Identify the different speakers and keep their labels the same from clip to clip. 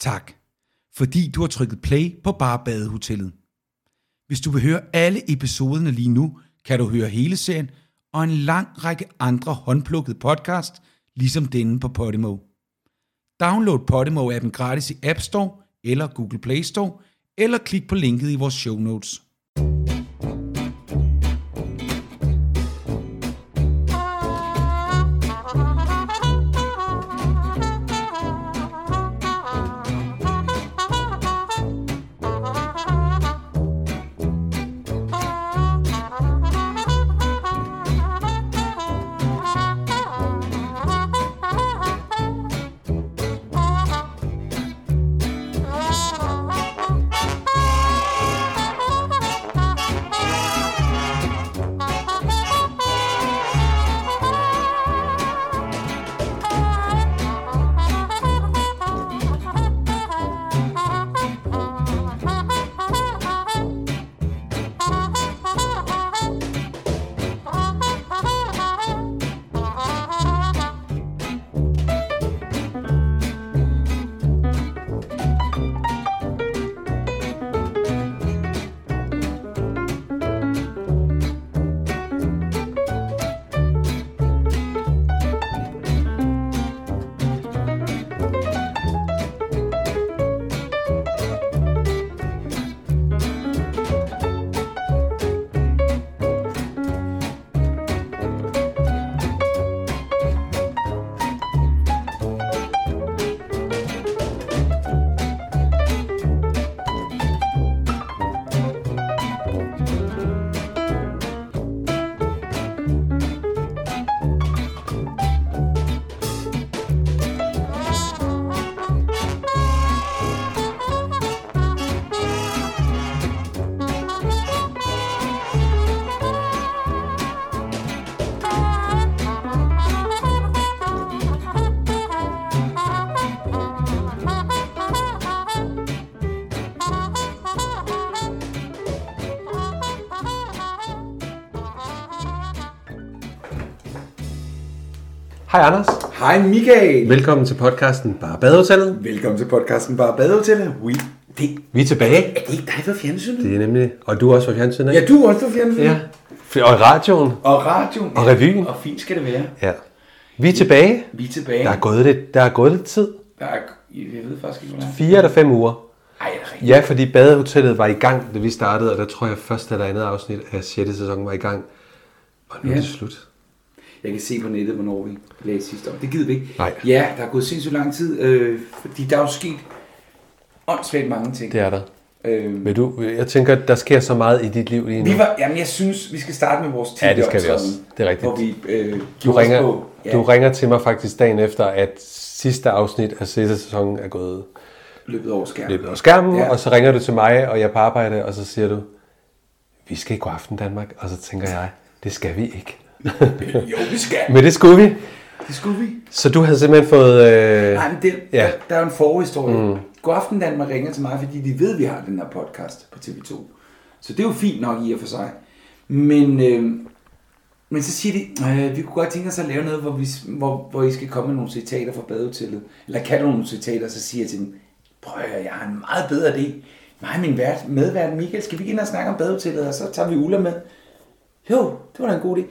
Speaker 1: Tak, fordi du har trykket play på Barbadehotellet. Hvis du vil høre alle episoderne lige nu, kan du høre hele serien og en lang række andre håndplukkede podcast, ligesom denne på Podimo. Download Podimo-appen gratis i App Store eller Google Play Store, eller klik på linket i vores show notes.
Speaker 2: Hej Anders.
Speaker 3: Hej Michael.
Speaker 2: Velkommen til podcasten Bare Badehotellet.
Speaker 3: Velkommen til podcasten Bare Badehotellet. Oui. Det,
Speaker 2: Vi er tilbage.
Speaker 3: er det ikke dig for fjernsynet?
Speaker 2: Det er nemlig, og du er også fra fjernsynet,
Speaker 3: Ja,
Speaker 2: ikke?
Speaker 3: du er også for fjernsynet.
Speaker 2: Ja. Og i radioen.
Speaker 3: Og radioen.
Speaker 2: Og revyen.
Speaker 3: Og fint skal det være.
Speaker 2: Ja. Vi er tilbage.
Speaker 3: Vi er tilbage.
Speaker 2: Der er gået lidt, der er gået lidt tid.
Speaker 3: Der er, jeg ved faktisk ikke, hvor langt.
Speaker 2: Fire eller fem uger.
Speaker 3: Ej, er det rigtigt?
Speaker 2: Ja, fordi Badehotellet var i gang, da vi startede, og der tror jeg første eller andet afsnit af 6. sæson var i gang. Og nu er
Speaker 3: Ja.
Speaker 2: det slut.
Speaker 3: Jeg kan se på nettet, hvornår vi lagde sidste år. Det gider vi ikke.
Speaker 2: Nej.
Speaker 3: Ja, der er gået sindssygt lang tid, øh, fordi der er jo sket åndssvagt mange ting.
Speaker 2: Det er der.
Speaker 3: Øh,
Speaker 2: Men du, jeg tænker, der sker så meget i dit liv lige nu.
Speaker 3: vi var, jamen, jeg synes, vi skal starte med vores tid.
Speaker 2: Ja, det skal vi også. Det er rigtigt.
Speaker 3: Hvor vi øh,
Speaker 2: Du
Speaker 3: gjorde os
Speaker 2: ringer,
Speaker 3: på. Ja,
Speaker 2: du ringer til mig faktisk dagen efter, at sidste afsnit af 6. sæson er gået
Speaker 3: løbet over skærmen.
Speaker 2: løbet over skærmen,
Speaker 3: Ja.
Speaker 2: ja. og så ringer du til mig, og jeg er på arbejde, og så siger du, vi skal ikke gå aften Danmark, og så tænker jeg, det skal vi ikke.
Speaker 3: Jo, vi skal.
Speaker 2: Men det skulle vi.
Speaker 3: Det skulle vi.
Speaker 2: Så du havde simpelthen fået... Øh...
Speaker 3: Nej, men det, ja.
Speaker 2: Ja.
Speaker 3: der er jo en forhistorie. Mm. Godaften Danmark ringer til mig, fordi de ved, at vi har den her podcast på TV2. Så det er jo fint nok i og for sig. Men, øh, men så siger de, øh, vi kunne godt tænke os at lave noget, hvor, vi, hvor, hvor I skal komme med nogle citater fra badehotellet. Eller kan du nogle citater? Så siger jeg til dem, prøv at høre, jeg har en meget bedre idé. Mig og min vært, medvært Michael, skal vi ikke ind og snakke om badehotellet, og så tager vi Ulla med? Jo, det var da en god idé.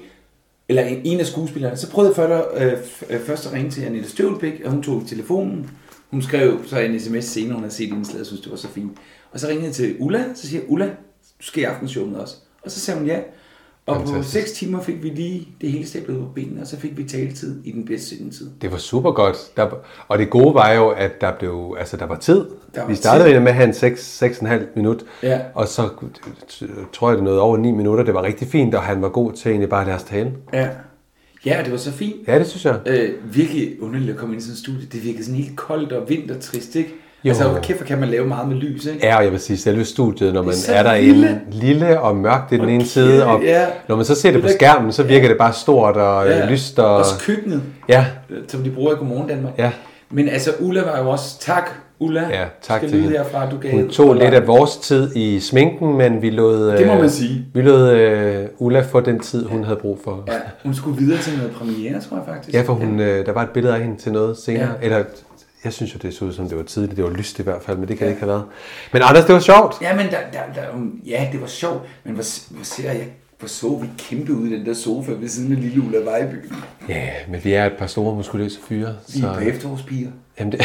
Speaker 3: Eller en, en af skuespillerne. Så prøvede jeg før, øh, f- øh, først at ringe til Anette Støvlbæk, og hun tog telefonen. Hun skrev så en sms senere, hun havde set indslaget, og synes det var så fint. Og så ringede jeg til Ulla, så siger jeg, Ulla, du skal i aftenshowet med os. Og så sagde hun ja. Og på
Speaker 2: Fantastisk.
Speaker 3: 6 timer fik vi lige det hele stablet på benene, og så fik vi taletid i den bedste siden tid.
Speaker 2: Det var super godt. Der, og det gode var jo, at der, blev, altså, der var tid.
Speaker 3: Der var
Speaker 2: vi startede
Speaker 3: tid.
Speaker 2: jo med at have en 6, 6,5 minut,
Speaker 3: Ja.
Speaker 2: og så t- tror jeg, det nåede over 9 minutter. Det var rigtig fint, og han var god til egentlig bare at lade os tale.
Speaker 3: Ja. Ja, og det var så fint.
Speaker 2: Ja, det synes jeg.
Speaker 3: Øh, virkelig underligt at komme ind i sådan et studie. Det virkede sådan helt koldt og vintertrist, ikke? Jo.
Speaker 2: Jo.
Speaker 3: Altså, hvor kæft, hvor kan man lave meget med lys, ikke?
Speaker 2: Ja, og jeg vil sige, selve studiet, når man
Speaker 3: så
Speaker 2: er, er
Speaker 3: lille.
Speaker 2: derinde, lille og mørkt i den ene side, og
Speaker 3: kedeligt, ja.
Speaker 2: når man så ser det på
Speaker 3: Det er-
Speaker 2: skærmen, så virker det bare stort og ja. lyst. Og,
Speaker 3: Også køkkenet,
Speaker 2: ja,
Speaker 3: øh, som de bruger i Godmorgen Danmark.
Speaker 2: Ja.
Speaker 3: Men altså, Ulla var jo også... Tak, Ulla.
Speaker 2: ja, tak
Speaker 3: skal
Speaker 2: til
Speaker 3: lyde
Speaker 2: hende.
Speaker 3: herfra, du gav
Speaker 2: Hun tog lidt af vores tid i sminken, men vi lod,
Speaker 3: Det må
Speaker 2: øh,
Speaker 3: man sige.
Speaker 2: Vi lod øh, Ulla få den tid, hun havde brug for.
Speaker 3: Ja, hun skulle videre til noget premiere, tror jeg faktisk.
Speaker 2: Ja, for hun, øh, der var et billede af hende til noget senere,
Speaker 3: Ja.
Speaker 2: ja. eller
Speaker 4: Jeg synes jo, det så ud som, det var tidligt. Det var lyst i hvert fald, men det kan det ikke have været. Men Anders, det var sjovt.
Speaker 5: Ja, men der, der, der, um, ja, det var sjovt, men hvor, hvor ser jeg, hvor så vi kæmpe ud i den der sofa ved siden af lille Ulla Vejby.
Speaker 4: Ja, yeah, men vi er et par store muskuløse fyre.
Speaker 5: Vi er på
Speaker 4: Så,
Speaker 5: efterårspiger.
Speaker 4: jamen det...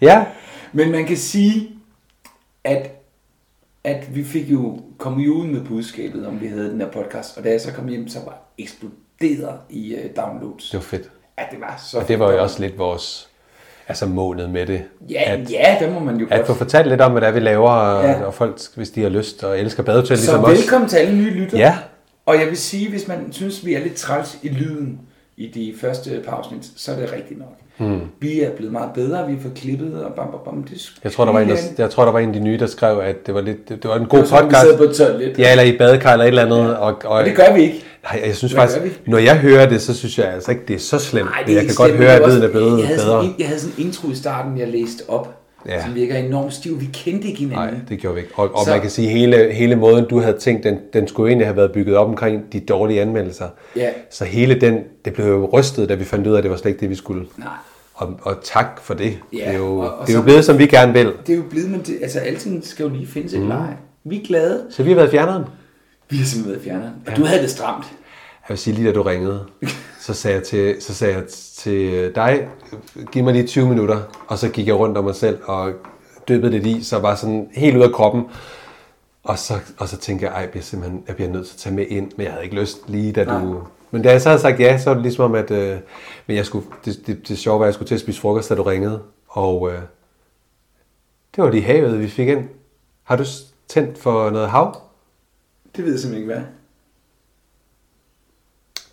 Speaker 4: ja,
Speaker 5: Men man kan sige, at, at vi fik jo kommet jo ud med budskabet, om vi havde den her podcast. Og da jeg så kom hjem, så var eksploderet i uh, downloads.
Speaker 4: det var fedt.
Speaker 5: Ja, det var så
Speaker 4: Og det var jo også lidt vores altså målet med det.
Speaker 5: Ja,
Speaker 4: at,
Speaker 5: ja, det må man jo
Speaker 4: at
Speaker 5: godt.
Speaker 4: få fortalt lidt om, hvad det er, vi laver, og,
Speaker 5: Ja.
Speaker 4: ja. og folk, hvis de har lyst og elsker badehotel,
Speaker 5: Så
Speaker 4: ligesom os.
Speaker 5: velkommen til alle nye lyttere.
Speaker 4: Ja.
Speaker 5: Og jeg vil sige, hvis man synes, vi er lidt træls i lyden i de første par afsnit, så er det rigtigt nok.
Speaker 4: Hmm.
Speaker 5: Mm. Vi er blevet meget bedre, vi har fået klippet og bam, bam, bam. Det
Speaker 4: Jeg tror, der var en, der,
Speaker 5: der...
Speaker 4: jeg tror, der var en af de nye, der skrev, at det var, lidt, det, det var en god
Speaker 5: Det var sådan, vi
Speaker 4: podcast.
Speaker 5: sad på et toilet.
Speaker 4: Ja, eller i et badekar eller et eller andet. Og, og,
Speaker 5: Men det gør vi ikke.
Speaker 4: Nej, jeg synes
Speaker 5: Hvad
Speaker 4: faktisk,
Speaker 5: gør vi?
Speaker 4: når jeg hører det, så synes jeg altså ikke, det er så slemt.
Speaker 5: Nej,
Speaker 4: Ej,
Speaker 5: det er
Speaker 4: jeg
Speaker 5: ikke
Speaker 4: kan
Speaker 5: slemt,
Speaker 4: godt høre, at
Speaker 5: men det var
Speaker 4: lyden er
Speaker 5: også-
Speaker 4: blevet
Speaker 5: jeg havde
Speaker 4: bedre.
Speaker 5: Sådan, en- jeg havde sådan en intro i starten, jeg læste op, ja.
Speaker 4: Ja.
Speaker 5: som virker enormt stiv. Vi kendte ikke hinanden.
Speaker 4: Nej, det gjorde vi ikke. Og, og
Speaker 5: Så-
Speaker 4: man kan sige, hele, hele måden, du havde tænkt, den, den skulle egentlig have været bygget op omkring de dårlige anmeldelser.
Speaker 5: Ja.
Speaker 4: Så hele den, det blev jo rystet, da vi fandt ud af, at det var slet ikke det, vi skulle.
Speaker 5: Nej.
Speaker 4: Og, og tak for det.
Speaker 5: Ja,
Speaker 4: det er jo,
Speaker 5: og- og
Speaker 4: det er jo
Speaker 5: så-
Speaker 4: blevet, som vi gerne vil.
Speaker 5: Det er jo blevet, men det, altså alting skal jo lige findes et mm. leje. Vi er glade.
Speaker 4: Så vi har været fjerneren.
Speaker 5: Vi har simpelthen været fjerneren. Og ja. du havde det stramt.
Speaker 4: Jeg vil sige, lige da du ringede, så sagde jeg til, så sagde jeg til dig, giv mig lige 20 minutter, og så gik jeg rundt om mig selv og dyppede det i, så var sådan helt ude af kroppen. Og så, og så tænkte jeg, ej, jeg bliver, simpelthen, jeg bliver nødt til at tage med ind, men jeg havde ikke lyst lige da du... Men da jeg så havde sagt ja, så var det ligesom om, at... Øh, men jeg skulle, det, det, det sjove var, at jeg skulle til at spise frokost, da du ringede, og øh, det var de havet, vi fik ind. Har du s- tændt for noget hav?
Speaker 5: Det ved jeg simpelthen ikke, hvad.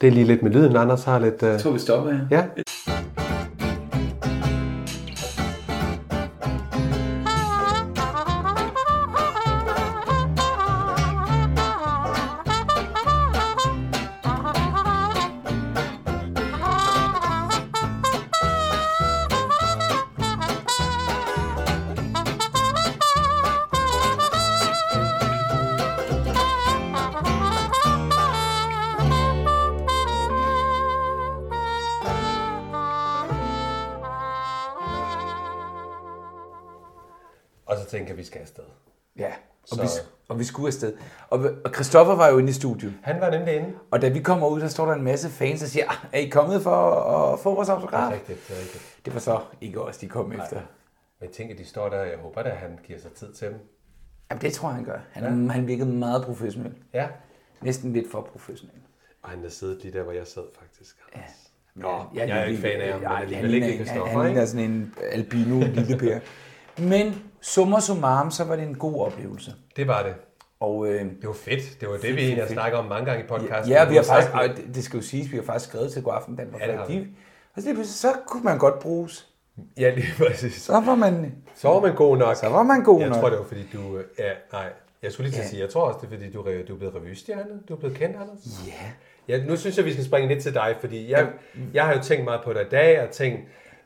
Speaker 4: Det er lige lidt med lyden, Anders har lidt... Øh,
Speaker 5: Jeg tror, vi stopper her.
Speaker 4: ja, Og så tænkte jeg, at vi skal afsted.
Speaker 5: Ja, og
Speaker 4: Så-
Speaker 5: vi, og vi skulle afsted. Og, og Christoffer var jo inde i studiet.
Speaker 4: Han var nemlig inde.
Speaker 5: Og da vi kommer ud, der står der en masse fans, der siger, "Ah, er I kommet for at få vores autograf?
Speaker 4: Rigtigt, det er rigtigt.
Speaker 5: Det var så ikke os, de kom Nej. efter.
Speaker 4: Men jeg tænker, de står der, og jeg håber da, han giver sig tid til dem.
Speaker 5: Jamen, det tror jeg, han gør. Han, ja. han virkede meget professionel.
Speaker 4: Ja.
Speaker 5: Næsten lidt for professionel.
Speaker 4: Og han har siddet lige der, hvor jeg sad faktisk. Ja. Nå,
Speaker 5: Ja,
Speaker 4: jeg, jeg er ikke fan af ham, men
Speaker 5: nej,
Speaker 4: alligevel ikke
Speaker 5: ligner-
Speaker 4: Christoffer,
Speaker 5: Han
Speaker 4: ikke?
Speaker 5: ligner sådan en albino lille pære. Men summa summarum, så var det en god oplevelse.
Speaker 4: Det var det.
Speaker 5: Og øh,
Speaker 4: Det var fedt. Det var det, vi egentlig har snakket om mange gange i podcasten.
Speaker 5: ja, vi har faktisk,
Speaker 4: sagt,
Speaker 5: og det- det skal jo siges, vi har faktisk skrevet til God Aften Danmark.
Speaker 4: Ja, det har
Speaker 5: fordi-
Speaker 4: vi.
Speaker 5: og så, lige pludselig, så kunne man godt bruges.
Speaker 4: Ja, lige præcis.
Speaker 5: Så var man
Speaker 4: Så var man god nok. Så
Speaker 5: var man god
Speaker 4: jeg
Speaker 5: nok.
Speaker 4: Jeg tror, det var fordi du... øh, Ja, nej. Jeg skulle lige til at sige, jeg tror også, det er fordi, du, er- du er blevet revystjerne. Du er blevet kendt, Anders.
Speaker 5: Ja.
Speaker 4: Ja, nu synes jeg, vi skal springe lidt til dig, fordi jeg, jeg har jo tænkt meget på dig i dag, og tænkt,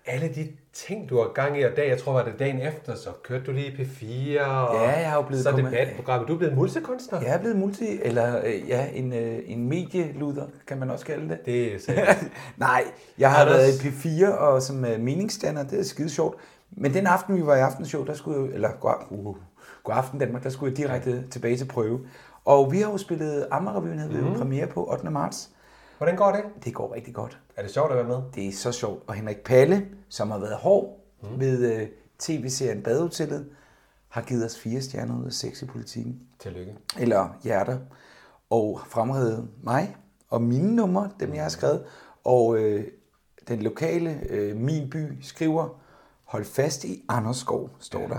Speaker 4: alle de ting, du har gang i i dag, jeg tror, var det dagen efter, så kørte du lige i P4, og
Speaker 5: Ja, jeg er jo blevet
Speaker 4: så
Speaker 5: kommet-
Speaker 4: debatprogrammet. Du er blevet multikunstner.
Speaker 5: Jeg er blevet multi, eller øh, ja, en, øh, en medieluder, kan man også kalde det.
Speaker 4: Det sagde jeg.
Speaker 5: Nej, jeg har
Speaker 4: Anders.
Speaker 5: været i P4 og som øh, meningsstander, det er skide sjovt. Men den aften, vi var i aftenshow, der skulle jeg, jo- eller god, uh, god aften Danmark, der skulle jeg direkte tilbage til prøve. Og vi har jo spillet Amagerrevyen, havde vi jo premiere på 8. marts.
Speaker 4: Hvordan går det?
Speaker 5: Det går rigtig godt.
Speaker 4: Er det sjovt at være med?
Speaker 5: Det er så sjovt. Og Henrik Palle, som har været hård mm. ved øh, tv-serien Badehotellet, har givet os fire stjerner ud af seks i politikken
Speaker 4: Tillykke.
Speaker 5: eller hjerter, og fremhævede mig og mine numre, dem jeg har skrevet, og øh, den lokale øh, Min By skriver, hold fast i Anders Skov, står der.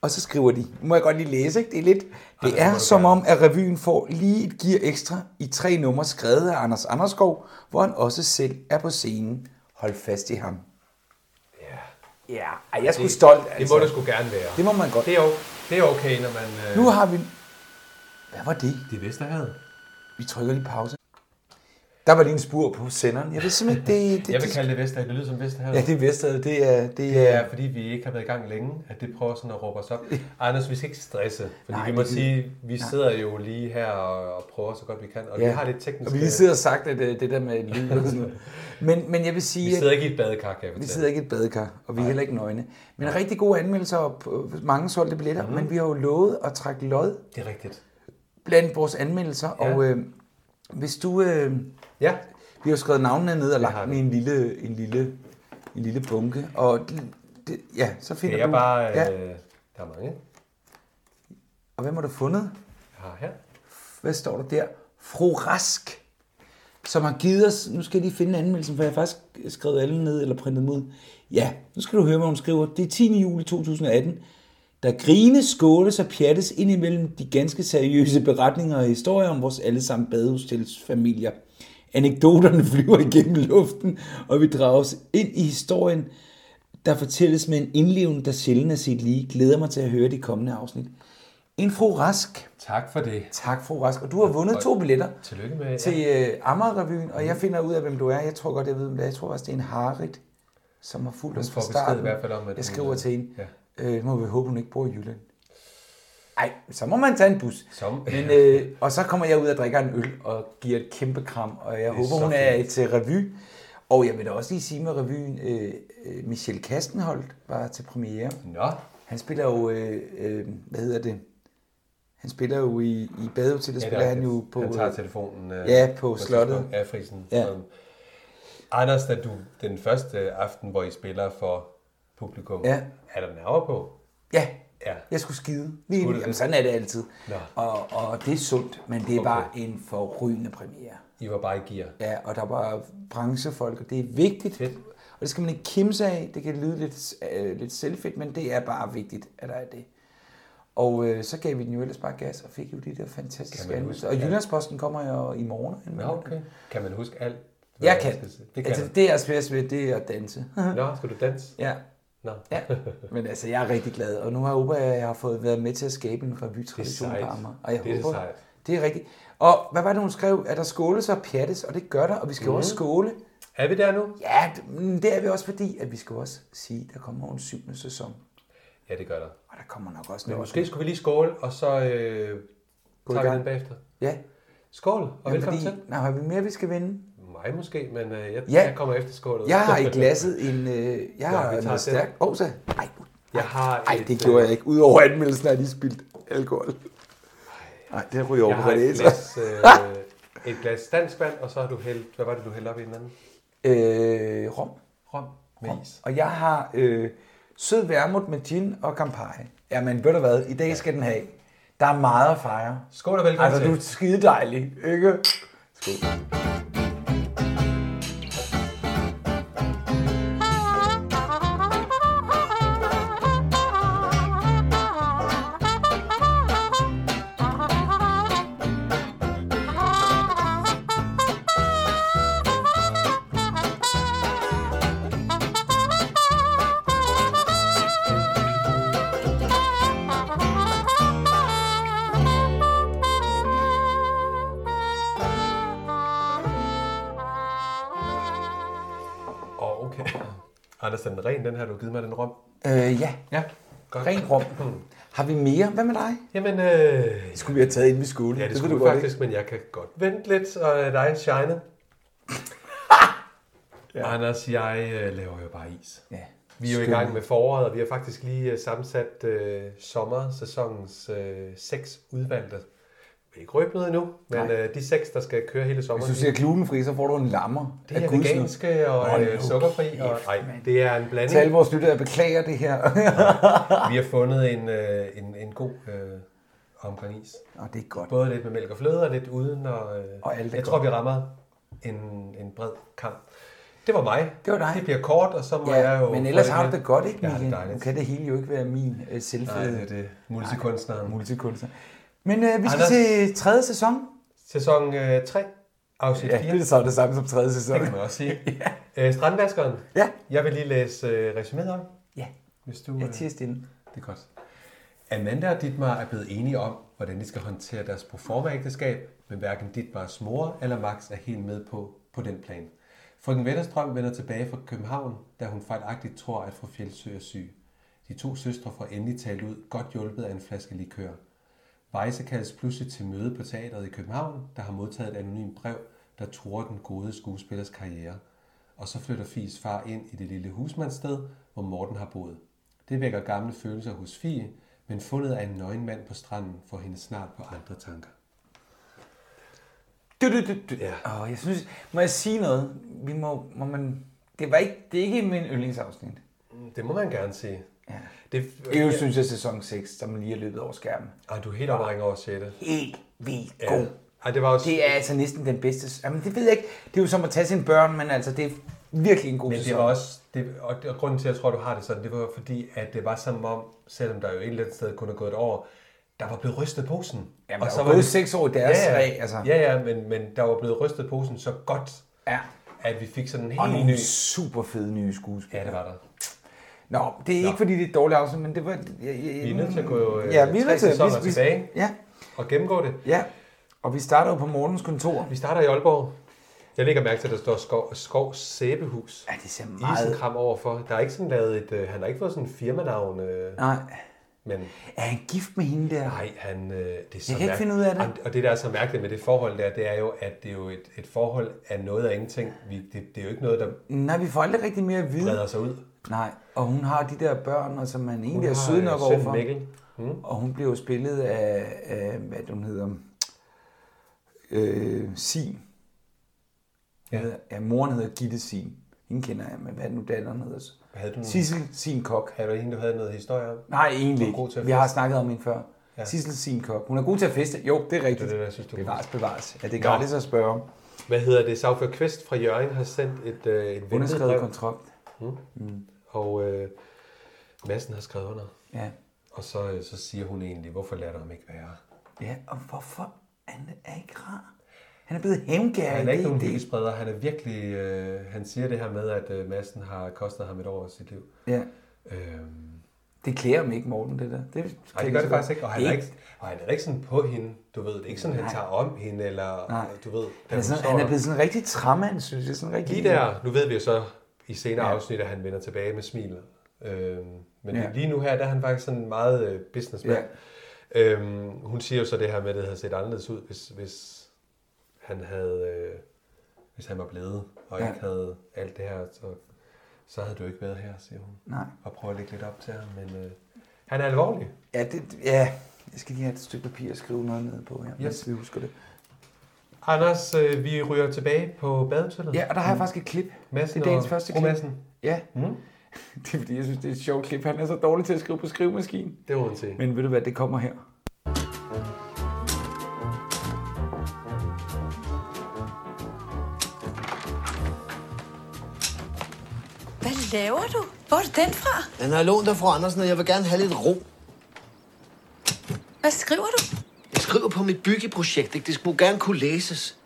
Speaker 5: Og så skriver de, må jeg godt lige læse, ikke? Det er lidt, det er som om, at revyen får lige et gear ekstra i tre numre skrevet af Anders Anderskov, hvor han også selv er på scenen. Hold fast i ham.
Speaker 4: Ja.
Speaker 5: Ja, ej, jeg skulle stolt, altså.
Speaker 4: Det må du sgu gerne være.
Speaker 5: Det må man godt.
Speaker 4: Det er, o- det er okay, når man... Øh...
Speaker 5: Nu har vi... Hvad var det?
Speaker 4: Det er Vesterhavet.
Speaker 5: Vi trykker lige pause. Der var lige en spur på senderen. Jeg ved simpelthen ikke, det, det,
Speaker 4: Jeg vil
Speaker 5: det,
Speaker 4: kalde det Vestad. Det lyder som Vestad.
Speaker 5: Ja, det er Vestad, det er... Det
Speaker 4: Det
Speaker 5: er
Speaker 4: er, fordi vi ikke har været i gang længe, at det prøver sådan at råbe os op. Anders, vi skal ikke stresse, fordi
Speaker 5: Nej,
Speaker 4: Nej, vi må
Speaker 5: det-
Speaker 4: sige, vi sidder jo lige her og, og prøver så godt vi kan, og ja. vi har lidt teknisk...
Speaker 5: Og vi lige sidder og sagt, at øh, det der med lyd og sådan noget. Men, men jeg vil sige,
Speaker 4: vi
Speaker 5: at-
Speaker 4: sidder ikke i et badekar, kan jeg
Speaker 5: Vi
Speaker 4: fortælle.
Speaker 5: sidder ikke i et badekar, og vi er heller ikke nøgne. Men rigtig gode anmeldelser og p- mange solgte billetter,
Speaker 4: Mhm.
Speaker 5: mm. men vi har jo lovet at trække lod
Speaker 4: Det er rigtigt.
Speaker 5: blandt vores anmeldelser. Ja.
Speaker 4: Ja.
Speaker 5: Og øh, hvis du... Øh,
Speaker 4: Ja,
Speaker 5: vi har jo skrevet navnene ned og lagt
Speaker 4: har
Speaker 5: dem
Speaker 4: vi.
Speaker 5: i en lille, en lille, en lille bunke. Og det, det, ja, så finder
Speaker 4: det er
Speaker 5: du...
Speaker 4: bare... Øh,
Speaker 5: ja.
Speaker 4: Der er mange,
Speaker 5: Og hvem har du fundet?
Speaker 4: jeg har her.
Speaker 5: Hvad står der der? Fro Rask, som har givet os... Nu skal jeg lige finde anmeldelsen, for jeg har faktisk skrevet alle ned eller printet dem ud. Ja, nu skal du høre, hvad hun skriver. Det er 10. juli 2018. Der grines, skåles og pjattes ind imellem de ganske seriøse beretninger og historier om vores allesammen badehostilsfamilier. Anekdoterne flyver igennem luften, og vi drages ind i historien, der fortælles med en indleven, der sjældent er set lige. Glæder mig til at høre de kommende afsnit. En fru Rask,
Speaker 4: Tak for det.
Speaker 5: Tak, fru Rask. Og du har vundet to billetter
Speaker 4: Tillykke med...
Speaker 5: til øh, Amager-revyen, og jeg finder ud af, hvem du er. Jeg tror godt, jeg ved, hvem det er. Jeg tror også, det er en Harit, som har fulgt os
Speaker 4: får
Speaker 5: fra
Speaker 4: besked
Speaker 5: starten.
Speaker 4: i hvert fald om, at
Speaker 5: jeg
Speaker 4: hun,
Speaker 5: skriver
Speaker 4: øh,
Speaker 5: til hende.
Speaker 4: ja.
Speaker 5: Øh, må vi håbe, hun ikke bor i Jylland. Ej, så må man tage en bus.
Speaker 4: Som-
Speaker 5: Men, øh, og så kommer jeg ud og drikker en øl og giver et kæmpe kram, og jeg håber,
Speaker 4: så
Speaker 5: hun er til revy. Og jeg vil da også lige sige med revyen, øh, øh, Michel Kastenholdt var til premiere.
Speaker 4: Nå,
Speaker 5: Han spiller jo, øh, øh, hvad hedder det? Han spiller jo i, i badehotellet,
Speaker 4: ja,
Speaker 5: ja,
Speaker 4: det er
Speaker 5: spiller han
Speaker 4: rigtigt.
Speaker 5: jo på...
Speaker 4: Han tager
Speaker 5: øh,
Speaker 4: telefonen...
Speaker 5: ja, på
Speaker 4: et
Speaker 5: slottet.
Speaker 4: tidspunkt. Ja, frisen.
Speaker 5: Ja.
Speaker 4: Som- Anders, da du den første aften, hvor I spiller for publikum,
Speaker 5: Ja.
Speaker 4: er der nerver på?
Speaker 5: Ja,
Speaker 4: Ja.
Speaker 5: jeg skulle skide. Lige,
Speaker 4: Skulle du
Speaker 5: jamen,
Speaker 4: det?
Speaker 5: sådan er det altid.
Speaker 4: Nå.
Speaker 5: Og, og det er sundt, men det
Speaker 4: Okay.
Speaker 5: var en forrygende premiere.
Speaker 4: I var bare i gear.
Speaker 5: Ja, og der var branchefolk, og det er vigtigt.
Speaker 4: Fedt.
Speaker 5: Og det skal man ikke kimse af. Det kan lyde lidt, øh, lidt selvfedt, men det er bare vigtigt, at der er det. Og øh, så gav vi den jo ellers bare gas, og fik jo de der
Speaker 4: Kan
Speaker 5: fantastiske
Speaker 4: man
Speaker 5: anmeldelser. Og
Speaker 4: huske- ja.
Speaker 5: Jyllandsposten kommer jo i morgen.
Speaker 4: Nå, okay. øh, Kan man huske alt? hvad
Speaker 5: Jeg
Speaker 4: man
Speaker 5: kan.
Speaker 4: skal sige?
Speaker 5: Det,
Speaker 4: Det kan
Speaker 5: altså, det er svært ved, det er at danse.
Speaker 4: du. Nå, skal du danse?
Speaker 5: ja.
Speaker 4: Nå.
Speaker 5: ja. Men altså, jeg er rigtig glad, og nu har jeg håber, jeg, at jeg har fået været med til at skabe en revytradition
Speaker 4: Det er
Speaker 5: på
Speaker 4: sejt.
Speaker 5: Amager. Og jeg
Speaker 4: Det er
Speaker 5: håber,
Speaker 4: sejt.
Speaker 5: det er rigtigt. Og hvad var det, hun skrev? At der skåles og pjattes, og det gør der, og vi skal mm. også
Speaker 4: Mhm.
Speaker 5: skåle.
Speaker 4: Er vi der nu?
Speaker 5: Ja, d- men det er vi også fordi, at vi skal også sige, at der kommer en syvende sæson.
Speaker 4: Ja, det gør der.
Speaker 5: Og der kommer nok også
Speaker 4: Men
Speaker 5: noget.
Speaker 4: måske skulle vi lige skåle, og så øh,
Speaker 5: i
Speaker 4: tager vi
Speaker 5: gang.
Speaker 4: den bagefter.
Speaker 5: Ja,
Speaker 4: Skål, og ja,
Speaker 5: ja
Speaker 4: velkommen
Speaker 5: fordi,
Speaker 4: til.
Speaker 5: nej, har vi mere, vi skal vinde?
Speaker 4: Mig måske, men øh, jeg,
Speaker 5: Ja.
Speaker 4: ja. jeg kommer efter skålet.
Speaker 5: Jeg har i glasset en... Øh, jeg har
Speaker 4: vi
Speaker 5: ja,
Speaker 4: tager
Speaker 5: noget
Speaker 4: den.
Speaker 5: stærkt. Åh, så. Ej, nu-
Speaker 4: Jeg har
Speaker 5: Ej,
Speaker 4: et,
Speaker 5: det
Speaker 4: øh,
Speaker 5: gjorde jeg ikke. Udover anmeldelsen har de spildt alkohol. Nej, det ryger over
Speaker 4: Jeg
Speaker 5: på
Speaker 4: har et
Speaker 5: det.
Speaker 4: glas, øh, et glas dansk vand, og så har du hældt, hvad var det, du hældte op i en anden?
Speaker 5: Øh, rom.
Speaker 4: Rom med is.
Speaker 5: Og jeg har øh, sød vermut med gin og Campari. Jamen, ved du hvad? I dag skal den have. Der er meget at fejre.
Speaker 4: Skål og velkommen
Speaker 5: Altså, du er
Speaker 4: til.
Speaker 5: skide dejlig, ikke?
Speaker 4: Åh, oh, okay. Anders, den er ren, den her, du har givet mig den rom.
Speaker 5: Øh, ja.
Speaker 4: Ja, godt.
Speaker 5: Ren rum. Har vi mere? Hvad med dig?
Speaker 4: Jamen, øh,
Speaker 5: Det skulle vi have taget inden vi skulle.
Speaker 4: ja, det,
Speaker 5: ved
Speaker 4: det skulle du faktisk, men jeg kan godt vente lidt, og øh, dig shine. ja. Anders, jeg øh, laver jo bare is.
Speaker 5: Ikke? Ja.
Speaker 4: Vi er jo i gang med foråret, og vi har faktisk lige øh, sammensat øh, sommersæsonens øh, seks udvalgte. Vi er ikke røbt noget endnu, men øh, de seks, der skal køre hele sommeren.
Speaker 5: Hvis du siger glutenfri, så får du en lammer.
Speaker 4: Det er
Speaker 5: af gudsnød.
Speaker 4: veganske og
Speaker 5: Hold
Speaker 4: øh,
Speaker 5: nu
Speaker 4: sukkerfri. Og,
Speaker 5: kæft,
Speaker 4: nej, det er en
Speaker 5: Til alle
Speaker 4: blanding.
Speaker 5: vores lyttere, jeg beklager det her.
Speaker 4: Vi har fundet en, øh, en, en god øh, omgang is.
Speaker 5: Og det er godt.
Speaker 4: Både lidt med mælk og fløde og lidt uden. Og, øh,
Speaker 5: Og alt er
Speaker 4: jeg
Speaker 5: godt.
Speaker 4: tror, vi rammer en, en bred kamp. Det var mig.
Speaker 5: Det var dig.
Speaker 4: Det bliver kort, og så må jeg
Speaker 5: Ja,
Speaker 4: jo...
Speaker 5: men ellers
Speaker 4: få
Speaker 5: har du
Speaker 4: lidt
Speaker 5: det godt, ikke,
Speaker 4: Jeg har det
Speaker 5: Michael? Nu
Speaker 4: dejligt.
Speaker 5: kan det hele jo ikke være min øh,
Speaker 4: Nej, det
Speaker 5: selvfede
Speaker 4: er det. Multikunstneren.
Speaker 5: multikunstner. Men øh, vi skal
Speaker 4: Anders.
Speaker 5: til tredje sæson.
Speaker 4: Sæson øh, 3, afsnit
Speaker 5: Ja,
Speaker 4: 4.
Speaker 5: det er så det samme som tredje sæson.
Speaker 4: Det kan man også sige. øh, strandvaskeren.
Speaker 5: Ja.
Speaker 4: Jeg vil lige læse øh, resuméet op,
Speaker 5: Ja,
Speaker 4: hvis du...
Speaker 5: jeg tiger stille.
Speaker 4: Det er godt. Amanda og Ditmar er blevet enige om, hvordan de skal håndtere deres proforma-ægteskab, men hverken Ditmars mor eller Max er helt med på, på den plan. Frøken Vetterstrøm vender tilbage fra København, da hun fejlagtigt tror, at fru Fjeldsø er syg. De to søstre får endelig talt ud, godt hjulpet af en flaske likør. Weisse kaldes pludselig til møde på teateret i København, der har modtaget et anonymt brev, der tror den gode skuespillers karriere. Og så flytter Fies far ind i det lille husmandssted, hvor Morten har boet. Det vækker gamle følelser hos Fie, men fundet af en nøgen mand på stranden får hende snart på andre tanker.
Speaker 5: Du, du, du, du.
Speaker 4: Ja.
Speaker 5: Åh, jeg synes, må jeg sige noget? Vi må, må man... Det, var ikke, det er ikke min yndlingsafsnit.
Speaker 4: Det må man gerne sige. Ja. Det,
Speaker 5: Det er jo, synes jeg, sæson 6, som lige er løbet over skærmen.
Speaker 4: Ej, du er helt omringer over 6.
Speaker 5: Helt vildt god.
Speaker 4: Ej, det var også...
Speaker 5: Det er altså næsten den bedste... Jamen, det ved jeg ikke. Det er jo som at tage sine børn, men altså, det er virkelig en god
Speaker 4: Men det
Speaker 5: sæson.
Speaker 4: var også, det, og, og grunden til, at jeg tror, at du har det sådan, det var fordi, at det var som om, selvom der jo et eller andet sted kun er gået et år, der var blevet rystet posen.
Speaker 5: Jamen, der er jo gået
Speaker 4: det-
Speaker 5: seks år i deres
Speaker 4: ja,
Speaker 5: sag, altså.
Speaker 4: Ja, ja, men, men der var blevet rystet posen så godt,
Speaker 5: Ja.
Speaker 4: at vi fik sådan en
Speaker 5: Og
Speaker 4: helt ny...
Speaker 5: nogle super fede nye skuespillere.
Speaker 4: Ja, det var der.
Speaker 5: Nå, det er ikke, fordi det er et dårligt afsnit, men det var... Jeg, jeg,
Speaker 4: Vi er nødt til at gå øh,
Speaker 5: Ja, vi er
Speaker 4: tre
Speaker 5: nødt til.
Speaker 4: sæsoner
Speaker 5: vi, vi,
Speaker 4: tilbage
Speaker 5: Ja,
Speaker 4: og gennemgå det.
Speaker 5: ja. Og vi starter jo på Mortens kontor.
Speaker 4: Vi starter i Aalborg. Jeg lægger mærke til, at der står skov, skov Sæbehus.
Speaker 5: Ja, det ser meget...
Speaker 4: Isenkram overfor. Der er ikke sådan lavet et... Øh, han har ikke fået sådan en firmanavn, øh,
Speaker 5: Nej.
Speaker 4: men...
Speaker 5: Er han gift med hende der?
Speaker 4: Nej, han, øh, det er så
Speaker 5: Jeg kan ikke
Speaker 4: mærk-
Speaker 5: finde ud af det.
Speaker 4: Og, og det, der er så mærkeligt med det forhold der, det er jo, at det er jo et, et forhold af noget af ingenting. Vi, det, det er jo ikke noget, der
Speaker 5: Nej, vi får aldrig rigtig mere at vide.
Speaker 4: breder sig ud.
Speaker 5: Nej, og hun har de der børn, og som man egentlig
Speaker 4: Hun
Speaker 5: er
Speaker 4: har,
Speaker 5: sød
Speaker 4: øh,
Speaker 5: nok
Speaker 4: sønnen
Speaker 5: overfor.
Speaker 4: Mikkel.
Speaker 5: Og hun bliver jo spillet af, af hvad er det, hun hedder, øh, Sim.
Speaker 4: Ja.
Speaker 5: Ja. ja, moren hedder Gitte Sim. Hende kender jeg, men hvad er det nu datteren hedder? så?
Speaker 4: Havde du en-
Speaker 5: Sissel Sim Kok.
Speaker 4: Havde du en, du havde noget historie om?
Speaker 5: Nej, egentlig
Speaker 4: Hun er god til
Speaker 5: ikke.
Speaker 4: at
Speaker 5: Vi har
Speaker 4: feste.
Speaker 5: snakket om hende før. Ja. Sissel Sim Kok. Hun er god til at feste. Jo, det er rigtigt.
Speaker 4: det, jeg synes, du er god
Speaker 5: bevares, bevares. Ja, det er gratis at spørge om.
Speaker 4: Hvad hedder det? Sagfører Kvist fra Jørgen har sendt et, øh, et ventet
Speaker 5: Underskrevet
Speaker 4: brev,
Speaker 5: kontrakt.
Speaker 4: og øh, Madsen har skrevet under.
Speaker 5: Ja.
Speaker 4: Og så, øh, så siger hun egentlig, hvorfor lader du ham ikke være?
Speaker 5: ja, og hvorfor han er ikke rar? Han er blevet hævngærig.
Speaker 4: Han er ikke
Speaker 5: det
Speaker 4: nogen
Speaker 5: det.
Speaker 4: hyggespreder. Han er virkelig... Øh, han siger det her med, at øh, Madsen har kostet ham et år af sit liv.
Speaker 5: Ja.
Speaker 4: Øhm,
Speaker 5: Det klæder ham ikke, Morten, det der. Det,
Speaker 4: Nej, det gør det faktisk ikke. Og han, er ikke, og han er ikke sådan på hende, du ved. Det er ikke sådan, at han tager om hende, eller
Speaker 5: Nej.
Speaker 4: du ved. da
Speaker 5: Han er,
Speaker 4: hun
Speaker 5: sådan,
Speaker 4: står
Speaker 5: han er
Speaker 4: der.
Speaker 5: blevet sådan en rigtig træmand, synes jeg. Sådan en rigtig...
Speaker 4: Lige der, nu ved vi jo så i senere
Speaker 5: Ja.
Speaker 4: afsnit, at han vender tilbage med smil. Øhm, men
Speaker 5: Ja.
Speaker 4: lige nu her, der er han faktisk sådan meget øh, businessman. Øhm, hun siger jo så det her med, at det havde set anderledes ud, hvis, hvis han havde... Øh, hvis han var blevet, og
Speaker 5: Ja.
Speaker 4: ikke havde alt det her, så, så havde du ikke været her, siger hun.
Speaker 5: Nej.
Speaker 4: Og prøver at lægge lidt op til ham, men øh, han er alvorlig.
Speaker 5: Ja, det, ja, jeg skal lige have et stykke papir og skrive noget ned på her,
Speaker 4: Yes.
Speaker 5: yes. vi husker det.
Speaker 4: Anders, øh, vi ryger tilbage på badehotellet.
Speaker 5: Ja, og der har jeg faktisk et klip.
Speaker 4: Madsen
Speaker 5: det er dagens
Speaker 4: og
Speaker 5: første
Speaker 4: fru
Speaker 5: klip.
Speaker 4: Madsen.
Speaker 5: Ja. Mm. Det er fordi, jeg synes, det er et sjovt klip. Han er så dårlig til at skrive på skrivemaskinen.
Speaker 4: Det må man sige.
Speaker 5: Men ved du hvad, det kommer her.
Speaker 6: Hvad laver du? Hvor er den fra?
Speaker 7: Den har jeg lånt dig, fru Andersen, og jeg vil gerne have lidt ro.
Speaker 6: Hvad skriver du?
Speaker 7: Jeg skriver på mit byggeprojekt, ikke? Det skulle gerne kunne læses.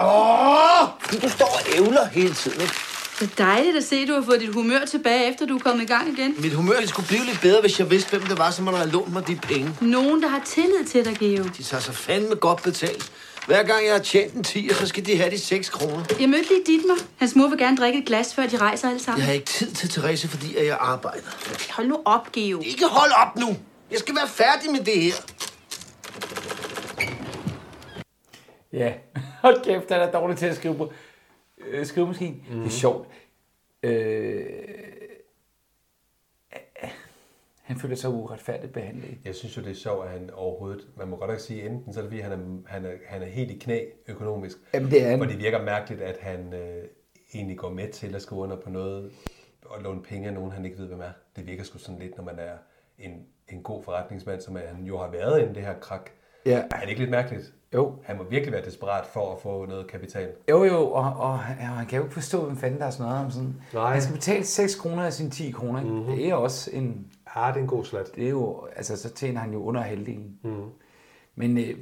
Speaker 7: Åh! Du står og ævler hele tiden, ikke?
Speaker 8: Det er dejligt at se, at du har fået dit humør tilbage, efter du er kommet i gang igen.
Speaker 7: Mit humør det skulle blive lidt bedre, hvis jeg vidste, hvem det var, som havde lånt mig de penge.
Speaker 8: Nogen, der har tillid til dig, Geo.
Speaker 7: De tager sig fandme godt betalt. Hver gang jeg har tjent en 10, så skal de have de 6 kroner.
Speaker 8: Jeg mødte lige Dietmar. Hans mor vil gerne drikke et glas, før de rejser alle sammen.
Speaker 7: Jeg har ikke tid til Therese, fordi at jeg arbejder.
Speaker 8: Hold nu op, Geo.
Speaker 7: Ikke hold op nu! Jeg skal være færdig med det her.
Speaker 5: Ja, hold kæft, han er dårlig til at skrive på øh, skrivemaskinen. Mm. Det er sjovt. Øh, han føler sig uretfærdigt behandlet.
Speaker 4: Jeg synes jo, det er sjovt, at han overhovedet... Man må godt nok sige, enten så er det fordi, han er, han er, han er helt i knæ økonomisk.
Speaker 5: Jamen, det er han.
Speaker 4: Og det virker mærkeligt, at han øh, egentlig går med til at skrive under på noget og låne penge af nogen, han ikke ved, hvem er. Det virker sgu sådan lidt, når man er en, en god forretningsmand, som han jo har været inden det her krak.
Speaker 5: Ja.
Speaker 4: Er det ikke lidt mærkeligt?
Speaker 5: Jo.
Speaker 4: Han må virkelig være desperat for at få noget kapital.
Speaker 5: Jo, jo, og, og, ja, han kan jo ikke forstå, hvem fanden der er sådan noget om sådan.
Speaker 4: Nej.
Speaker 5: Han skal betale 6 kroner af sine 10 kroner. Mm-hmm. Det er også en...
Speaker 4: Ja, det er en god slat.
Speaker 5: Det er jo, altså, så tjener han jo under halvdelen. Mm-hmm. Men øh,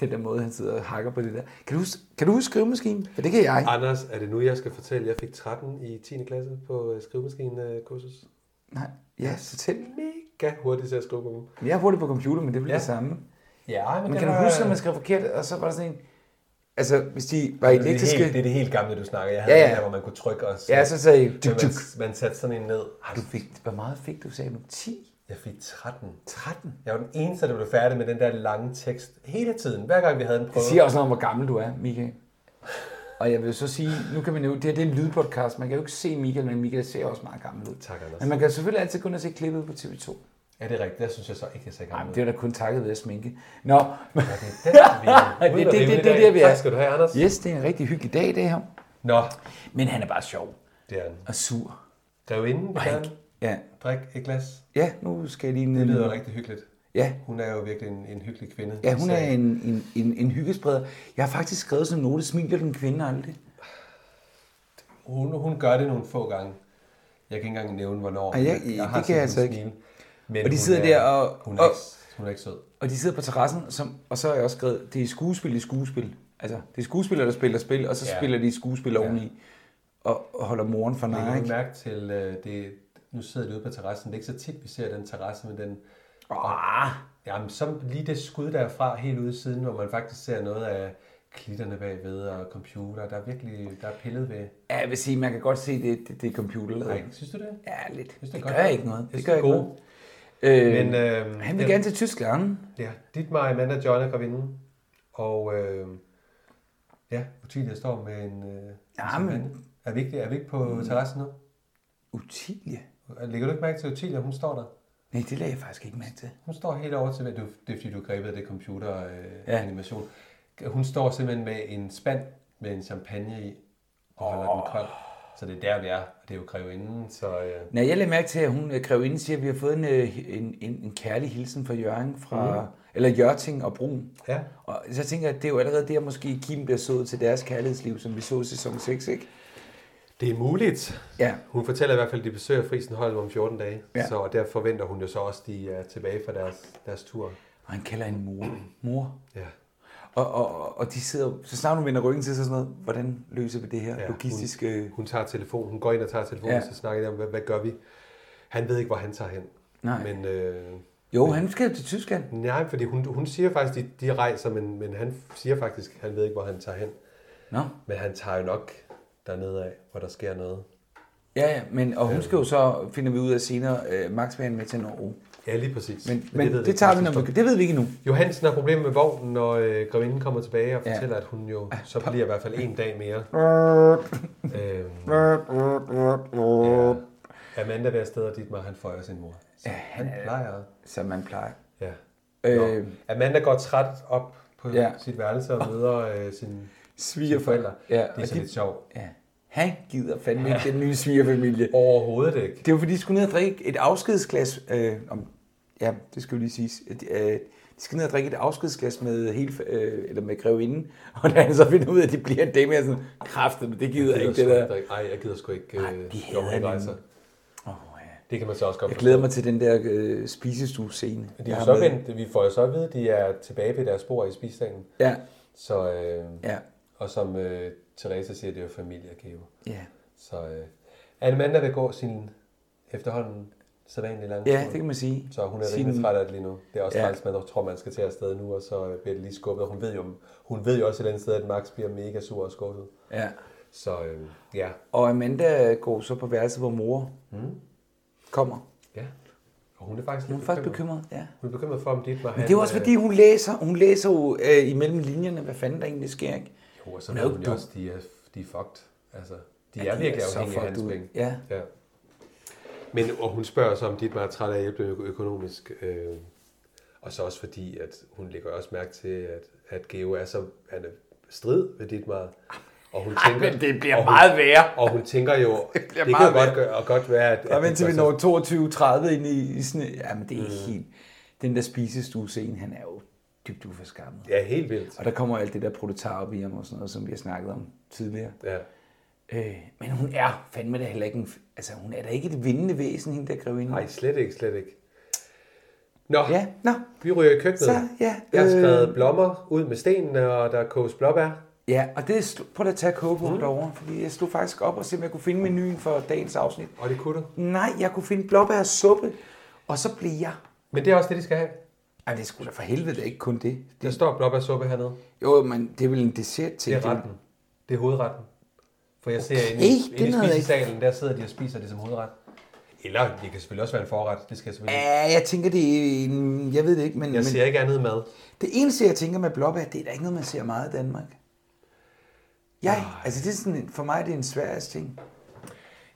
Speaker 5: den der måde, han sidder og hakker på det der. Kan du, hus- kan du huske skrivemaskinen? For det kan jeg.
Speaker 4: Anders, er det nu, jeg skal fortælle, jeg øh, fik 13 i 10. klasse på skrivemaskinekursus?
Speaker 5: Nej. Ja, så til.
Speaker 4: skal hurtigt til at skrive på.
Speaker 5: Men Jeg er hurtig på computer, men det bliver ja. det samme.
Speaker 4: Ja, men
Speaker 5: Men
Speaker 4: det
Speaker 5: kan du
Speaker 4: var-
Speaker 5: huske, at man skrev forkert, og så var der sådan en... Altså, hvis de var
Speaker 4: det er, det,
Speaker 5: elektriske...
Speaker 4: helt, det er det helt gamle, du snakker. Jeg havde
Speaker 5: Ja,
Speaker 4: ja,
Speaker 5: ja.
Speaker 4: ja. Der, hvor man kunne trykke og så,
Speaker 5: Ja, så sagde I...
Speaker 4: men man, man satte sådan en ned.
Speaker 5: Har du fik... Hvor meget fik du, sagde du? 10?
Speaker 4: Jeg fik 13.
Speaker 5: 13?
Speaker 4: Jeg var den eneste, der blev færdig med den der lange tekst hele tiden. Hver gang vi havde en prøve.
Speaker 5: Det siger også noget om, hvor gammel du er, Michael. Og jeg vil så sige, nu kan man jo, det her det er en lydpodcast, man kan jo ikke se Michael, men Michael ser også meget gammel ud.
Speaker 4: Tak, Anders.
Speaker 5: Men man kan selvfølgelig altid kun se klippet på TV2.
Speaker 4: Ja, det er rigtigt. Det synes jeg så ikke, jeg sagde
Speaker 5: Nej,
Speaker 4: gammel.
Speaker 5: men det er da kun takket ved at sminke. Nå, men,
Speaker 4: Det er
Speaker 5: det, det, det, det, det, er der, vi
Speaker 4: Tak
Speaker 5: er.
Speaker 4: skal du have, Anders.
Speaker 5: Yes, det er en rigtig hyggelig dag, det her.
Speaker 4: Nå,
Speaker 5: Men han er bare sjov
Speaker 4: det er en
Speaker 5: og sur.
Speaker 4: grevinde, vi kan
Speaker 5: Ja,
Speaker 4: drikke et glas.
Speaker 5: ja nu skal jeg lige
Speaker 4: Det
Speaker 5: ned.
Speaker 4: lyder rigtig hyggeligt.
Speaker 5: Ja,
Speaker 4: Hun er jo virkelig en, en hyggelig kvinde.
Speaker 5: ja hun
Speaker 4: Så-
Speaker 5: er en, en, en, en hyggespreder. Jeg har faktisk skrevet sådan en note, smiler den kvinde aldrig.
Speaker 4: Hun, hun gør det nogle få gange. Jeg kan ikke engang nævne, hvornår.
Speaker 5: Ej, jeg- det kan jeg altså ikke.
Speaker 4: Men
Speaker 5: Og
Speaker 4: hun
Speaker 5: de sidder
Speaker 4: er,
Speaker 5: der og-
Speaker 4: Hun er,
Speaker 5: og-
Speaker 4: ikke, hun er ikke sød.
Speaker 5: Og de sidder på terrassen, som, og så har jeg også skrevet, det er skuespil i skuespil. Altså, det er skuespillere, der spiller spil, og så ja.
Speaker 4: Ja.
Speaker 5: spiller de skuespil ja. oveni. Og, og holder moren for
Speaker 4: Jeg
Speaker 5: nej.
Speaker 4: kan
Speaker 5: ikke?
Speaker 4: mærke til, øh, det, nu sidder de ude på terrassen. Det er ikke så tit, vi ser den terrasse, men den...
Speaker 5: Ah,
Speaker 4: Jamen, så lige det skud derfra helt ude i siden, hvor man faktisk ser noget af klitterne bagved og computer. Der er virkelig der er pillet ved.
Speaker 5: ja, jeg vil sige, man kan godt se, det, det, det er computerlavet.
Speaker 4: Nej, synes du det?
Speaker 5: Ja,
Speaker 4: det
Speaker 5: lidt. Det,
Speaker 4: er
Speaker 5: det
Speaker 4: godt.
Speaker 5: gør ikke noget. Det
Speaker 4: synes,
Speaker 5: gør
Speaker 4: det er
Speaker 5: ikke
Speaker 4: gode.
Speaker 5: noget. Øh,
Speaker 4: Men øh,
Speaker 5: han vil gerne til Tyskland.
Speaker 4: Ja, dit mig, Amanda, John er gravinden. Og øh, ja, Utilia står med en... Øh,
Speaker 5: Ja,
Speaker 4: som
Speaker 5: men- Mm.
Speaker 4: vand. Er vi ikke, er vi ikke på terrassen nu?
Speaker 5: Utilie?
Speaker 4: Lægger du ikke mærke til Utilia? Hun står der.
Speaker 5: Nej, det lagde jeg faktisk ikke mærke til.
Speaker 4: Hun står helt over til... Du, det er fordi, du er grebet af det computer øh,
Speaker 5: Ja.
Speaker 4: ja. animation. Hun står simpelthen med en spand med en champagne i og holder den kold. Så det er der, vi er. Og det er jo grevinden, så... Øh,
Speaker 5: Nej, jeg lagde mærke til, at hun kræver ind siger, at vi har fået en, øh, en, en, en kærlig hilsen fra Jørgen fra, mm. eller Jørting og Brun.
Speaker 4: Mhm. ja.
Speaker 5: Og så tænker jeg, at det er jo allerede der, måske Kim bliver sået til deres kærlighedsliv, som vi så i sæson 6, ikke?
Speaker 4: Det er muligt.
Speaker 5: Ja.
Speaker 4: Hun fortæller i hvert fald, at de besøger Frisenholm om 14 dage,
Speaker 5: Ja.
Speaker 4: ja. så og der forventer hun jo så også, at de er tilbage fra deres, deres tur.
Speaker 5: Og han kalder hende mor. Mor.
Speaker 4: Ja.
Speaker 5: Og, og, og, og de sidder, så snart hun vender ryggen til sig sådan noget, hvordan løser vi det her ja,
Speaker 4: Ja,
Speaker 5: logistiske...
Speaker 4: Hun tager telefon, hun går ind og tager telefonen,
Speaker 5: Ja.
Speaker 4: ja. så snakker de om, hvad, hvad gør vi? Han ved ikke, hvor han tager hen.
Speaker 5: Nej.
Speaker 4: Men, øh,
Speaker 5: Jo, han skal jo til Tyskland.
Speaker 4: nej, fordi hun, hun siger faktisk, at de, de rejser, men, men han siger faktisk, at han ved ikke, hvor han tager hen.
Speaker 5: Nå.
Speaker 4: Men han tager jo nok dernede af, hvor der sker noget.
Speaker 5: Ja, ja, men, og hun skal jo så, finder vi ud af senere, øh, Max vil have hende med til Norge.
Speaker 4: Ja, lige præcis.
Speaker 5: Men, men, men
Speaker 4: ved
Speaker 5: det,
Speaker 4: ikke
Speaker 5: det, tager
Speaker 4: på
Speaker 5: vi, når
Speaker 4: tidspunkt.
Speaker 5: vi, det ved vi ikke endnu.
Speaker 4: Johansen har problemer med vognen, når øh, grevinden kommer tilbage og
Speaker 5: Ja.
Speaker 4: fortæller, at hun jo så bliver i hvert fald en dag mere. øhm, ja. Amanda vil afsted, og Dietmar han føjer sin mor. Så ja, han, plejer.
Speaker 5: Øh, Som man plejer.
Speaker 4: Ja.
Speaker 5: Øh,
Speaker 4: Nå. Amanda går træt op på
Speaker 5: Ja.
Speaker 4: ja. sit værelse og møder øh, sine
Speaker 5: Svigerforældre.
Speaker 4: forældre.
Speaker 5: Ja,
Speaker 4: det er
Speaker 5: og
Speaker 4: så
Speaker 5: de-
Speaker 4: lidt sjovt.
Speaker 5: ja. Han gider fandme ikke den nye svigerfamilie.
Speaker 4: Overhovedet ikke.
Speaker 5: Det var fordi, de skulle ned og drikke et afskedsglas. Øh, om, ja, det skal jo lige siges. At, øh, de skal ned og drikke et afskedsglas med, hele, øh, eller med grevinden. Og da han så finder ud af, at de bliver en dame, jeg er sådan, kræftet, men det gider jeg ikke, det der.
Speaker 4: Nej, jeg gider sgu ikke. Øh,
Speaker 5: Ej, de hader
Speaker 4: Jorgen
Speaker 5: hinanden.
Speaker 4: Reiser.
Speaker 5: Åh, ja.
Speaker 4: det kan man så også godt
Speaker 5: Jeg glæder mig til den der øh, spisestue-scene.
Speaker 4: De
Speaker 5: jeg
Speaker 4: er jo
Speaker 5: har
Speaker 4: så
Speaker 5: med.
Speaker 4: vendt, vi får jo så at vide, at de er tilbage ved deres spor i spisdagen.
Speaker 5: Ja,
Speaker 4: Så, øh,
Speaker 5: ja,
Speaker 4: Og som øh, Teresa siger, det er jo familiegave.
Speaker 5: ja.
Speaker 4: Så øh, Amanda vil gå sin efterhånden sædvanlige lange
Speaker 5: Ja,
Speaker 4: tur.
Speaker 5: det kan man sige.
Speaker 4: Så hun er
Speaker 5: Sin-
Speaker 4: rimelig træt af det lige nu. Det er også
Speaker 5: Ja.
Speaker 4: ja. træls, man tror, man skal til afsted nu, og så øh, bliver det lige skubbet. Hun ved jo, hun ved jo også et eller andet sted, at Max bliver mega sur og skuffet.
Speaker 5: Ja.
Speaker 4: Så øh, ja.
Speaker 5: Og Amanda går så på værelset, hvor mor mm. kommer.
Speaker 4: ja. Og hun er faktisk
Speaker 5: Hun
Speaker 4: lidt
Speaker 5: er faktisk
Speaker 4: bekymret.
Speaker 5: bekymret, ja.
Speaker 4: Hun er bekymret for, om dit var
Speaker 5: Men det er jo også fordi, hun læser, hun læser jo øh, imellem linjerne, hvad fanden der egentlig sker, ikke?
Speaker 4: Jo, og så
Speaker 5: hun er
Speaker 4: ved
Speaker 5: jo
Speaker 4: hun
Speaker 5: dum.
Speaker 4: jo også, de er, de er fucked. Altså, de
Speaker 5: Ja,
Speaker 4: er
Speaker 5: de
Speaker 4: virkelig
Speaker 5: er så
Speaker 4: afhængige af
Speaker 5: fucked
Speaker 4: hans
Speaker 5: ud.
Speaker 4: penge.
Speaker 5: Ja.
Speaker 4: ja. Men, og hun spørger så, om dit var træt af at hjælpe dem ø- økonomisk. Øh, og så også fordi, at hun lægger også mærke til, at, at Geo er så han er strid ved dit meget. Og hun tænker,
Speaker 5: men det bliver
Speaker 4: og hun,
Speaker 5: meget værre.
Speaker 4: Og hun tænker jo, det, det
Speaker 5: bliver
Speaker 4: kan
Speaker 5: meget
Speaker 4: jo godt, gøre, og godt være, at... at
Speaker 5: Og
Speaker 4: de
Speaker 5: indtil
Speaker 4: gør
Speaker 5: vi
Speaker 4: sig-
Speaker 5: når 22.30 ind i, i sådan... Jamen, det er mm. helt... Den der spisestue-scene, han er jo dybt uforskammet.
Speaker 4: Ja, helt vildt.
Speaker 5: Og der kommer alt det der proletar op i ham og sådan noget, som vi har snakket om tidligere.
Speaker 4: Ja.
Speaker 5: Øh, men hun er fandme da heller ikke en... f- Altså, hun er da ikke et vindende væsen, hende der grevinde.
Speaker 4: Nej, slet ikke, slet ikke. Nå,
Speaker 5: Ja, nå.
Speaker 4: vi ryger i køkkenet.
Speaker 5: Så, ja,
Speaker 4: Jeg har
Speaker 5: øh.
Speaker 4: skrevet blommer ud med stenene, og der koges blåbær.
Speaker 5: Ja, og det er sl- prøv lige at tage kogebordet mm. derovre, fordi jeg stod faktisk op og se, om jeg kunne finde menuen for dagens afsnit.
Speaker 4: Og det kunne du.
Speaker 5: Nej, jeg kunne finde blåbærsuppe. Og så bliver jeg.
Speaker 4: Men det er også det, de skal have.
Speaker 5: Ej, det skulle da for helvede da ikke kun det.
Speaker 4: Der
Speaker 5: det
Speaker 4: står blåbærsuppe hernede.
Speaker 5: jo, men det er vel en dessert til.
Speaker 4: Det er retten. Det er hovedretten. For jeg okay, ser inde,
Speaker 5: den
Speaker 4: i- inde i
Speaker 5: havde jeg ikke-
Speaker 4: spisesalen, der sidder de og spiser det som hovedret. Eller det kan selvfølgelig også være en forret. Det skal jeg selvfølgelig ikke.
Speaker 5: Ja, jeg tænker, det er en, Jeg ved det ikke, men,
Speaker 4: Jeg
Speaker 5: men
Speaker 4: ser ikke andet mad.
Speaker 5: det eneste, jeg tænker med blåbær, det er da ikke noget, man ser meget i Danmark. Jeg, altså det er sådan, en- for mig er det en sværest ting.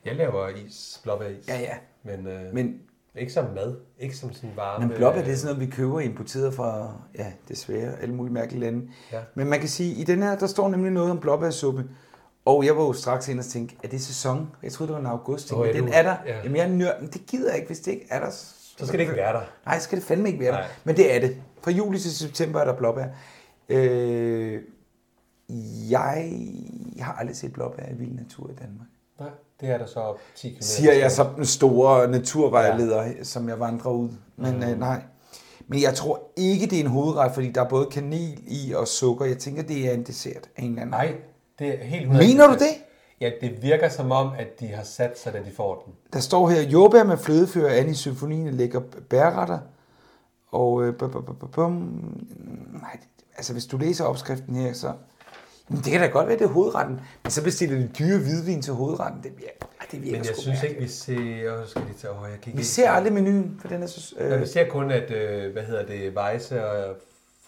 Speaker 4: Jeg laver is, blåbæris.
Speaker 5: Ja, ja.
Speaker 4: Men, øh, men
Speaker 5: Men,
Speaker 4: ikke som mad. Ikke som sådan varme...
Speaker 5: men blåbær, det er sådan noget, vi køber importeret fra, ja, desværre, alle mulige mærkelige lande.
Speaker 4: Ja.
Speaker 5: Men man kan sige, i den her, der står nemlig noget om blåbærsuppe. Og jeg var jo straks inde og tænke, er det sæson? Jeg troede, det var en august.
Speaker 4: Åh,
Speaker 5: Oh,
Speaker 4: ja,
Speaker 5: den
Speaker 4: du-
Speaker 5: er der.
Speaker 4: ja.
Speaker 5: Jamen, jeg er nørd, men det gider jeg ikke, hvis det ikke er der.
Speaker 4: Så skal det ikke være der.
Speaker 5: Nej, skal det fandme ikke være der.
Speaker 4: Nej.
Speaker 5: Men det er det. Fra juli til september er der blåbær. Øh, jeg har aldrig set blåbær i vild natur i Danmark.
Speaker 4: Nej, det er der så 10 km.
Speaker 5: Siger jeg som den store naturvejleder, ja. som jeg vandrer ud. Men mm. øh, nej. Men jeg tror ikke, det er en hovedret, fordi der er både kanel i og sukker. Jeg tænker, det er en dessert af en eller anden.
Speaker 4: Nej, det er helt
Speaker 5: Mener du det?
Speaker 4: Ja, det virker som om, at de har sat sig, da de får den.
Speaker 5: Der står her, jordbær med flødefører an i symfonien lægger bærretter. Og øh, bum, bum, bum, bum, bum. Nej, altså hvis du læser opskriften her, så... Men det kan da godt være, det er hovedretten. Men så bestiller de dyre hvidvin til hovedretten. Det, ja, det virker
Speaker 4: Men jeg
Speaker 5: sgu
Speaker 4: synes
Speaker 5: mærkeligt.
Speaker 4: ikke, vi ser... Åh, skal de tage... Åh, jeg kan ikke...
Speaker 5: Vi ser aldrig menuen, for den er så...
Speaker 4: Ja, vi
Speaker 5: Øh,
Speaker 4: ser kun, at, øh, hvad hedder det, Weisse og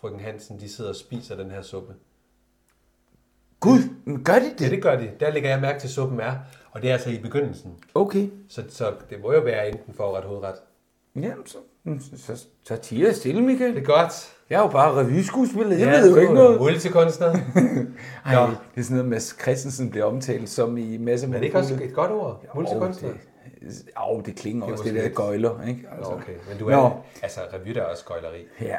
Speaker 4: frøken Hansen, de sidder og spiser den her suppe.
Speaker 5: Gud, men gør de
Speaker 4: Ja,
Speaker 5: det?
Speaker 4: det gør de. Der lægger jeg mærke til, at suppen er. Og det er altså i begyndelsen.
Speaker 5: Okay.
Speaker 4: Så, så det må jo være enten forret hovedret.
Speaker 5: Jamen, så, mm, så, så tiger jeg stille,
Speaker 4: Det
Speaker 5: Michael.
Speaker 4: er godt.
Speaker 5: Jeg er jo bare revyskuespiller, jeg
Speaker 4: Ja,
Speaker 5: ved jo
Speaker 4: du
Speaker 5: ikke
Speaker 4: er
Speaker 5: noget.
Speaker 4: Multikunstner.
Speaker 5: Ej,
Speaker 4: Nå.
Speaker 5: det er sådan noget, Mads Christensen bliver omtalt som i masser af
Speaker 4: Er det ikke også et godt ord? Multikunstner.
Speaker 5: Jo, det, det klinger også, det
Speaker 4: måske
Speaker 5: der
Speaker 4: lidt-
Speaker 5: gøjler, ikke?
Speaker 4: Nå,
Speaker 5: Altså.
Speaker 4: okay. Men du er...
Speaker 5: Nå.
Speaker 4: Altså, revy der er også gøjleri.
Speaker 5: Ja.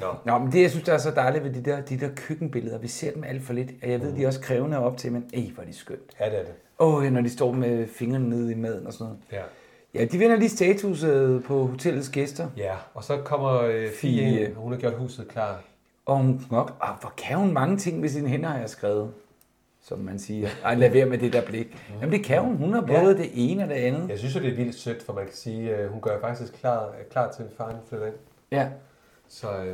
Speaker 4: Nå.
Speaker 5: Nå, men det, jeg synes, der er så dejligt ved de der, de der køkkenbilleder, vi ser dem alt for lidt, og jeg ved, de er også krævende op til, men ej, hvor er de skønt.
Speaker 4: Ja, det er det.
Speaker 5: Åh, oh, når de står med fingrene nede i maden og sådan noget.
Speaker 4: Ja.
Speaker 5: Ja, de vinder lige status øh, på hotellets gæster.
Speaker 4: Ja, og så kommer øh, Fie
Speaker 5: Fie.
Speaker 4: ind, og hun har gjort huset klar.
Speaker 5: Og hun nok, ah, hvor kan hun mange ting med sine hænder, har jeg skrevet. Som man siger. Ej, lad være med det der blik. Jamen det kan hun. Hun har både det ene og det andet.
Speaker 4: Jeg synes jo, det er vildt sødt, for man kan sige, øh, hun gør faktisk klar, klar til, at faren flytter ind.
Speaker 5: Ja.
Speaker 4: Så øh,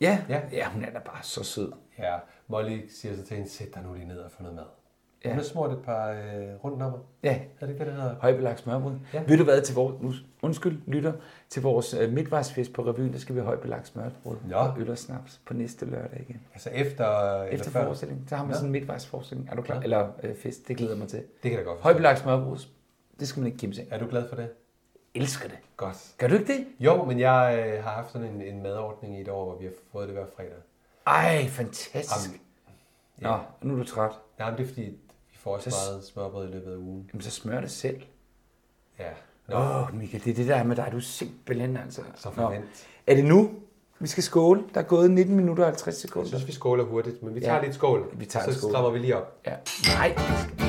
Speaker 5: Ja.
Speaker 4: Ja.
Speaker 5: ja. ja, hun er da bare så sød.
Speaker 4: ja, Molly siger så til hende, sæt dig nu lige ned og få noget mad. Ja.
Speaker 5: Ja.
Speaker 4: Hun har smurt et par øh, rundnummer.
Speaker 5: Ja,
Speaker 4: Er det ikke, hvad det hedder?
Speaker 5: højbelagt smørbrød.
Speaker 4: Ja.
Speaker 5: Ja. Ved du hvad, til vores, nu- undskyld, lytter, til vores øh, midtvejsfest på revyen, der skal vi have højbelagt smørbrød
Speaker 4: Nå.
Speaker 5: og øl og snaps på næste lørdag igen.
Speaker 4: Altså efter...
Speaker 5: Efter
Speaker 4: før.
Speaker 5: forestillingen, så har man sådan en midtvejsforestilling. Er du klar? Eller øh, fest, det glæder jeg mig til.
Speaker 4: Det kan jeg godt forstå.
Speaker 5: Højbelagt smørbrød, det skal man ikke kæmpe sig. Jeg
Speaker 4: Er du glad for det?
Speaker 5: elsker det.
Speaker 4: Godt.
Speaker 5: Gør du ikke det?
Speaker 4: Jo, men jeg øh, har haft sådan en, en madordning i et år, hvor vi har fået det hver fredag.
Speaker 5: Ej, fantastisk.
Speaker 4: Jamen,
Speaker 5: Nå, nu er du træt.
Speaker 4: Nej, men det er fordi, vi får også
Speaker 5: Så s-
Speaker 4: meget smørbrød i løbet af ugen.
Speaker 5: Jamen, så smør det selv.
Speaker 4: Ja. Nå,
Speaker 5: Åh, oh, Michael, det er det der er med dig. Du er simpelthen altså...
Speaker 4: så
Speaker 5: Nå.
Speaker 4: forvent.
Speaker 5: Er det nu? Vi skal skåle. Der er gået 19 minutter og 50 sekunder.
Speaker 4: Jeg synes, vi skåler hurtigt, men vi
Speaker 5: Ja.
Speaker 4: tager lige et skål.
Speaker 5: Vi tager
Speaker 4: så
Speaker 5: et skål.
Speaker 4: strammer vi lige op.
Speaker 5: Ja. Nej, vi skal...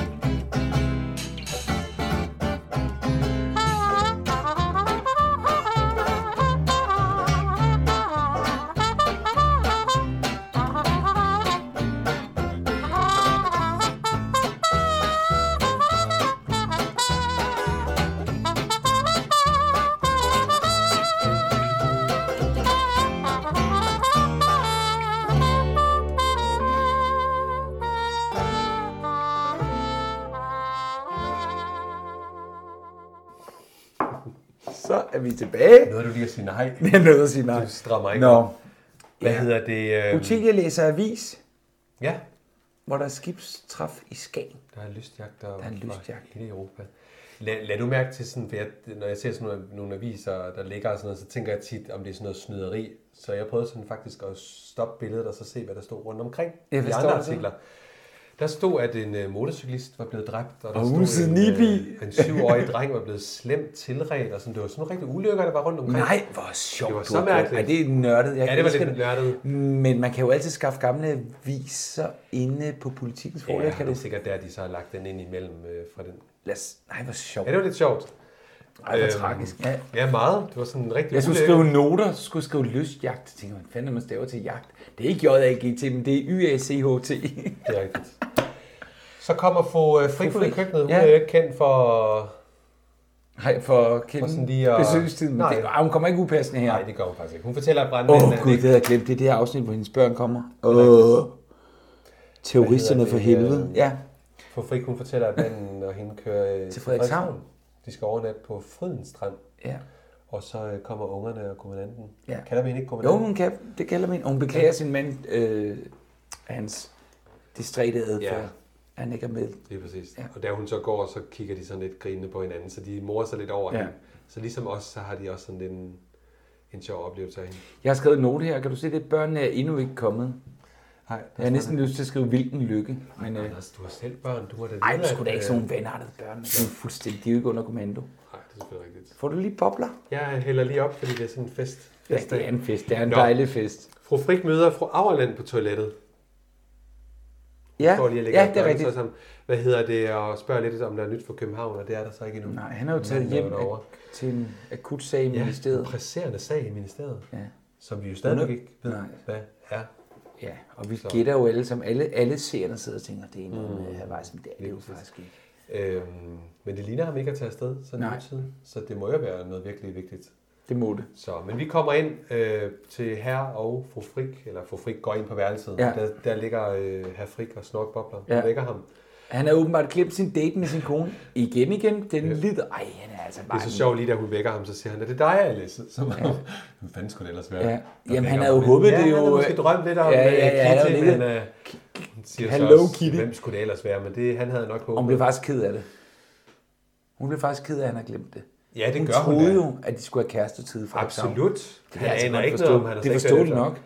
Speaker 5: Så er vi tilbage.
Speaker 4: Nåede du lige at sige nej?
Speaker 5: Jeg er nødt til at sige nej.
Speaker 4: Du strammer ikke
Speaker 5: Nå.
Speaker 4: op. Hvad hedder det? Øh...
Speaker 5: Utilia læser avis,
Speaker 4: Ja,
Speaker 5: hvor der er skibstræf i Skagen.
Speaker 4: der er lystjagt der,
Speaker 5: er en lystjagt.
Speaker 4: hele Europa. Lad, lad du mærke til sådan, for jeg, når jeg ser sådan nogle, nogle aviser, der ligger og sådan noget, så tænker jeg tit, om det er sådan noget snyderi. Så jeg prøvede sådan faktisk at stoppe billedet og så se, hvad der stod rundt omkring
Speaker 5: Ja, hvad
Speaker 4: i
Speaker 5: står
Speaker 4: andre
Speaker 5: der så?
Speaker 4: artikler. Der stod, at en øh, motorcyklist var blevet dræbt, og der
Speaker 5: Og
Speaker 4: stod
Speaker 5: huset
Speaker 4: en,
Speaker 5: Nibi.
Speaker 4: en syvårig dreng var blevet slemt tilredt, og sådan, det var sådan nogle rigtige ulykker, der var rundt omkring.
Speaker 5: Nej, hvor sjovt.
Speaker 4: Det var
Speaker 5: du
Speaker 4: så
Speaker 5: har gjort.
Speaker 4: mærkeligt.
Speaker 5: Ej, det er nørdet. Jeg
Speaker 4: Ja, det var
Speaker 5: elsker
Speaker 4: lidt nørdet.
Speaker 5: Men man kan jo altid skaffe gamle aviser inde på politikens
Speaker 4: Ja,
Speaker 5: forlag. kan
Speaker 4: det er
Speaker 5: du...
Speaker 4: sikkert der, de så har lagt den ind imellem øh, fra den.
Speaker 5: Lad os... Nej, hvor sjovt.
Speaker 4: Ja, det var lidt sjovt.
Speaker 5: Ej, hvor
Speaker 4: Øhm,
Speaker 5: tragisk. Ja.
Speaker 4: Ja, meget. Det var sådan en rigtig
Speaker 5: Jeg skulle
Speaker 4: ulykke.
Speaker 5: skrive noter, så skulle jeg skrive lystjagt. Jeg tænker, man fanden man staver til jagt. Det er ikke J-A-G-T, men det er Y-A-C-H-T.
Speaker 4: Det er rigtigt. Så kommer fru øh, Frifuld i
Speaker 5: Fri.
Speaker 4: køkkenet. Hun
Speaker 5: Ja.
Speaker 4: er jo ikke kendt for
Speaker 3: Nej, for at kende
Speaker 4: For sådan lige at-
Speaker 3: besøgstiden.
Speaker 4: Nej.
Speaker 3: Nej. Det, ah, hun kommer ikke upassende her.
Speaker 4: Nej, øh, det gør hun faktisk ikke. Hun fortæller, at
Speaker 3: Åh,
Speaker 4: brandmanden...
Speaker 3: oh,
Speaker 4: at
Speaker 3: gud, det
Speaker 4: ikke-
Speaker 3: havde jeg glemt. Det er det her afsnit, hvor hendes børn kommer. Åh, terroristerne
Speaker 4: Hvad
Speaker 3: for
Speaker 4: hedder
Speaker 3: helvede.
Speaker 4: det, øh,
Speaker 3: Ja,
Speaker 4: For Frik, hun fortæller, at manden og hende kører... øh,
Speaker 3: Til Frederikshavn.
Speaker 4: De skal overnatte på Fridens Strand.
Speaker 3: ja.
Speaker 4: Og så øh, kommer ungerne og kommandanten.
Speaker 3: Ja.
Speaker 4: Kalder vi hende ikke
Speaker 3: Jo,
Speaker 4: kommandanten?
Speaker 3: hun kan, det kalder man. Og hun beklager sin mand, øh, hans distræte adfærd,
Speaker 4: Ja.
Speaker 3: ja. han ikke er med.
Speaker 4: Det er præcis.
Speaker 3: Ja.
Speaker 4: Ja. Og da hun så går, så kigger de sådan lidt grinende på hinanden, så de morer sig lidt over
Speaker 3: Ja.
Speaker 4: ja. hende. Så ligesom os, så har de også sådan en, en sjov oplevelse af hende.
Speaker 3: Jeg har skrevet en note her. Kan du se det? Børnene er endnu ikke kommet.
Speaker 4: Nej,
Speaker 3: Jeg har næsten lyst til at skrive, hvilken lykke. Men, øh,
Speaker 4: Anders, du har selv børn. Du har da
Speaker 3: ej,
Speaker 4: vide,
Speaker 3: det skulle da
Speaker 4: at,
Speaker 3: ikke
Speaker 4: øh,
Speaker 3: sådan nogle vandartede børn. men De er jo fuldstændig de er jo ikke under kommando.
Speaker 4: Nej, det er selvfølgelig rigtigt.
Speaker 3: Får du lige bobler?
Speaker 4: Jeg hælder lige op, fordi det er sådan en fest.
Speaker 3: Ja,
Speaker 4: festdag.
Speaker 3: det er en fest. Det er en
Speaker 4: Nå.
Speaker 3: dejlig fest.
Speaker 4: Fru Frik møder fru Auerland på toilettet.
Speaker 3: Ja,
Speaker 4: Går lige og lægger
Speaker 3: ja det er
Speaker 4: børnene
Speaker 3: rigtigt.
Speaker 4: så Sammen. Hvad hedder det? Og spørger lidt, om der er nyt for København, og det er der så ikke endnu.
Speaker 3: Nej, han er jo taget
Speaker 4: Manden
Speaker 3: hjem
Speaker 4: derovre.
Speaker 3: ak- til en akut sag i
Speaker 4: Ja,
Speaker 3: ministeriet.
Speaker 4: en presserende sag i ministeriet,
Speaker 3: Ja.
Speaker 4: som vi jo stadig
Speaker 3: Hun er-
Speaker 4: ikke ved,
Speaker 3: Nej.
Speaker 4: hvad er.
Speaker 3: Ja, og vi gætter jo alle, som alle, alle seerne sidder og tænker, det er noget med Havajs, men det er det jo faktisk ikke.
Speaker 4: Øhm, men det ligner ham ikke at tage afsted sådan
Speaker 3: Nej.
Speaker 4: en tid, så det må jo være noget virkelig vigtigt.
Speaker 3: Det må det.
Speaker 4: Så, men vi kommer ind øh, til herre og fru Frik, eller fru Frik går ind på værelset.
Speaker 3: Ja.
Speaker 4: Der, der ligger øh, herre Frik og snorkbobler.
Speaker 3: Ja.
Speaker 4: Ja. vækker ham. Det
Speaker 3: Han har åbenbart glemt sin date med sin kone. Igen igen. Den ja. lider. Ej, han er altså bare...
Speaker 4: er så sjovt lige, da hun vækker ham, så siger han, er det dig, Alice? Som ja. Hvem fanden skulle det ellers være?
Speaker 3: Ja.
Speaker 4: der
Speaker 3: Jamen,
Speaker 4: vækker
Speaker 3: han havde jo
Speaker 4: ham?
Speaker 3: håbet,
Speaker 4: ja,
Speaker 3: det er
Speaker 4: Han
Speaker 3: jo-
Speaker 4: havde måske drømt lidt om
Speaker 3: Ja, ja, ja, han
Speaker 4: øh, ja,
Speaker 3: havde
Speaker 4: Kitty,
Speaker 3: ligget-
Speaker 4: men øh, hun siger
Speaker 3: Hello,
Speaker 4: så også,
Speaker 3: Kitty.
Speaker 4: hvem skulle det ellers være? Men det, han havde nok
Speaker 3: Og hun
Speaker 4: håbet.
Speaker 3: blev faktisk ked af det. Hun blev faktisk ked af, at han har glemt det.
Speaker 4: Ja, det
Speaker 3: hun
Speaker 4: gør hun
Speaker 3: troede
Speaker 4: da.
Speaker 3: jo, at de skulle have kærestetid fra
Speaker 4: Absolut.
Speaker 3: Det
Speaker 4: Han
Speaker 3: er altså
Speaker 4: aner
Speaker 3: godt
Speaker 4: ikke noget om,
Speaker 3: forstået.
Speaker 4: han har
Speaker 3: Det er
Speaker 4: sex med
Speaker 3: forståeligt nok.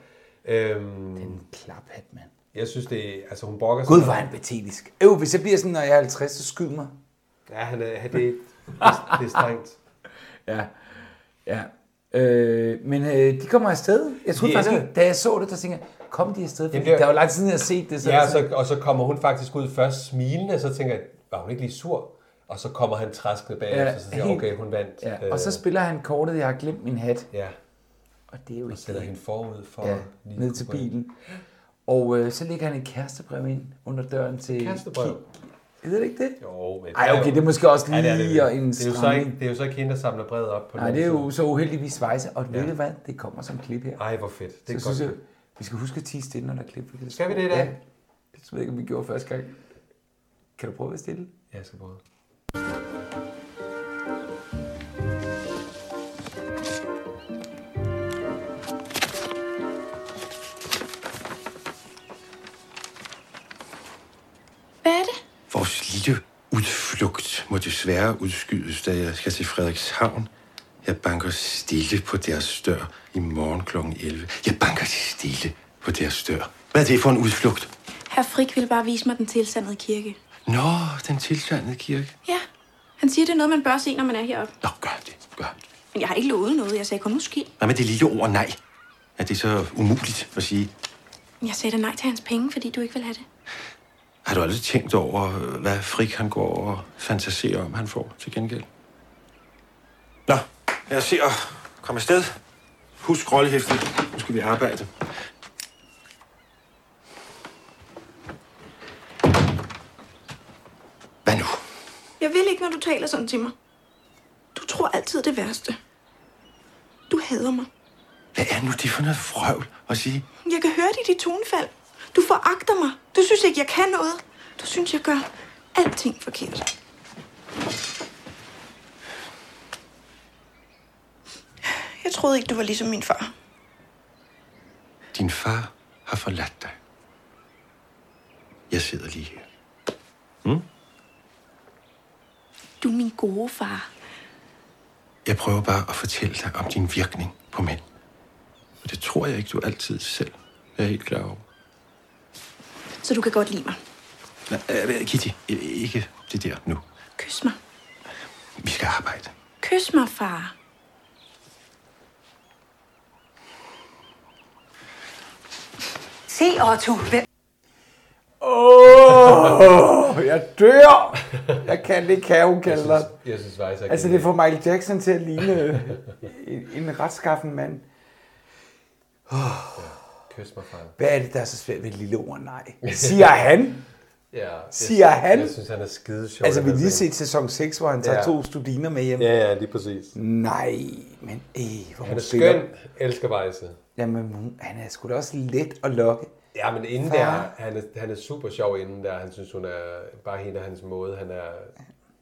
Speaker 4: Øhm,
Speaker 3: En klaphat, mand.
Speaker 4: Jeg synes, det er, altså hun brokker sig.
Speaker 3: Gud, var han patetisk. Øv, hvis jeg bliver sådan, når jeg er 50, så skyd mig.
Speaker 4: Ja, han er, han- det, det er strengt.
Speaker 3: Ja. Ja. Øh, men øh, de kommer afsted. Jeg troede
Speaker 4: De
Speaker 3: faktisk,
Speaker 4: ender-
Speaker 3: ikke- da jeg så det, der tænkte jeg, kom de afsted? Fordi
Speaker 4: Jamen, det er-
Speaker 3: der er jo lang tid siden, jeg har set det. Så
Speaker 4: Ja, og så, og så kommer hun faktisk ud først smilende, og så tænker jeg, var hun ikke lige sur? Og så kommer han traskende bagefter,
Speaker 3: Ja,
Speaker 4: ja, så siger jeg,
Speaker 3: helt-
Speaker 4: okay, hun vandt. Øh,
Speaker 3: ja. Og så Øh. spiller han kortet, jeg har glemt min hat.
Speaker 4: ja,
Speaker 3: Og det er jo
Speaker 4: og
Speaker 3: ikke
Speaker 4: sætter hende forud for...
Speaker 3: ja,
Speaker 4: lige
Speaker 3: ned
Speaker 4: at
Speaker 3: til
Speaker 4: kunne gå ind.
Speaker 3: bilen. Og øh, så lægger han et kærestebrev ind under døren til...
Speaker 4: Kærestebrev.
Speaker 3: Ki- Ved du ikke det?
Speaker 4: Jo, men...
Speaker 3: Ej, okay, det er måske også lige ja, det er
Speaker 4: det
Speaker 3: en
Speaker 4: er, jo så ikke,
Speaker 3: stramning.
Speaker 4: det er jo så ikke hende, der samler brevet op på
Speaker 3: Nej,
Speaker 4: den
Speaker 3: det er
Speaker 4: anden
Speaker 3: jo
Speaker 4: side.
Speaker 3: så uheldigvis svejse. Og ja. ved du hvad? Det kommer som klip her.
Speaker 4: Ej, hvor fedt. Det er
Speaker 3: så synes jeg,
Speaker 4: godt.
Speaker 3: vi skal huske at tige stille, når der er klip. Fordi
Speaker 4: Skal vi det i dag?
Speaker 3: Ja. Det ved jeg ikke, om vi gjorde første gang. Kan du prøve at være stille?
Speaker 4: Ja, jeg skal prøve.
Speaker 9: Hvad er det?
Speaker 7: Vores lille udflugt må desværre udskydes, da jeg skal til Frederikshavn. Jeg banker stille på deres dør i morgen kl. 11. Jeg banker stille på deres dør. Hvad er det for en udflugt?
Speaker 9: Herr Frik ville bare vise mig den tilsandede kirke.
Speaker 7: Nå, den tilsandede kirke.
Speaker 9: Ja, han siger, det er noget, man bør se, når man er heroppe.
Speaker 7: Nå, gør det, gør det.
Speaker 9: Men jeg har ikke lovet noget. Jeg sagde kun måske.
Speaker 7: Hvad med det lille ord nej? Er det så umuligt at sige?
Speaker 9: Jeg sagde da nej til hans penge, fordi du ikke vil have det.
Speaker 7: Har du aldrig tænkt over, øh, hvad frik han går og fantaserer om, han får til gengæld? Nå, lad os se at komme afsted. Husk rollehæften. Nu skal vi arbejde. Hvad nu?
Speaker 9: Jeg vil ikke, når du taler sådan til mig. Du tror altid det værste. Du hader mig.
Speaker 7: Hvad er nu det for noget frøvl at sige?
Speaker 9: Jeg kan høre det i dit tonefald. Du foragter mig. Du synes ikke, jeg kan noget. Du synes, jeg gør alting forkert. Jeg troede ikke, du var ligesom min far.
Speaker 7: Din far har forladt dig. Jeg sidder lige her.
Speaker 9: Du er min gode far.
Speaker 7: Jeg prøver bare at fortælle dig om din virkning på mænd. Og det tror jeg ikke, du altid selv er helt klar over.
Speaker 9: Så du kan godt lide mig.
Speaker 7: Nej, øh, Kitty, øh, ikke det der nu.
Speaker 9: Kys mig.
Speaker 7: Vi skal arbejde.
Speaker 9: Kys mig, far.
Speaker 10: Se, Otto, hvem
Speaker 3: Åh, oh, jeg dør! Jeg kan ikke have, hun kalder det.
Speaker 4: Jeg synes faktisk, jeg
Speaker 3: Altså,
Speaker 4: kan-
Speaker 3: det får Michael Jackson til at ligne øh, en, en retskaffen mand.
Speaker 4: Kys mig, far.
Speaker 3: Hvad er det, der er så svært ved et lille ord nej? Siger han?
Speaker 4: Ja, jeg-
Speaker 5: Siger han?
Speaker 4: Jeg synes, han er skide sjov.
Speaker 5: Altså,
Speaker 4: den
Speaker 5: vi
Speaker 4: her
Speaker 5: lige
Speaker 4: scene.
Speaker 5: set sæson 6, hvor han tager
Speaker 4: Ja.
Speaker 5: to studiner med hjem.
Speaker 4: Ja, ja, lige præcis.
Speaker 5: Nej, men øh, hvor
Speaker 4: Han
Speaker 5: hun
Speaker 4: er
Speaker 5: spiller.
Speaker 4: skøn, elsker Weisse.
Speaker 5: Jamen, hun, han er sgu da også let at lokke.
Speaker 4: Ja, men inden
Speaker 5: Far.
Speaker 4: der, han er, han er super sjov inden der. Han synes, hun er bare hende og hans måde. Han er,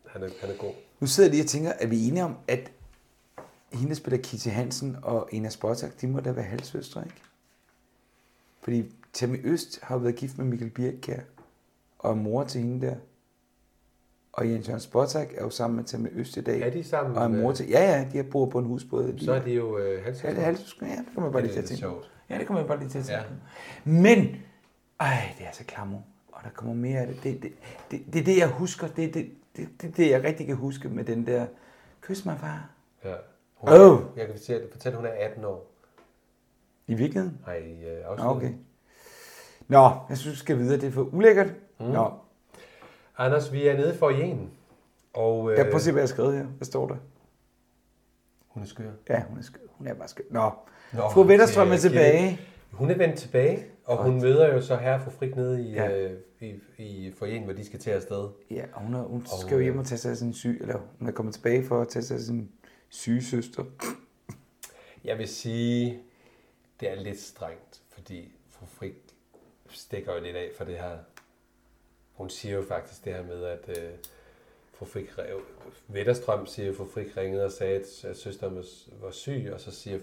Speaker 4: han er, han er god.
Speaker 5: Nu sidder jeg lige og tænker, er vi enige om, at hende, der spiller Kitty Hansen og Ena Sportak, de må da være halvsøstre, ikke? Fordi Tammy Øst har jo været gift med Mikkel Birkkjær, og er mor til hende der. Og Jens Jørgen Sportak er jo sammen med Tammy Øst i dag.
Speaker 4: Er de sammen
Speaker 5: Og er mor
Speaker 4: med-
Speaker 5: til... Ja, ja, de har bor på en husbåd.
Speaker 4: Så er det jo øh, hans
Speaker 5: Ja, det er halvsøskende. Ja, det kommer jeg bare
Speaker 4: Det
Speaker 5: lige
Speaker 4: er
Speaker 5: til at
Speaker 4: lidt
Speaker 5: tænke. på.
Speaker 4: sjovt.
Speaker 5: Ja, det kommer jeg bare lige til at tænke. på. Men, ej, det er så klammer. Og der kommer mere af det. Det er det, det, det, er det, jeg husker. Det er det, det, det, det, jeg rigtig kan huske med den der, kys mig far.
Speaker 4: Ja. Hun er,
Speaker 5: Åh!
Speaker 4: Jeg kan fortælle, fortælle, hun er 18 år.
Speaker 5: I virkeligheden?
Speaker 4: Nej, øh,
Speaker 5: Nå,
Speaker 4: afsnit.
Speaker 5: Ah, Okay. Nå, jeg synes, vi skal videre. Det er for ulækkert. Mm. Nå,
Speaker 4: Anders, vi er nede for en. Og øh,
Speaker 5: jeg prøver at se, hvad jeg har skrevet her. Hvad står der?
Speaker 4: hun er skør.
Speaker 5: Ja, hun er, skø- hun er bare skøn. Nå,
Speaker 4: Nå,
Speaker 5: fru Vetterstrøm er
Speaker 4: til-
Speaker 5: tilbage.
Speaker 4: Hun er vendt tilbage, og hun møder jo så herre fru Frik nede i,
Speaker 5: Ja.
Speaker 4: ja. øh, i, i forjen, hvor de skal til afsted.
Speaker 5: Ja, og hun, er, hun skal jo hjem og tage sig af sin syg, eller hun er kommet tilbage for at tage sig af sin syge søster.
Speaker 4: Jeg vil sige, det er lidt strengt, fordi fru Frik stikker jo lidt af for det her. Hun siger jo faktisk det her med, at øh, fru Frik, re- Vetterstrøm siger, at fru Frik ringede og sagde, at, at søsteren var, var syg, og så siger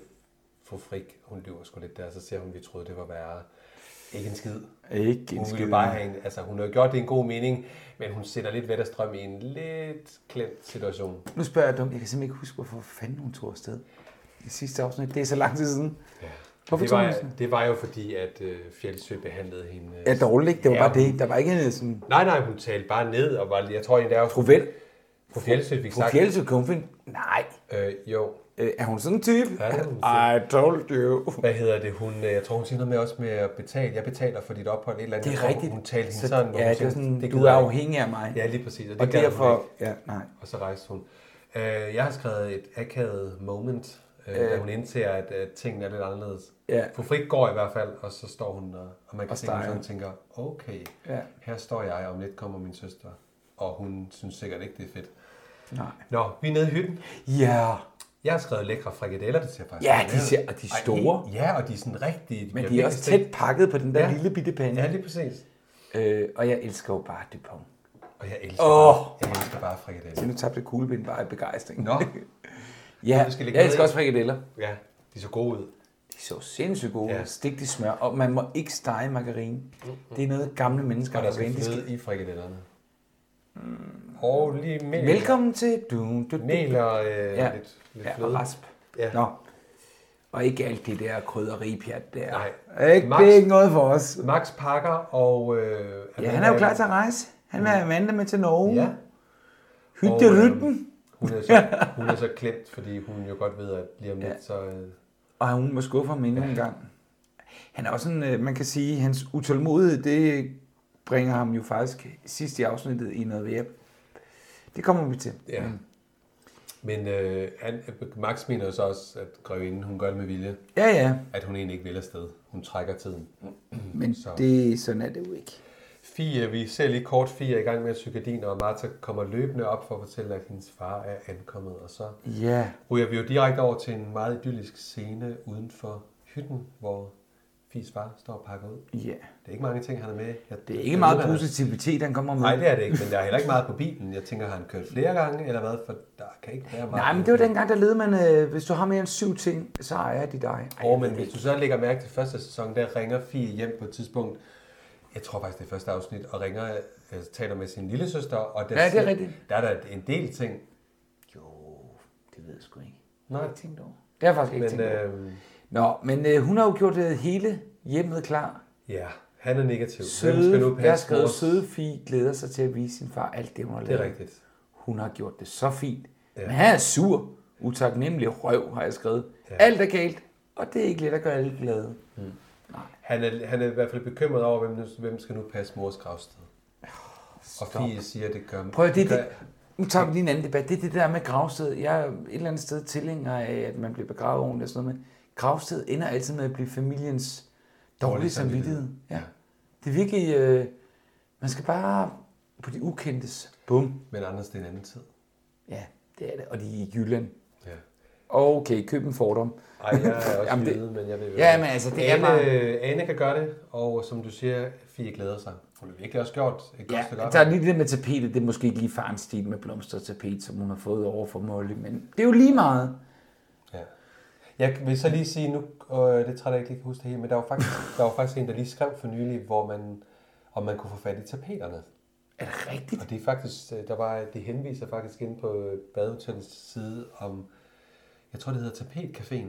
Speaker 4: fru Frik, hun lyver sgu lidt der, så siger hun, vi troede, det var værre. Ikke en skid.
Speaker 5: Ikke en
Speaker 4: Hun
Speaker 5: skid.
Speaker 4: ville bare have en, altså hun har jo gjort det i en god mening, men hun sætter lidt Vetterstrøm i en lidt klemt situation.
Speaker 5: Nu spørger jeg dumt. Jeg kan simpelthen ikke huske, hvorfor fanden hun tog afsted. I sidste afsnit. Det er så lang tid siden. Hvorfor
Speaker 4: Det
Speaker 5: tog hun
Speaker 4: var,
Speaker 5: afsted?
Speaker 4: det var jo fordi, at øh, Fjeldsø behandlede hende. øh,
Speaker 5: Ja, dårligt. ikke? Det var
Speaker 4: Ja,
Speaker 5: bare det. Der var ikke en øh, sådan...
Speaker 4: Nej, nej, hun talte bare ned, og var, jeg tror egentlig, der var
Speaker 5: Fru Vel,
Speaker 4: Fru Fjeldsø fik
Speaker 5: fru
Speaker 4: sagt,
Speaker 5: Fjeldsø Kumfin. Nej.
Speaker 4: øh, jo,
Speaker 5: Øh, er hun sådan en type?
Speaker 4: Ja, det er hun.
Speaker 5: I told you.
Speaker 4: hvad hedder det, hun, øh, jeg tror, hun siger noget med også med at betale, jeg betaler for dit ophold, et eller andet.
Speaker 5: Det
Speaker 4: Jeg
Speaker 5: er
Speaker 4: tror,
Speaker 5: rigtigt.
Speaker 4: Hun talte hende
Speaker 5: Så-
Speaker 4: sådan, hvor
Speaker 5: ja,
Speaker 4: hun
Speaker 5: det
Speaker 4: siger,
Speaker 5: er sådan,
Speaker 4: "Det
Speaker 5: du
Speaker 4: gider
Speaker 5: er
Speaker 4: jeg ikke."
Speaker 5: afhængig af mig.
Speaker 4: Ja, lige præcis, og det
Speaker 5: og
Speaker 4: gad hun
Speaker 5: derfor...
Speaker 4: ikke.
Speaker 5: Ja, nej.
Speaker 4: Og så rejste hun. Øh, jeg har skrevet et akavet moment, øh, da hun indser, at, at tingene er lidt anderledes.
Speaker 5: Ja.
Speaker 4: Fru Frik går i hvert fald, og så står hun der, og man kan se,
Speaker 5: steger.
Speaker 4: at hun tænker, okay,
Speaker 5: Ja.
Speaker 4: her står jeg, og om lidt kommer min søster. Og hun synes sikkert ikke, det er fedt.
Speaker 5: Nej.
Speaker 4: Nå, vi er nede i hytten.
Speaker 5: Ja.
Speaker 4: Jeg har skrevet lækre frikadeller, det ser faktisk
Speaker 5: Ja,
Speaker 4: godt
Speaker 5: de
Speaker 4: ud.
Speaker 5: ser- og de er
Speaker 4: Ej,
Speaker 5: store.
Speaker 4: ja, og de er sådan rigtige.
Speaker 5: Men
Speaker 4: bliver
Speaker 5: de er
Speaker 4: virkelig
Speaker 5: også
Speaker 4: stegt.
Speaker 5: tæt pakket på den der
Speaker 4: Ja.
Speaker 5: lille bitte pande.
Speaker 4: Ja, lige præcis.
Speaker 5: Øh, og jeg elsker jo bare Dupont.
Speaker 4: Og jeg elsker,
Speaker 5: Åh.
Speaker 4: bare, jeg elsker bare frikadeller.
Speaker 5: Men nu tabte kuglepind bare af begejstring.
Speaker 4: Nå,
Speaker 5: ja,
Speaker 4: du skal lægge
Speaker 5: jeg
Speaker 4: ned i.
Speaker 5: elsker også frikadeller.
Speaker 4: ja, de så gode ud.
Speaker 5: De så sindssygt gode. Ja.
Speaker 4: Ja.
Speaker 5: Stik de smør, og man må ikke stege margarine. Det er noget gamle mennesker
Speaker 4: Og
Speaker 5: har
Speaker 4: der skal
Speaker 5: forventet. De skal... Mm.
Speaker 4: fløde i frikadellerne. Og lige mel.
Speaker 5: Velkommen til du, du, du.
Speaker 4: Mel og øh,
Speaker 5: Ja.
Speaker 4: ja. lidt, lidt
Speaker 5: ja, og
Speaker 4: fløde.
Speaker 5: rasp.
Speaker 4: Ja.
Speaker 5: Nå. Og ikke alt det der krydderipjat der.
Speaker 4: Nej.
Speaker 5: Ikke,
Speaker 4: Max-
Speaker 5: det er ikke noget for os.
Speaker 4: Max Pakker og... Øh,
Speaker 5: Ja, han er jo klar til at rejse. Han er Amanda med til Norge.
Speaker 4: Ja.
Speaker 5: Hytte
Speaker 4: Og, øh,
Speaker 5: rytten.
Speaker 4: Hun er, så, hun er så klemt, fordi hun jo godt ved, at lige om lidt,
Speaker 5: Ja.
Speaker 4: så... Øh,
Speaker 5: Og hun må skuffe ham endnu en gang. Han er også en, øh, man kan sige, hans utålmodighed, det bringer ham jo faktisk sidst i afsnittet i noget værre. Det kommer vi til.
Speaker 4: ja. Men øh, han, Max mener jo så også, at grevinden, hun gør det med vilje,
Speaker 5: Ja, ja,
Speaker 4: at hun egentlig ikke vil afsted. Hun trækker tiden.
Speaker 5: men så. det, sådan er det jo ikke.
Speaker 4: Fie, vi ser lige kort Fie er i gang med at sy gardiner, og Martha kommer løbende op for at fortælle, at hendes far er ankommet, og så
Speaker 5: Ja,
Speaker 4: ryger vi jo direkte over til en meget idyllisk scene uden for hytten, hvor Fies far står og pakker ud.
Speaker 5: ja.
Speaker 4: Det er ikke mange ting, han er med. Jeg,
Speaker 5: Det er ikke meget
Speaker 4: positivt.
Speaker 5: positivitet, han kommer med.
Speaker 4: Nej, det er det ikke, men der er heller ikke meget på bilen. Jeg tænker, har han kørt flere gange, eller hvad? For der kan ikke være meget.
Speaker 5: Nej, men det var dengang, der led man, øh, hvis du har mere end syv ting, så ejer de dig. Ej,
Speaker 4: Åh, men hvis du så lægger mærke til første sæson, der ringer Fie hjem på et tidspunkt. Jeg tror faktisk, det er første afsnit, og ringer, øh, taler med sin lille søster, og der,
Speaker 5: Ja, det er
Speaker 4: siger-
Speaker 5: rigtigt.
Speaker 4: der er der en del ting,
Speaker 5: det ved jeg sgu ikke.
Speaker 4: Nej,
Speaker 5: Tænkt over. Det har jeg faktisk ikke
Speaker 4: men
Speaker 5: tænkt over.
Speaker 4: øh,
Speaker 5: Nå, men øh, hun har jo gjort øh, hele hjemmet klar.
Speaker 4: ja, han er negativ. Hvem skal nu
Speaker 5: Søde,
Speaker 4: passe
Speaker 5: jeg har skrevet,
Speaker 4: vores-
Speaker 5: søde Fie glæder sig til at vise sin far alt det, hun har
Speaker 4: Det
Speaker 5: lavet.
Speaker 4: er rigtigt.
Speaker 5: Hun har gjort det så fint. Ja. Men han er sur. Utaknemmelig røv, har jeg skrevet. Ja. Alt er galt, og det er ikke let at gøre alle glade.
Speaker 4: Han er, han er i hvert fald bekymret over, hvem, nu, hvem skal nu passe mors gravsted. Og Fie siger, at det gør...
Speaker 5: Prøv at det,
Speaker 4: gør,
Speaker 5: det, nu tager vi lige en anden debat. Det er det der med gravsted. Jeg er et eller andet sted tilhænger af, at man bliver begravet ordentligt og sådan noget. Men gravsted ender altid med at blive familiens dårlige
Speaker 4: Dårlige samvittighed.
Speaker 5: samvittighed. Ja. Det er virkelig... Øh, Man skal bare på de ukendtes. Bum.
Speaker 4: Men Anders, det er en anden tid.
Speaker 5: Ja, det er det. Og de er i Jylland.
Speaker 4: Ja.
Speaker 5: Okay, køb en fordom.
Speaker 4: Ej, jeg er også
Speaker 5: Jamen,
Speaker 4: Jamen,
Speaker 5: det-
Speaker 4: jyde, men jeg ved
Speaker 5: Ja, men altså, det er
Speaker 4: Ane,
Speaker 5: bare...
Speaker 4: Ane kan gøre det, og som du siger, Fie glæder sig. Hun har virkelig også gjort et godt
Speaker 5: Ja,
Speaker 4: stykke
Speaker 5: der er
Speaker 4: arbejde.
Speaker 5: lige det der med tapetet. Det er måske ikke lige farens stil med blomstret tapet, som hun har fået over for Molly, men det er jo lige meget.
Speaker 4: Ja. Jeg vil så lige sige nu, øh, det tror jeg ikke lige kan huske det hele, men der var, faktisk, der var faktisk en, der lige skrev for nylig, hvor man, om man kunne få fat i tapeterne.
Speaker 5: Er det rigtigt?
Speaker 4: Og det er faktisk, øh, der var, det henviser faktisk ind på øh, badehotellets side om, jeg tror det hedder Tapetcaféen.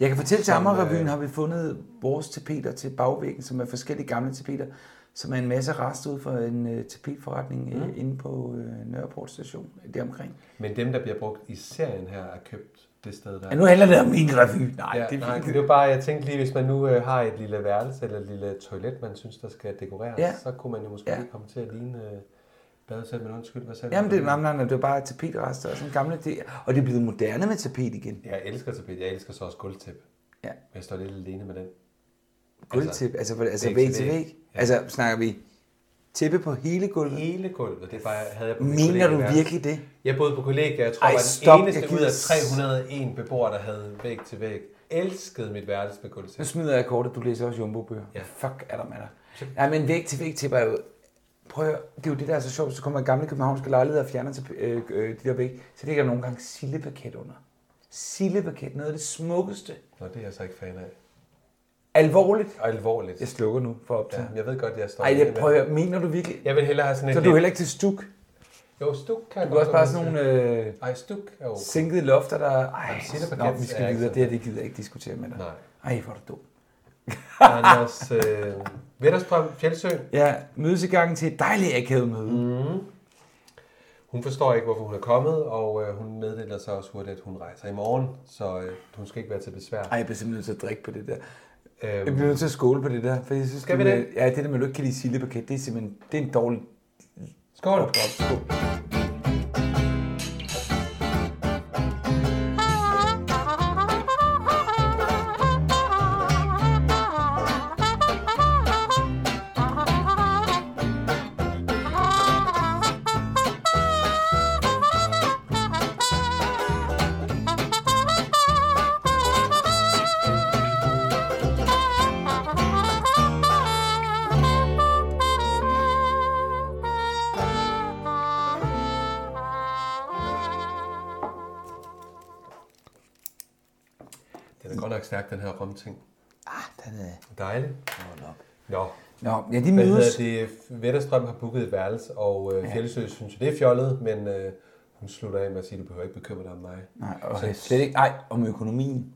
Speaker 5: Jeg kan fortælle til Amagerrevyen har vi fundet vores tapeter til bagvæggen, som er forskellige gamle tapeter, som er en masse rest ud for en uh, tapetforretning mm. inde på uh, Nørreport station, deromkring.
Speaker 4: Men dem, der bliver brugt i serien her, er købt det sted der.
Speaker 5: Ja, nu handler det om min revy. Nej,
Speaker 4: Ja,
Speaker 5: det er
Speaker 4: nej,
Speaker 5: fint.
Speaker 4: det var bare, jeg tænkte lige, hvis man nu øh, har et lille værelse eller et lille toilet, man synes, der skal dekoreres,
Speaker 5: Ja.
Speaker 4: ja. så kunne man jo måske
Speaker 5: Ja.
Speaker 4: ja. lige komme til at ligne øh, badesæt, men undskyld mig selv.
Speaker 5: Jamen, det, nej, nej, nej, det var bare tapetrester og sådan gamle det, Og det er blevet moderne med tapet igen.
Speaker 4: Jeg elsker tapet, jeg elsker så også gulvtæppe.
Speaker 5: Ja.
Speaker 4: Men jeg står lidt alene med den.
Speaker 5: Gulvtæppe, altså, altså, altså
Speaker 4: væg
Speaker 5: væg
Speaker 4: til
Speaker 5: til
Speaker 4: væg.
Speaker 5: væg. Altså, snakker vi tæppe på hele gulvet?
Speaker 4: Hele gulvet, det var, havde jeg på mit
Speaker 5: Mener du
Speaker 4: kollegieværelse.
Speaker 5: virkelig det?
Speaker 4: Jeg boede på kollega, jeg tror,
Speaker 5: Ej,
Speaker 4: jeg var den
Speaker 5: stop,
Speaker 4: eneste
Speaker 5: jeg
Speaker 4: ud
Speaker 5: gider
Speaker 4: af
Speaker 5: s-
Speaker 4: 301 beboere, der havde væg til væg. Elskede mit værelse med
Speaker 5: Nu
Speaker 4: gulvtæppe.
Speaker 5: smider jeg kortet, du læser også jumbo-bøger. Ja. Fuck, er der med dig. Nej, men væk til væk til er jo... Prøv at, høre, det er jo det, der er så sjovt. Så kommer gamle københavnske lejligheder og fjerner til, øh, øh, de der væg. Så ligger der nogle gange sildepaket under. Sildepaket, noget af det smukkeste.
Speaker 4: Nå, det er jeg så ikke fan af.
Speaker 5: Alvorligt.
Speaker 4: Og alvorligt.
Speaker 5: Jeg slukker nu for at
Speaker 4: Ja,
Speaker 5: optage.
Speaker 4: jeg ved godt, jeg står
Speaker 5: Ej, jeg
Speaker 4: alene med
Speaker 5: prøver,
Speaker 4: den.
Speaker 5: at høre, mener du virkelig?
Speaker 4: Jeg vil hellere have sådan et...
Speaker 5: Så er du
Speaker 4: lidt-
Speaker 5: heller ikke til stuk.
Speaker 4: Jo, stuk kan jeg
Speaker 5: Du er også bare
Speaker 4: gå med
Speaker 5: sådan
Speaker 4: til.
Speaker 5: nogle øh,
Speaker 4: Ej, stuk er jo...
Speaker 5: sænkede lofter, der... Ej,
Speaker 4: sildepaket
Speaker 5: nå, vi
Speaker 4: er
Speaker 5: skal
Speaker 4: ikke
Speaker 5: videre.
Speaker 4: så
Speaker 5: Det her, det gider jeg ikke diskutere med dig.
Speaker 4: Nej.
Speaker 5: Ej, hvor er du dum.
Speaker 4: Anders øh, Vetterstrøm Fjeldsø,
Speaker 5: Ja, mødes i gangen til et dejligt akavet møde. Mm.
Speaker 4: hun forstår ikke, hvorfor hun er kommet, og øh, hun meddeler sig også hurtigt, at hun rejser i morgen, så øh, hun skal ikke være til besvær.
Speaker 5: Ej, jeg bliver simpelthen nødt til at drikke på det der. Jeg
Speaker 4: Øhm,
Speaker 5: bliver nødt til at skåle på det der, for jeg synes,
Speaker 4: Skal
Speaker 5: det
Speaker 4: vi
Speaker 5: med,
Speaker 4: det?
Speaker 5: Ja, det der med, at du ikke kan lide sildepaket, det er simpelthen det er en dårlig
Speaker 4: skål!
Speaker 5: opskål.
Speaker 4: Den er godt nok stærk, den her rumting.
Speaker 5: Den er...
Speaker 4: Dejligt. Nå,
Speaker 5: Nå, ja, de
Speaker 4: hvad
Speaker 5: mødes.
Speaker 4: hedder det? Vetterstrøm har booket et værelse, og øh, Fjeldsø synes, det er fjollet, men øh, hun slutter af med at sige, du behøver ikke bekymre dig om mig.
Speaker 5: Nej, og jeg slet ikke. Ej, om økonomien.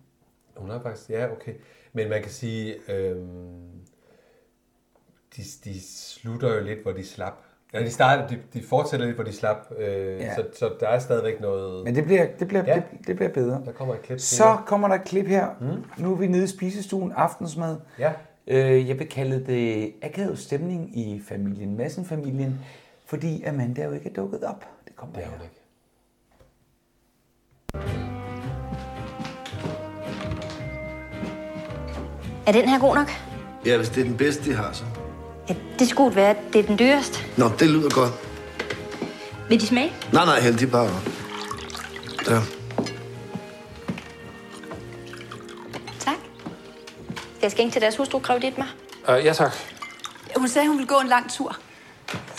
Speaker 4: Hun har faktisk, ja, okay. Men man kan sige, øhm, de, de slutter jo lidt, hvor de slap. Ja, de, starter, de, de fortsætter lidt, hvor de slap, øh,
Speaker 5: Ja.
Speaker 4: ja. så, så der er stadigvæk noget...
Speaker 5: Men det bliver, det bliver, ja.
Speaker 4: Ja.
Speaker 5: det, det bliver bedre.
Speaker 4: Der kommer et klip
Speaker 5: Så
Speaker 4: senere.
Speaker 5: kommer der et klip her. Mm. Nu er vi nede i spisestuen, aftensmad.
Speaker 4: Ja.
Speaker 5: Øh, jeg vil kalde det akavet stemning i familien, Madsen-familien, fordi Amanda jo ikke er dukket op. Det kommer
Speaker 4: Det er
Speaker 5: her.
Speaker 4: hun ikke.
Speaker 9: Er den her god nok?
Speaker 7: Ja, hvis det er den bedste, de har så.
Speaker 9: Ja, det skulle være, at det er den dyreste.
Speaker 7: Nå, det lyder godt.
Speaker 9: Vil de smage?
Speaker 7: Nej, nej, heldig bare. Ja.
Speaker 9: Tak. Skal jeg skænke til deres hustru, grev dit mig?
Speaker 11: Uh, ja, tak.
Speaker 8: Hun sagde, hun ville gå en lang tur.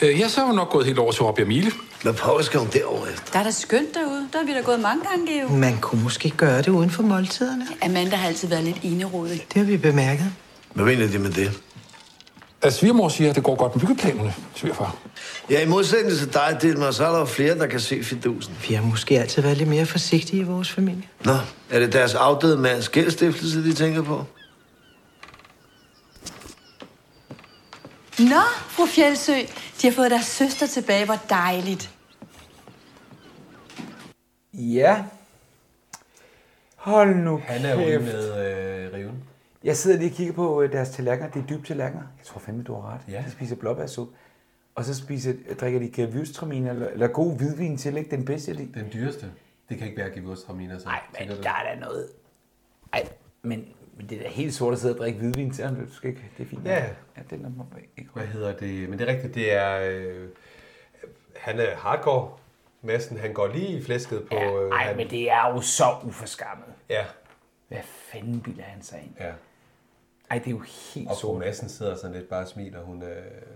Speaker 11: Uh, ja, så er hun nok gået helt over til Robbie og Mille.
Speaker 7: Hvad pokker skal hun derover efter?
Speaker 8: Der er da skønt derude. Der er vi da gået mange gange, jo.
Speaker 12: Man kunne måske gøre det uden for måltiderne.
Speaker 8: Amanda har altid været lidt enerodig.
Speaker 12: Det har vi bemærket.
Speaker 7: Hvad mener de med det?
Speaker 11: Uh, svigermor siger, at det går godt med byggeplanerne, svigerfar.
Speaker 7: Ja, i modsætning til dig, Dilma, så er der jo flere, der kan se fidusen.
Speaker 12: Vi har måske altid været lidt mere forsigtige i vores familie.
Speaker 7: Nå, er det deres afdøde mands gældstiftelse, de tænker på?
Speaker 8: Nå, fru Fjeldsø, de har fået deres søster tilbage. Hvor dejligt.
Speaker 5: Ja. Hold nu
Speaker 4: Han er ude
Speaker 5: kæft.
Speaker 4: med øh, riven.
Speaker 5: Jeg sidder lige og kigger på øh, deres tallerkener. Det er dybe tallerkener. Jeg tror fandme, du har ret.
Speaker 4: Ja.
Speaker 5: De spiser blåbærsuppe. Og så spiser, drikker de gavystraminer, eller, eller god hvidvin til, ikke? Den bedste af de...
Speaker 4: Den dyreste. Det kan ikke være at give vores traminer, så.
Speaker 5: Nej,
Speaker 4: tænker du?
Speaker 5: men der er da noget. Ej, men Men det er da helt sort at sidde og drikke hvidvin til ham. Du skal ikke, det er fint.
Speaker 4: Ja.
Speaker 5: ja den er mig ikke.
Speaker 4: Hvad hedder det? Men det er rigtigt, det er... Øh, han er hardcore. Madsen, han går lige i flæsket på... Ja,
Speaker 5: Ej, men det er jo så uforskammet.
Speaker 4: Ja.
Speaker 5: Hvad fanden bilder han sig ind?
Speaker 4: Ja.
Speaker 5: Ej, det er jo helt
Speaker 4: Og Bo Madsen sidder sådan lidt bare og smiler. Hun, øh,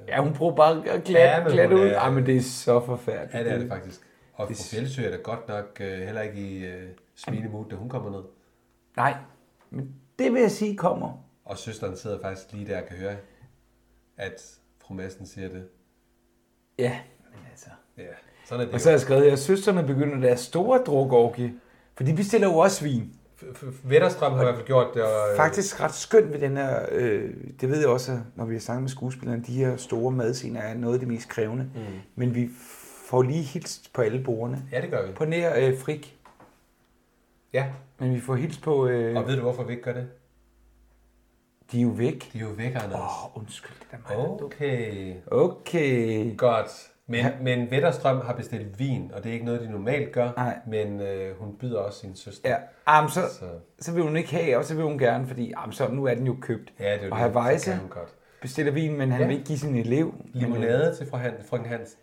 Speaker 5: Ja, hun prøver bare at glatte,
Speaker 4: Ja, men
Speaker 5: glatte
Speaker 4: hun
Speaker 5: ud.
Speaker 4: er-
Speaker 5: Ej, men det er så forfærdeligt.
Speaker 4: ja, det er det faktisk. Og fru Fjeldsø er da godt nok øh, heller ikke i øh, smilemood, da hun kommer ned.
Speaker 5: Nej, men det vil jeg sige kommer.
Speaker 4: Og søsteren sidder faktisk lige der og kan høre, at fru Madsen siger det.
Speaker 5: Ja, men altså...
Speaker 4: Ja, sådan er det.
Speaker 5: Og så har jeg skrevet, at søstrene begynder deres store drukorgie, for de bestiller jo også vin.
Speaker 4: Vetterstrøm har i hvert fald gjort det. Og, øh,
Speaker 5: Faktisk ret skønt ved den her, øh, det ved jeg også, at når vi har snakket med skuespillerne, de her store madscener er noget af det mest krævende. Mm. Men vi får lige hilst på alle bordene.
Speaker 4: Ja, det gør vi.
Speaker 5: På nær øh, frik.
Speaker 4: Ja.
Speaker 5: Men vi får hilst på... Øh,
Speaker 4: Og ved du, hvorfor vi ikke gør det?
Speaker 5: De er jo væk.
Speaker 4: De er jo væk, Anders. Åh,
Speaker 5: oh, undskyld, det der
Speaker 4: mig. Okay.
Speaker 5: Okay.
Speaker 4: Godt. Men, ja. men Vetterstrøm har bestilt vin, og det er ikke noget, de normalt gør.
Speaker 5: Nej.
Speaker 4: Men øh, hun byder også sin søster.
Speaker 5: Ja, ah, men så,
Speaker 4: så,
Speaker 5: så. så vil hun ikke have, og så vil hun gerne, fordi ah, men så, nu er den jo købt.
Speaker 4: Ja, det er jo
Speaker 5: og
Speaker 4: det, så
Speaker 5: herr Weisse
Speaker 4: kan hun godt.
Speaker 5: bestiller vin, men han
Speaker 4: Ja.
Speaker 5: ja. vil ikke give sin elev.
Speaker 4: Limonade til fru Han, frøken Hans.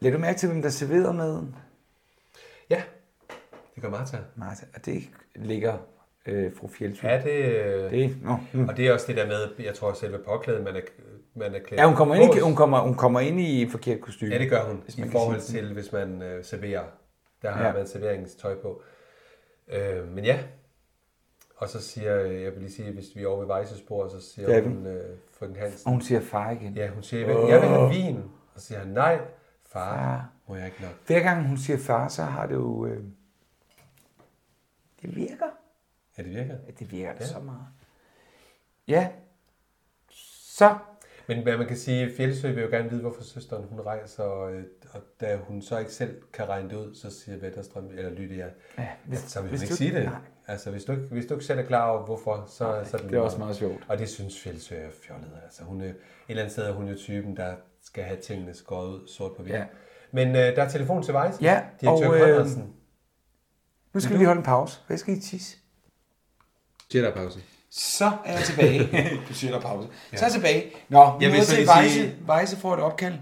Speaker 5: Lad du mærke til, hvem der serverer maden?
Speaker 4: Ja, det gør Martha.
Speaker 5: Martha, og det ligger øh, fru Fjeldsø.
Speaker 4: Ja, det... Øh,
Speaker 5: Det- nå, hmm.
Speaker 4: Og det er også det der med, jeg tror, selve påklædet, man er, man er klædt
Speaker 5: Ja, hun kommer, ind
Speaker 4: på.
Speaker 5: i, hun, kommer, hun kommer ind i et forkert kostume.
Speaker 4: Ja, det gør hun.
Speaker 5: Hvis
Speaker 4: I
Speaker 5: man kan
Speaker 4: forhold
Speaker 5: sige det.
Speaker 4: til, hvis man øh, serverer. Der har
Speaker 5: Ja.
Speaker 4: ja. man serveringstøj på. Øh, men ja. Og så siger, øh, jeg vil lige sige, hvis vi er over ved Vejsespor, så siger
Speaker 5: Det er vi.
Speaker 4: hun, øh, frøken Hansen.
Speaker 5: Og hun siger far igen.
Speaker 4: Ja, hun siger, jeg vil, jeg vil have vin. Og så siger han, nej, far,
Speaker 5: Far.
Speaker 4: må jeg ikke nok.
Speaker 5: Hver gang hun siger far, så har det jo... Øh, det virker.
Speaker 4: Ja, det virker.
Speaker 5: Ja, det virker
Speaker 4: Ja.
Speaker 5: ja. så meget. Ja. Så.
Speaker 4: Men hvad man kan sige, Fjeldsø vil jo gerne vide, hvorfor søsteren hun rejser, og, øh, og da hun så ikke selv kan regne det ud, så siger Vetterstrøm, eller lytter jeg,
Speaker 5: Ja,
Speaker 4: ja,
Speaker 5: hvis-
Speaker 4: så vil
Speaker 5: hvis
Speaker 4: hun ikke
Speaker 5: du-
Speaker 4: sige det.
Speaker 5: nej.
Speaker 4: Altså, hvis du, ikke, hvis du ikke selv er klar over, hvorfor, så, nej, så er det,
Speaker 5: det er
Speaker 4: lige
Speaker 5: også
Speaker 4: meget.
Speaker 5: meget sjovt.
Speaker 4: Og det synes Fjeldsø er fjollet. Altså, hun er, et eller andet sted er hun jo typen, der skal have tingene skåret ud sort på hvidt.
Speaker 5: Ja.
Speaker 4: Ja. Men øh, der er telefon til Vejsen.
Speaker 5: Ja,
Speaker 4: Direktør
Speaker 5: og, øh,
Speaker 4: Conradsen.
Speaker 5: Nu skal vi lige holde en pause. Hvad skal I tisse?
Speaker 4: Siger der pause.
Speaker 3: Så er jeg tilbage. du siger, der er pause. Så er jeg tilbage. Nå, vi
Speaker 4: Jeg vil
Speaker 3: er nået
Speaker 4: så
Speaker 3: til
Speaker 4: lige
Speaker 3: Vejse.
Speaker 4: sige-
Speaker 3: Vejse får et opkald.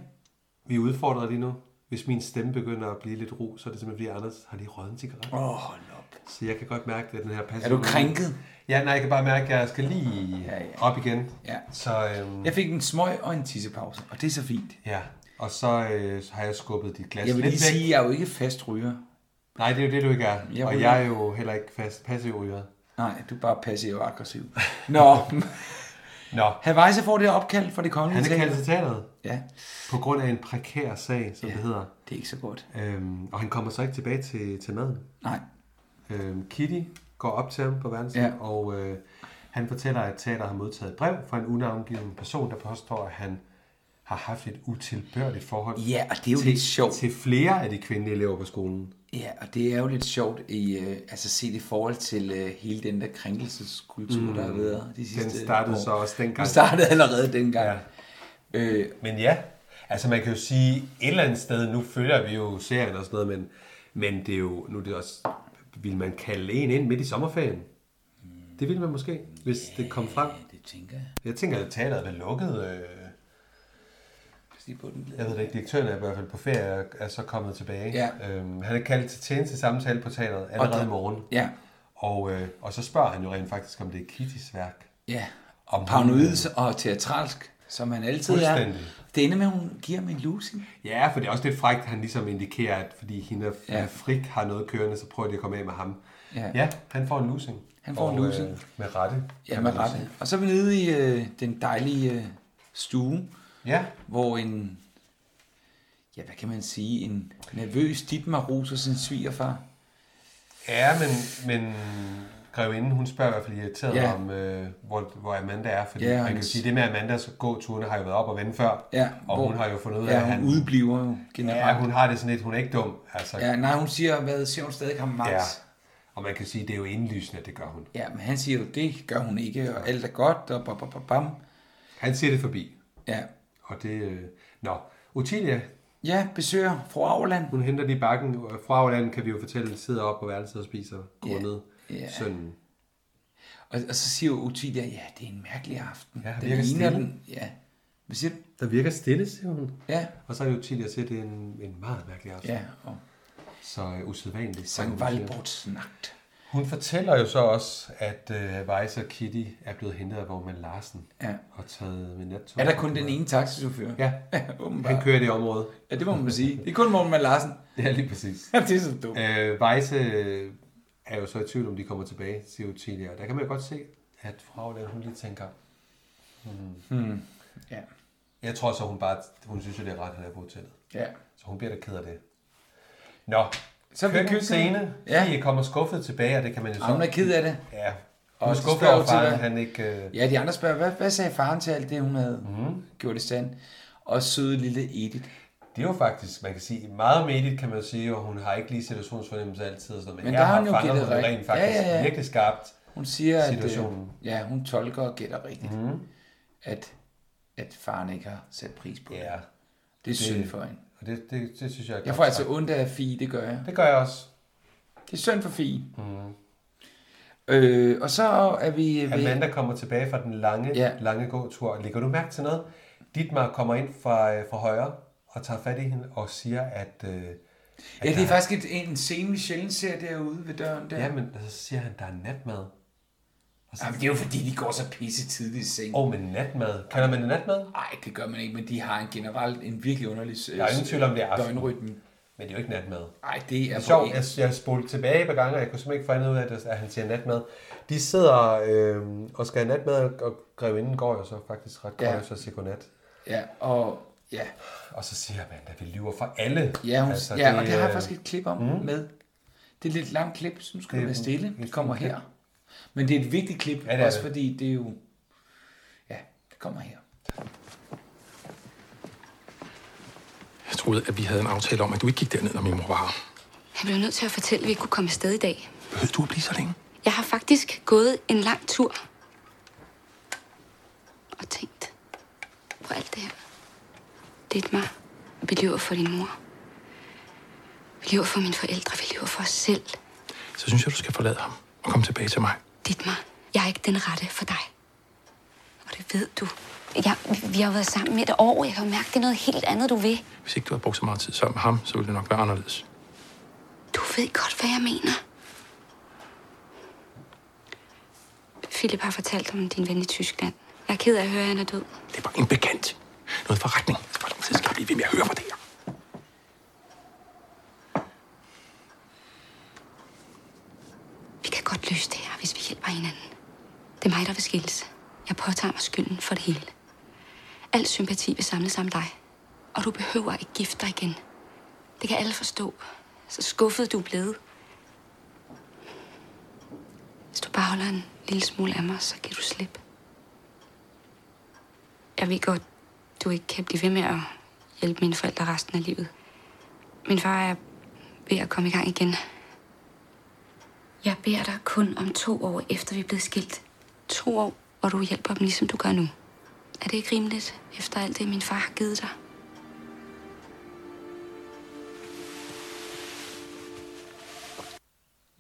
Speaker 4: Vi er udfordret lige nu. Hvis min stemme begynder at blive lidt ro, så er det simpelthen, fordi Anders har lige røget en cigaret.
Speaker 3: Åh, oh, hold op.
Speaker 4: Så jeg kan godt mærke, at den her passer.
Speaker 3: Er du krænket?
Speaker 4: Ja, nej, jeg kan bare mærke, at jeg skal lige ja, ja. op igen.
Speaker 3: Ja.
Speaker 4: Så, øhm,
Speaker 3: Jeg fik en smøg og en tissepause, og det er så fint.
Speaker 4: ja. Og så, øh, så har jeg skubbet dit glas
Speaker 3: Jeg vil
Speaker 4: Altså, lidt
Speaker 3: lige
Speaker 4: væk.
Speaker 3: sige, at jeg er jo ikke fast ryger.
Speaker 4: Nej, det er jo det, du ikke er.
Speaker 3: Jeg
Speaker 4: Jeg og
Speaker 3: ryger.
Speaker 4: jeg er jo heller ikke fast passiv ryger.
Speaker 3: Nej, du er bare passiv og aggressiv. Nå,
Speaker 4: Nå,
Speaker 3: Havajsa får det her opkald fra det kongelige
Speaker 4: han er
Speaker 3: teater.
Speaker 4: kaldt til teateret
Speaker 3: Ja,
Speaker 4: på grund af en prekær sag, som ja. det hedder.
Speaker 3: det er ikke så godt.
Speaker 4: Øhm, og han kommer så ikke tilbage til, til maden.
Speaker 3: Nej,
Speaker 4: Øhm, Kitty går op til ham på værelset,
Speaker 3: Ja.
Speaker 4: ja. og øh, han fortæller, at teateret har modtaget et brev fra en unavngiven person, der påstår, at han har haft et utilbørligt forhold
Speaker 3: Ja, og det er jo
Speaker 4: til,
Speaker 3: lidt sjovt.
Speaker 4: til flere af de kvindelige elever på skolen.
Speaker 3: ja, og det er jo lidt sjovt i, øh, altså set i forhold til øh, hele den der krænkelseskultur, mm. der har været de sidste
Speaker 4: Den startede
Speaker 3: år.
Speaker 4: så også
Speaker 3: Den
Speaker 4: dengang.
Speaker 3: startede allerede dengang. Ja. Øh,
Speaker 4: Men ja, altså man kan jo sige, et eller andet sted, nu følger vi jo serien og sådan noget, men, men det er jo, nu er det også, vil man kalde en ind midt i sommerferien? Det ville man måske, hvis det kom frem.
Speaker 3: det tænker jeg.
Speaker 4: Jeg tænker, at teateret er lukket. Øh,
Speaker 3: Pas lige på den.
Speaker 4: Jeg ved det ikke, direktøren er i hvert fald på ferie og er så kommet tilbage.
Speaker 3: Ja.
Speaker 4: Øhm, han er kaldt til tjeneste samtale på teateret allerede
Speaker 3: der-
Speaker 4: i morgen.
Speaker 3: Ja,
Speaker 4: Og, øh, og så spørger han jo rent faktisk, om det er Kittys værk.
Speaker 3: ja.
Speaker 4: Om
Speaker 3: Paranoid og teatralsk, som han altid er.
Speaker 4: øh, Fuldstændig.
Speaker 3: Det ender med, at hun giver mig en lusing.
Speaker 4: Ja, for det er også lidt frækt, at han ligesom indikerer, at fordi hende
Speaker 3: Ja.
Speaker 4: ja. Frik har noget kørende, så prøver de at komme af med ham.
Speaker 3: Ja.
Speaker 4: ja han får en losing.
Speaker 3: Han får
Speaker 4: og,
Speaker 3: en lusing.
Speaker 4: Øh, med rette.
Speaker 3: Ja,
Speaker 4: kan man
Speaker 3: med
Speaker 4: jo
Speaker 3: rette.
Speaker 4: sige.
Speaker 3: altså. Og så er vi nede i øh, den dejlige øh, stue,
Speaker 4: Ja,
Speaker 3: hvor en, ja, hvad kan man sige, en nervøs Dietmar roser sin svigerfar.
Speaker 4: ja men, men grevinden, hun spørger i hvert fald irriteret
Speaker 3: Ja.
Speaker 4: ja. om, øh, hvor, hvor Amanda er. Fordi
Speaker 3: Ja,
Speaker 4: ja, man
Speaker 3: og
Speaker 4: kan jo
Speaker 3: hans-
Speaker 4: sige, det med Amandas gåturene har jo været op og vende før.
Speaker 3: Ja,
Speaker 4: og
Speaker 3: hvor-
Speaker 4: hun har jo fundet ud af,
Speaker 3: Ja,
Speaker 4: at
Speaker 3: hun
Speaker 4: han
Speaker 3: udbliver jo generelt.
Speaker 4: Ja, hun har det sådan lidt, hun er ikke dum. Altså,
Speaker 3: Ja, nej, hun siger, hvad siger hun stadig ham Max?
Speaker 4: ja.
Speaker 3: Ja.
Speaker 4: Og man kan sige, det er jo indlysende, at det gør hun.
Speaker 3: ja, men han siger jo, det gør hun ikke, og alt er godt, og bam, bam, bam, bam.
Speaker 4: Han ser det forbi.
Speaker 3: Ja.
Speaker 4: Og det... Øh... Nå, Utilia,
Speaker 3: ja, besøger fru Auerland.
Speaker 4: hun henter lige bakken. Fra Auland kan vi jo fortælle, sidder op på værelset og spiser
Speaker 3: Ja,
Speaker 4: grundet
Speaker 3: ja.
Speaker 4: sønnen.
Speaker 3: Og, og så siger Otilia, ja, det er en mærkelig aften.
Speaker 4: Ja,
Speaker 3: Ja,
Speaker 4: han
Speaker 3: den
Speaker 4: virker
Speaker 3: ligner
Speaker 4: stille.
Speaker 3: den. Ja. Hvad siger du?
Speaker 4: Der virker stille, siger hun.
Speaker 3: Ja.
Speaker 4: Og så er det jo tidligere til, at det er en, en meget mærkelig aften.
Speaker 3: Ja, og-
Speaker 4: Så øh, usædvanligt.
Speaker 3: Sankt
Speaker 4: som hun siger.
Speaker 3: Valborgs nagt.
Speaker 4: Hun fortæller jo så også, at øh, Weiss og Kitty er blevet hentet af Vormand Larsen
Speaker 3: Ja.
Speaker 4: og taget med nattog.
Speaker 3: Er der kun den ene taxichauffør?
Speaker 4: Ja.
Speaker 3: åbenbart.
Speaker 4: Han kører i det område.
Speaker 3: Ja, det må man sige. Det er kun Morten Mads Larsen.
Speaker 4: Ja, lige præcis.
Speaker 3: det er så dumt.
Speaker 4: Øh, Weisse øh, er jo så i tvivl, om de kommer tilbage til Utilia. Der kan man jo godt se, at fru Havland, hun lige tænker... Hmm.
Speaker 3: Hmm. Ja.
Speaker 4: Jeg tror så, hun bare... Hun synes jo, det er rart, at han er på hotellet.
Speaker 3: Ja.
Speaker 4: Så hun bliver da ked af det. Nå,
Speaker 3: Så
Speaker 4: så
Speaker 3: er vi i
Speaker 4: køkken
Speaker 3: køkkenet.
Speaker 4: scene.
Speaker 3: Ja.
Speaker 4: Ja. I kommer skuffet tilbage, og det kan man jo så...
Speaker 3: Og hun er ked af det.
Speaker 4: Ja.
Speaker 3: Og
Speaker 4: Hun er
Speaker 3: de
Speaker 4: skuffet
Speaker 3: spørger
Speaker 4: over
Speaker 3: til
Speaker 4: faren,
Speaker 3: dig.
Speaker 4: han ikke... Øh...
Speaker 3: Ja, de andre spørger, hvad, hvad sagde faren til alt det, hun havde
Speaker 4: Mhm.
Speaker 3: mm. gjort i stand? Og søde lille Edith.
Speaker 4: Det er jo faktisk, man kan sige, meget om Edith kan man jo sige, og hun har ikke lige situationsfornemmelse altid og sådan noget, men,
Speaker 3: Men
Speaker 4: her
Speaker 3: der har
Speaker 4: har
Speaker 3: hun jo
Speaker 4: fanger
Speaker 3: gættet
Speaker 4: hun
Speaker 3: rigtigt.
Speaker 4: rent faktisk
Speaker 3: Ja, ja, ja.
Speaker 4: virkelig skarpt
Speaker 3: Hun siger, at,
Speaker 4: situationen. Mhm.
Speaker 3: øh, ja, hun tolker og gætter rigtigt. Mm. At, at faren ikke har sat pris på
Speaker 4: Ja.
Speaker 3: Det er synd for hende.
Speaker 4: Og det, det, det synes jeg er
Speaker 3: Jeg
Speaker 4: godt
Speaker 3: får altså
Speaker 4: sagt.
Speaker 3: ondt af Fie, det gør jeg.
Speaker 4: Det gør jeg også.
Speaker 3: Det er synd for Fie.
Speaker 4: Mhm.
Speaker 3: Mm. Øh, og så er vi... ved-
Speaker 4: Amanda kommer tilbage fra den lange,
Speaker 3: Ja.
Speaker 4: ja. lange gåtur. Lægger du mærke til noget? Ditmar kommer ind fra, øh, fra højre og tager fat i hende og siger, at... Øh, at
Speaker 3: Ja, det
Speaker 4: der-
Speaker 3: er faktisk et, en scene, vi sjældent ser derude ved døren der.
Speaker 4: Ja, men så siger han, der er natmad. Og så-
Speaker 3: Jamen, det er jo fordi, de går så pisse tidligt i seng.
Speaker 4: Åh, oh, men natmad. Kalder man det natmad?
Speaker 3: Nej, det gør man ikke, men de har en generelt en virkelig underlig øh,
Speaker 4: Der er ingen tvivl om, det er aften.
Speaker 3: døgnrytme.
Speaker 4: Men det er jo ikke natmad.
Speaker 3: Nej, det
Speaker 4: Det
Speaker 3: er
Speaker 4: er sjovt,
Speaker 3: på
Speaker 4: jeg,
Speaker 3: en-
Speaker 4: jeg spolede tilbage et par gange, og jeg kunne simpelthen ikke få andet ud af, at, at han siger natmad. De sidder øh, og skal have natmad, og grevinden går jo så faktisk ret godt,
Speaker 3: Ja.
Speaker 4: ja. så siger godnat.
Speaker 3: Ja, og ja,
Speaker 4: Og så siger man, at vi lyver for alle.
Speaker 3: ja, hun, altså, ja og det har jeg
Speaker 4: øh,
Speaker 3: faktisk et klip om mm. med. Det er et lidt langt klip, som skal
Speaker 4: Det er
Speaker 3: være stille.
Speaker 4: et
Speaker 3: Det kommer
Speaker 4: fint klip.
Speaker 3: her. Men det er et vigtigt klip, ja,
Speaker 4: det er
Speaker 3: også
Speaker 4: det.
Speaker 3: fordi det er jo... Ja, det kommer her.
Speaker 11: Jeg troede, at vi havde en aftale om, at du ikke gik derned, når min mor var her.
Speaker 9: Jeg blev nødt til at fortælle, at vi ikke kunne komme afsted i dag.
Speaker 11: Behøvede du at blive så længe?
Speaker 9: Jeg har faktisk gået en lang tur. Og tænkt på alt det her. Det er mig. Vi lever for din mor. Vi lever for mine forældre. Vi lever for os selv.
Speaker 11: Så synes jeg, du skal forlade ham og komme tilbage til mig.
Speaker 9: Dietmar, jeg er ikke den rette for dig. Og det ved du. Jeg, vi- vi har jo været sammen i et år. Jeg kan jo mærke, det er noget helt andet, du vil.
Speaker 11: Hvis ikke du havde brugt så meget tid sammen med ham, så ville det nok være anderledes.
Speaker 9: Du ved godt, hvad jeg mener. Philip har fortalt om din ven i Tyskland. Jeg er ked af at høre, at han er død.
Speaker 11: Det var en bekendt. Noget forretning. Hvor lang tid skal jeg blive ved med at høre på det her?
Speaker 9: Vi kan godt løse det her, hvis vi hjælper hinanden. Det er mig, der vil skilles. Jeg påtager mig skylden for det hele. Al sympati vil samles om dig. Og du behøver ikke gifte dig igen. Det kan alle forstå. Så skuffet du er blevet. Hvis du bare holder en lille smule af mig, så giver du slip. Jeg ved godt, du ikke kan blive ved med at hjælpe mine forældre resten af livet. Min far er ved at komme i gang igen. Jeg beder dig kun om to år, efter vi er blevet skilt. To år, hvor du hjælper dem, ligesom du gør nu. Er det ikke rimeligt, efter alt det, min far har givet dig?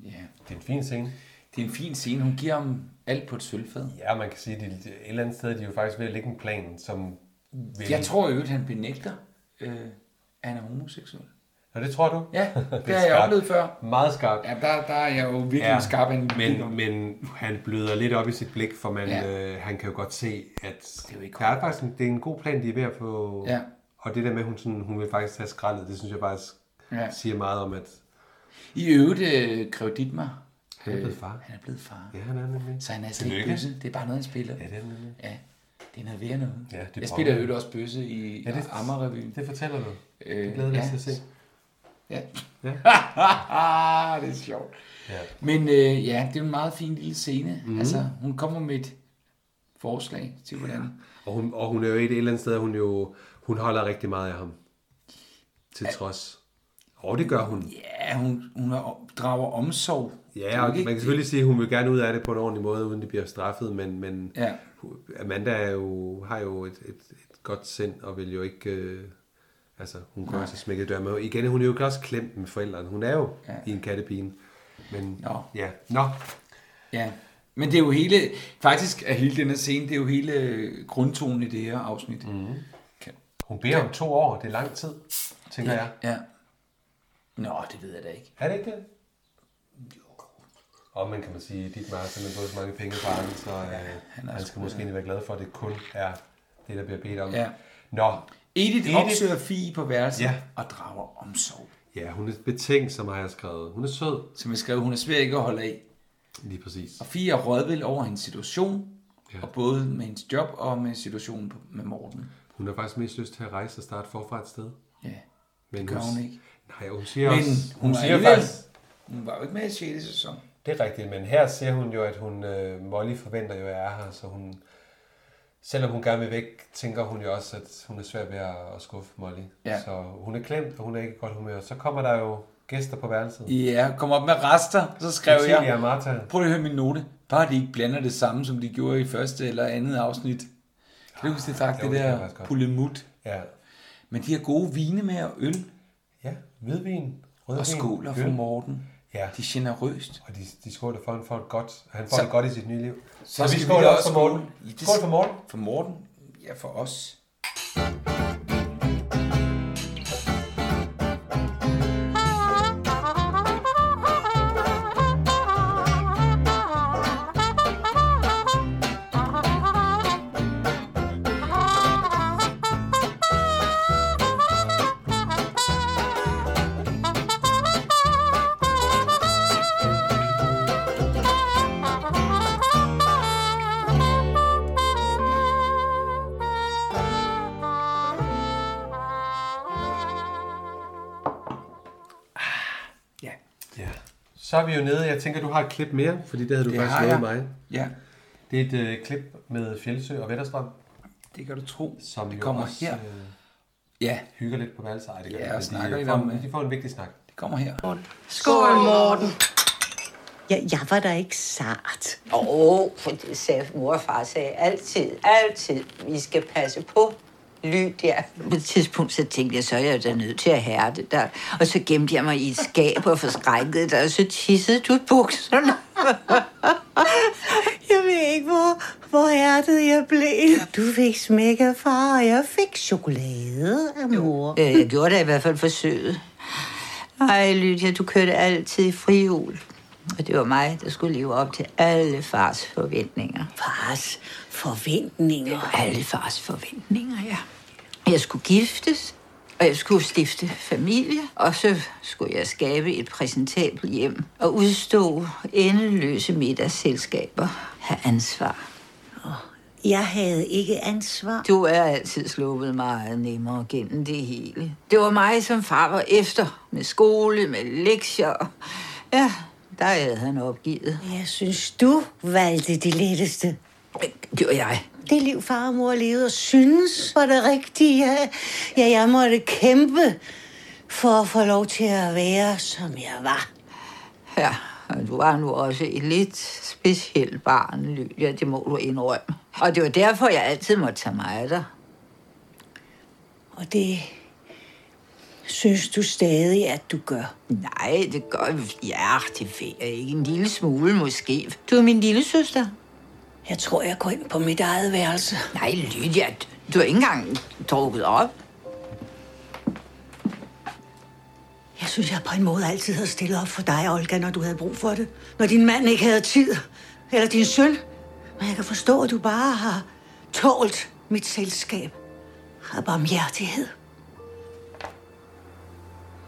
Speaker 3: Ja.
Speaker 4: Det er en fin scene.
Speaker 3: Det er en fin scene. Hun giver ham alt på et sølvfad.
Speaker 4: Ja, man kan sige, at de, et eller andet sted de er de jo faktisk ved at lægge en plan, som... Vil...
Speaker 3: Jeg tror jo, at han benægter, øh, at han er homoseksuel.
Speaker 4: Nå, det tror du?
Speaker 3: Ja,
Speaker 4: Det er
Speaker 3: det, det har jeg
Speaker 4: skarpt.
Speaker 3: oplevet før.
Speaker 4: Meget skarpt.
Speaker 3: Ja, der, der er jeg jo virkelig ja, skarp en
Speaker 4: men, men han bløder lidt op i sit blik, for man,
Speaker 3: Ja.
Speaker 4: ja. øh, han kan jo godt se, at det er,
Speaker 3: jo ikke
Speaker 4: der er faktisk en, det er en god plan, de er ved at få.
Speaker 3: Ja.
Speaker 4: Og det der med, at hun, sådan, hun vil faktisk tage skraldet, det synes jeg faktisk
Speaker 3: Ja.
Speaker 4: ja. siger meget om, at
Speaker 3: I øvrigt, øh, Grev Ditmar.
Speaker 4: han er blevet far.
Speaker 3: Han er blevet far.
Speaker 4: Ja, han er nemlig.
Speaker 3: Så han er altså ikke
Speaker 4: Tillykke.
Speaker 3: bøsse. Det er bare noget, han spiller.
Speaker 4: Ja, det er han nemlig.
Speaker 3: Ja, det er noget værd noget.
Speaker 4: Ja, det er
Speaker 3: jeg
Speaker 4: bra.
Speaker 3: spiller jo også bøsse i ja,
Speaker 4: Ja,
Speaker 3: det,
Speaker 4: det-
Speaker 3: Amagerrevyen.
Speaker 4: Det fortæller du.
Speaker 3: Øh,
Speaker 4: Det glæder jeg
Speaker 3: ja.
Speaker 4: mig til at se.
Speaker 3: Ja.
Speaker 4: Ja.
Speaker 3: ja. det er sjovt.
Speaker 4: Ja. Mhm.
Speaker 3: Men øh, ja, det er en meget fin lille scene. Mm. Altså, hun kommer med et forslag til, hvordan...
Speaker 4: Og hun, og hun er jo et eller andet sted, hun jo hun holder rigtig meget af ham. Til trods. Og det gør hun.
Speaker 3: Ja, hun, hun er- drager omsorg.
Speaker 4: Ja, og man kan selvfølgelig sige, at hun vil gerne ud af det på en ordentlig måde, uden det bliver straffet, men, men
Speaker 3: Ja.
Speaker 4: Amanda er jo, har jo et, et, et godt sind, og vil jo ikke... Øh, altså, hun går også smække dør med. Igen, hun er jo også klemt med forældrene. Hun er jo ja. i en kattepine. Men,
Speaker 3: Nå.
Speaker 4: Ja. Nå.
Speaker 3: Ja, Men det er jo hele, faktisk er hele denne scene, det er jo hele øh, grundtonen i det her afsnit. Mm.
Speaker 4: Mhm.
Speaker 3: Kan,
Speaker 4: Hun beder om to år, det er lang tid, tænker
Speaker 3: ja,
Speaker 4: jeg.
Speaker 3: Ja. Nå, det ved jeg da ikke.
Speaker 4: Er det ikke det? Og man kan man sige, at dit har simpelthen fået så mange penge fra ham, så øh, han, han skal måske egentlig være glad for, at det kun er det, der bliver bedt om.
Speaker 3: Ja.
Speaker 4: Nå.
Speaker 3: Edith, opsøger Fie på værelset
Speaker 4: Ja.
Speaker 3: og drager omsorg.
Speaker 4: Ja, hun er betænkt, som jeg har skrevet. Hun er sød.
Speaker 3: Som jeg skrev, hun er svær ikke at holde af.
Speaker 4: Lige præcis.
Speaker 3: Og Fie er rådvild over hendes situation, ja. og både med hendes job og med situationen på- med Morten.
Speaker 4: Hun har faktisk mest lyst til at rejse og starte forfra et sted.
Speaker 3: Ja,
Speaker 4: Men
Speaker 3: gør hun
Speaker 4: s-
Speaker 3: ikke.
Speaker 4: Nej, hun siger
Speaker 3: Men
Speaker 4: også...
Speaker 3: hun var alligevel- Hun var jo ikke med i 6. sæson.
Speaker 4: Det er rigtigt, men her siger hun jo, at hun, øh, Molly forventer jo, at jeg er her, så hun, selvom hun gerne vil væk, tænker hun jo også, at hun er svær ved at, at skuffe Molly.
Speaker 3: Ja.
Speaker 4: Så hun er klemt, og hun er ikke i godt humør. Så kommer der jo gæster på værelset.
Speaker 3: Ja, kom op med rester, så skrev
Speaker 4: Cecilia
Speaker 3: jeg.
Speaker 4: og Martha.
Speaker 3: Prøv lige at høre min note. Bare de ikke blander det samme, som de gjorde i første eller andet afsnit. Kan du huske det faktisk,
Speaker 4: jo,
Speaker 3: Ah,
Speaker 4: det
Speaker 3: det
Speaker 4: kan jeg
Speaker 3: der
Speaker 4: faktisk godt.
Speaker 3: pulemut?
Speaker 4: Ja.
Speaker 3: Men de har gode vine med og øl
Speaker 4: Ja, hvidvin, rødvin,
Speaker 3: og skåler for
Speaker 4: øl.
Speaker 3: Morten.
Speaker 4: Ja.
Speaker 3: De er generøst.
Speaker 4: Og de, de skåler for, han får et godt, han får
Speaker 3: Så-
Speaker 4: det godt i sit nye liv.
Speaker 3: Så
Speaker 4: og
Speaker 3: skal
Speaker 4: vi
Speaker 3: vi
Speaker 4: skåler
Speaker 3: da
Speaker 4: også
Speaker 3: også
Speaker 4: for Morten.
Speaker 3: skåle. Ja, det-
Speaker 4: Skål for Morten.
Speaker 3: For Morten? Ja, for os. Ja.
Speaker 4: Ja. Så er vi jo nede. Jeg tænker, du har et klip mere, fordi det havde du
Speaker 3: Det
Speaker 4: faktisk
Speaker 3: har
Speaker 4: lovet
Speaker 3: jeg.
Speaker 4: mig.
Speaker 3: Ja,
Speaker 4: Det er et øh, klip med Fjeldsø og Vetterstrøm,
Speaker 3: det kan du tro.
Speaker 4: som
Speaker 3: det
Speaker 4: jo
Speaker 3: kommer
Speaker 4: også,
Speaker 3: her.
Speaker 4: øh,
Speaker 3: Ja,
Speaker 4: hygger lidt på værelset. Ej, det gør
Speaker 3: Ja,
Speaker 4: de,
Speaker 3: og
Speaker 4: men
Speaker 3: snakker
Speaker 4: de,
Speaker 3: lidt
Speaker 4: får,
Speaker 3: om,
Speaker 4: en-
Speaker 3: øh,
Speaker 4: de får en vigtig snak.
Speaker 3: det kommer her.
Speaker 13: Skål, Morten. Ja, jeg var da ikke sart. Åh, oh, for det sagde mor og far sagde altid, altid, vi skal passe på ly der. På et tidspunkt så tænkte jeg, så er jeg da nødt til at herre det der. Og så gemte jeg mig i et skab og forskrækkede dig, og så tissede du i bukserne.
Speaker 14: Jeg ved ikke, hvor, hvor hærdet jeg blev. Du fik smæk af far, og jeg fik chokolade af mor.
Speaker 13: Øh, Jeg gjorde da i hvert fald forsøget. Ej, Lydia, du kørte altid i frihjul. Og det var mig, der skulle leve op til alle fars forventninger. Fars forventninger? Alle fars forventninger, ja. Jeg skulle giftes, og jeg skulle stifte familie, og så skulle jeg skabe et præsentabelt hjem og udstå endeløse middagsselskaber. Have ansvar.
Speaker 14: Jeg havde ikke ansvar.
Speaker 13: Du er altid sluppet meget nemmere gennem det hele. Det var mig, som far var efter. Med skole, med lektier. Ja, der havde han opgivet.
Speaker 14: Jeg synes, du valgte det letteste.
Speaker 13: Gjorde jeg.
Speaker 14: Det liv, far og mor levede og synes var det rigtige. Ja, ja, jeg måtte kæmpe for at få lov til at være, som jeg var.
Speaker 13: Ja, og du var nu også et lidt specielt barn, Lydia. Det må du indrømme. Og det var derfor, jeg altid måtte tage mig af dig.
Speaker 14: Og det synes du stadig, at du gør.
Speaker 13: Nej, det gør Ja, det ved jeg ikke. En lille smule måske. Du er min lille søster.
Speaker 14: Jeg tror, jeg går ind på mit eget værelse.
Speaker 13: Nej, Lydia, du- du har ikke engang drukket op.
Speaker 14: Jeg synes, jeg på en måde altid havde stillet op for dig, Olga, når du havde brug for det. Når din mand ikke havde tid. Eller din søn. Men jeg kan forstå, at du bare har tålt mit selskab. Har barmhjertighed.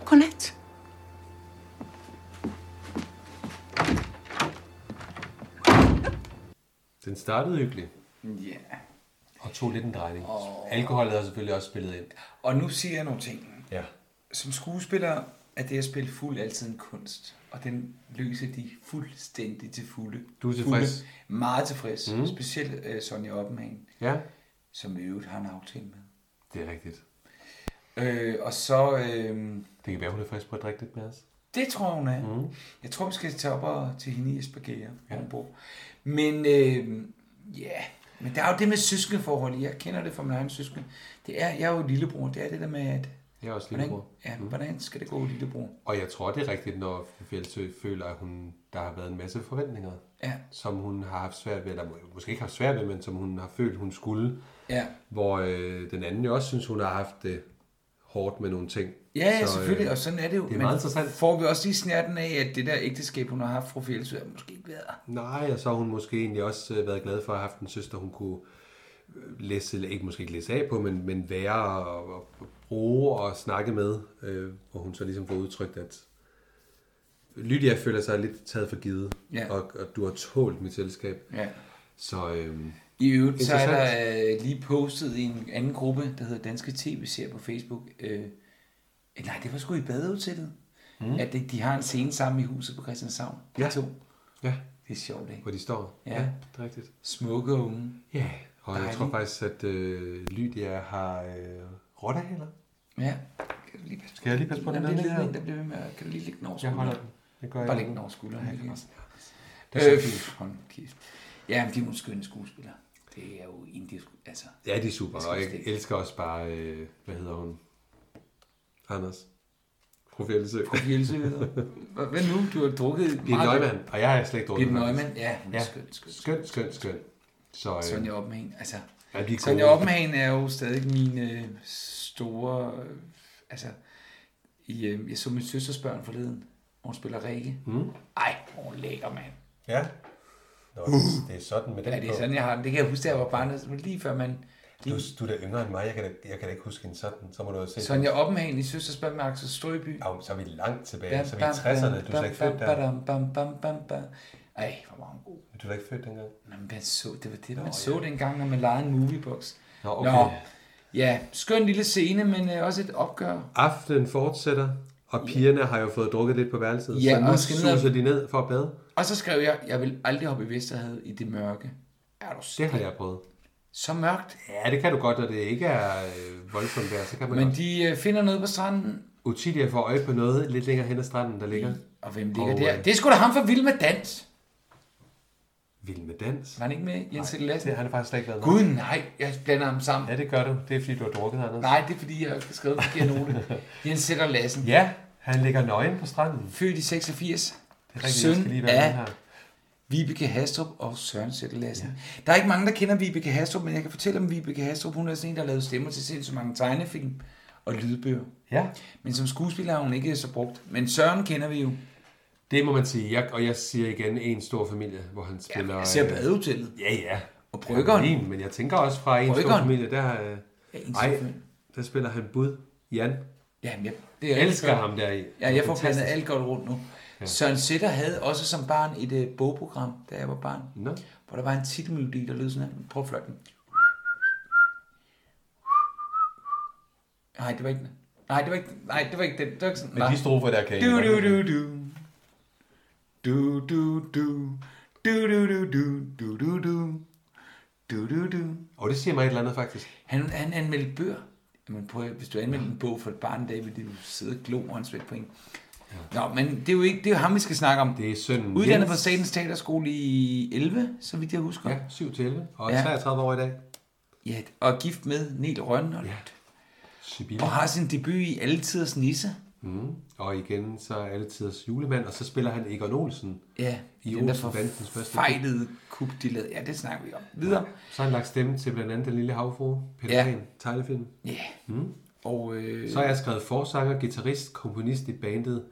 Speaker 14: Godnat.
Speaker 4: Den startede hyggeligt
Speaker 3: Ja.
Speaker 4: og tog lidt en drejning. Oh. Alkoholet har selvfølgelig også spillet ind.
Speaker 3: Og nu siger jeg nogle ting.
Speaker 4: Ja.
Speaker 3: Som skuespiller er det at spille fuld altid en kunst. Og den løser de fuldstændig til fulde.
Speaker 4: Du er tilfreds? Mhm.
Speaker 3: Fulde. Meget tilfreds. Mm. Specielt uh, Sonja Oppenhagen,
Speaker 4: Ja,
Speaker 3: som i øvrigt har en aftale med.
Speaker 4: det er rigtigt.
Speaker 3: Øh, og så... Øh,
Speaker 4: Det kan være, hun er frisk på at drikke lidt med os.
Speaker 3: det tror jeg, hun er.
Speaker 4: Mhm.
Speaker 3: Mm. Jeg tror, vi skal tage op og til hende i Esbjerg, hvor hun bor. Men øh, ja, men der er jo det med søskendeforhold. Jeg kender det fra min egen søskende. Det er, jeg er jo lillebror. Det er det der med, at
Speaker 4: Jeg er også
Speaker 3: Hvordan,
Speaker 4: lillebror.
Speaker 3: ja, hvordan skal det gå, lillebror?
Speaker 4: Og jeg tror, det er rigtigt, når Fjeldsø føler, at hun, der har været en masse forventninger,
Speaker 3: Ja.
Speaker 4: som hun har haft svært ved, eller må- måske ikke haft svært ved, men som hun har følt, hun skulle.
Speaker 3: Ja.
Speaker 4: Hvor øh, den anden jo også synes, hun har haft det hårdt med nogle ting. øh,
Speaker 3: Ja, ja, selvfølgelig, og sådan er det jo.
Speaker 4: Det er
Speaker 3: Men
Speaker 4: meget interessant.
Speaker 3: Får vi også lige snærten af, at det der ægteskab, hun har haft, fru Fjeldsø, har måske ikke været der?
Speaker 4: Nej, og så har hun måske egentlig også øh, været glad for at have haft en søster, hun kunne øh, læse, eller ikke måske ikke læse af på, men, men være og, og bruge og snakke med, øh, hvor hun så ligesom får udtrykt, at Lydia føler sig lidt taget for givet,
Speaker 3: Ja.
Speaker 4: og, og du har tålt mit selskab.
Speaker 3: Ja.
Speaker 4: Så øh,
Speaker 3: I øvrigt, så er der øh, lige postet i en anden gruppe, der hedder Danske TV-serier på Facebook. Øh, eh, nej, det var sgu i badehotellet.
Speaker 4: Mm.
Speaker 3: Mm. At de, de har en scene sammen i huset på Christianshavn. De
Speaker 4: Ja.
Speaker 3: to.
Speaker 4: Ja.
Speaker 3: Det er sjovt, ikke?
Speaker 4: Hvor de står.
Speaker 3: Ja.
Speaker 4: Ja, det er rigtigt.
Speaker 3: Smukke unge.
Speaker 4: Ja, og jeg
Speaker 3: Dejlige.
Speaker 4: tror faktisk, at øh, Lydia har øh, rottehaler.
Speaker 3: Ja. Kan du lige passe
Speaker 4: Skal jeg lige passe på den
Speaker 3: Jamen, det er
Speaker 4: der?
Speaker 3: lige en, der bliver ved med at- Kan du lige lægge den over
Speaker 4: Jeg
Speaker 3: skulderen?
Speaker 4: holder den. Det gør jeg.
Speaker 3: Bare lægge den over skulderen.
Speaker 4: Ja, jeg kan
Speaker 3: ikke?
Speaker 4: også.
Speaker 3: Øh,
Speaker 4: Det er så
Speaker 3: pff, hold kæft. Ja, men de er nogle skønne skuespillere. Det er jo indisk. Altså,
Speaker 4: Ja, de er super,
Speaker 3: det skal
Speaker 4: og
Speaker 3: vi
Speaker 4: jeg
Speaker 3: slet ikke.
Speaker 4: elsker også bare, øh, hvad hedder hun? Anders. Fru Fjellsø.
Speaker 3: Fru Fjeldsø hedder hun. Hvad- hvad nu? Du har drukket
Speaker 4: Birgit
Speaker 3: meget-
Speaker 4: Nøgman, og jeg har slet ikke drukket
Speaker 3: Birgit
Speaker 4: faktisk.
Speaker 3: Neumann, ja, hun er skøn, skøn,
Speaker 4: skøn, skøn, skøn. Så, øh,
Speaker 3: Sonja Oppenhagen. Altså,
Speaker 4: Ja, de er
Speaker 3: Sonja
Speaker 4: gode.
Speaker 3: Oppenhagen er jo stadig min øh, store... Øh, altså, i, øh, jeg så min søsters børn forleden. Hun spiller Rikke.
Speaker 4: Mm.
Speaker 3: Ej, hun er lækker, mand.
Speaker 4: Ja. Nå, det- det er sådan med den
Speaker 3: Ja, det er
Speaker 4: på.
Speaker 3: sådan, jeg har den. Det kan jeg huske, da jeg var barn. Det var Lige før man...
Speaker 4: Du, du er da yngre end mig, jeg kan da, jeg kan da ikke huske en sådan. Så må du jo se.
Speaker 3: Sonja Oppenhagen i Søsters Børn med Axel Strøby.
Speaker 4: Ja, så er vi langt tilbage. Så er vi i 60'erne. Du er slet ikke født der.
Speaker 3: Bam, bam, bam, bam, bam. Ej, hvor var hun god.
Speaker 4: Du er da ikke født dengang.
Speaker 3: Men man så, det var det, man så dengang, når man lejede en moviebox.
Speaker 4: Nå, okay.
Speaker 3: ja, skøn lille scene, men øh, også et opgør.
Speaker 4: Aftenen fortsætter, og pigerne har jo fået drukket lidt på værelset.
Speaker 3: Ja,
Speaker 4: så nu
Speaker 3: og skal ned og-
Speaker 4: suser de ned for at bade.
Speaker 3: Og så skrev jeg, jeg vil aldrig hoppe i Vesterhavet i det mørke. Er du
Speaker 4: Det har jeg prøvet.
Speaker 3: Så mørkt.
Speaker 4: Ja, det kan du godt, når det ikke er øh, voldsomt vejr, så kan man
Speaker 3: Men
Speaker 4: godt.
Speaker 3: de øh, finder noget på stranden.
Speaker 4: Utilia får øje på noget lidt længere hen ad stranden, der ligger.
Speaker 3: Og hvem ligger der? Det er sgu da ham fra Vild med Dans.
Speaker 4: Vild med dans.
Speaker 3: Var han ikke med, Jens Ekel Lassen?
Speaker 4: det har det faktisk slet ikke været.
Speaker 3: Gud nej, jeg blander ham sammen.
Speaker 4: Ja, det gør du. Det er fordi, du har drukket, Anders.
Speaker 3: Nej, det er fordi, jeg har skrevet en forkert note. Jens Sætter Lassen.
Speaker 4: Ja, han ligger nøgen på stranden.
Speaker 3: Født i 86.
Speaker 4: Det er rigtigt, jeg
Speaker 3: Søn
Speaker 4: skal lige være med
Speaker 3: af
Speaker 4: her.
Speaker 3: Vibeke Hastrup og Søren Sætter Lassen. Ja. Der er ikke mange, der kender Vibeke Hastrup, men jeg kan fortælle om Vibeke Hastrup. Hun er sådan en, der har lavet stemmer til sindssygt mange tegnefilm og lydbøger.
Speaker 4: Ja.
Speaker 3: Men som skuespiller har hun ikke så brugt. Men Søren kender vi jo.
Speaker 4: Det må man sige. Jeg, og jeg siger igen, en stor familie, hvor han spiller...
Speaker 3: jeg ser
Speaker 4: øh,
Speaker 3: badehotellet.
Speaker 4: Ja, ja.
Speaker 3: Og bryggeren.
Speaker 4: Ja, men jeg tænker også fra en stor
Speaker 3: Bryggeren.
Speaker 4: familie, der... Øh,
Speaker 3: Ja, En Stor
Speaker 4: ej,
Speaker 3: Familie.
Speaker 4: der spiller han Bud. Jan.
Speaker 3: Ja, men jeg,
Speaker 4: det er
Speaker 3: rigtig
Speaker 4: elsker
Speaker 3: godt.
Speaker 4: ham der i.
Speaker 3: Ja, jeg får
Speaker 4: Fantastisk.
Speaker 3: blandet alt godt rundt nu.
Speaker 4: Ja.
Speaker 3: Ja. Søren Sætter havde også som barn et øh, bogprogram, da jeg var barn.
Speaker 4: Nå.
Speaker 3: Hvor der var en titelmelodi, der lød sådan her. Prøv at fløjte den. Nej, det var ikke den. Nej, det var ikke, nej, det var ikke den. Det var ikke sådan.
Speaker 4: Men de strofer der kan jeg
Speaker 3: du,
Speaker 4: ikke
Speaker 3: du,
Speaker 4: godt
Speaker 3: du, du. Du, du, du. Du, du, du, du. Du, du, du. Du, du, du.
Speaker 4: Og det siger mig et eller andet, faktisk.
Speaker 3: Han, han anmeldte bøger. Jamen prøv, at- hvis du anmeldte en bog for et barn en dag, ville du sidde og glo og på en. Nå, men det er jo ikke, det er jo ham, vi skal snakke om.
Speaker 4: Det er sønnen
Speaker 3: Uddannet
Speaker 4: Jens.
Speaker 3: fra Statens Teaterskole i 11, så vidt jeg husker.
Speaker 4: Ja, 7 til 11. Og 33 år i dag.
Speaker 3: Ja, og er gift med Niel Rønne. Ja.
Speaker 4: Sibylle.
Speaker 3: Og har sin debut i Altiders Nisse.
Speaker 4: Mm. Og igen, så er alle tiders julemand, og så spiller han Egon Olsen
Speaker 3: Ja,
Speaker 4: i
Speaker 3: den der
Speaker 4: Olsenbandens første
Speaker 3: forfejlede kub, de lavede. Ja, det snakker vi om. Videre.
Speaker 4: Så har han lagt stemme til blandt andet Den Lille Havfru, Peter
Speaker 3: Ja.
Speaker 4: ja. Pan, tegnefilm.
Speaker 3: Ja.
Speaker 4: Mm.
Speaker 3: Og, øh,
Speaker 4: Så har jeg skrevet forsanger, guitarist, komponist i bandet,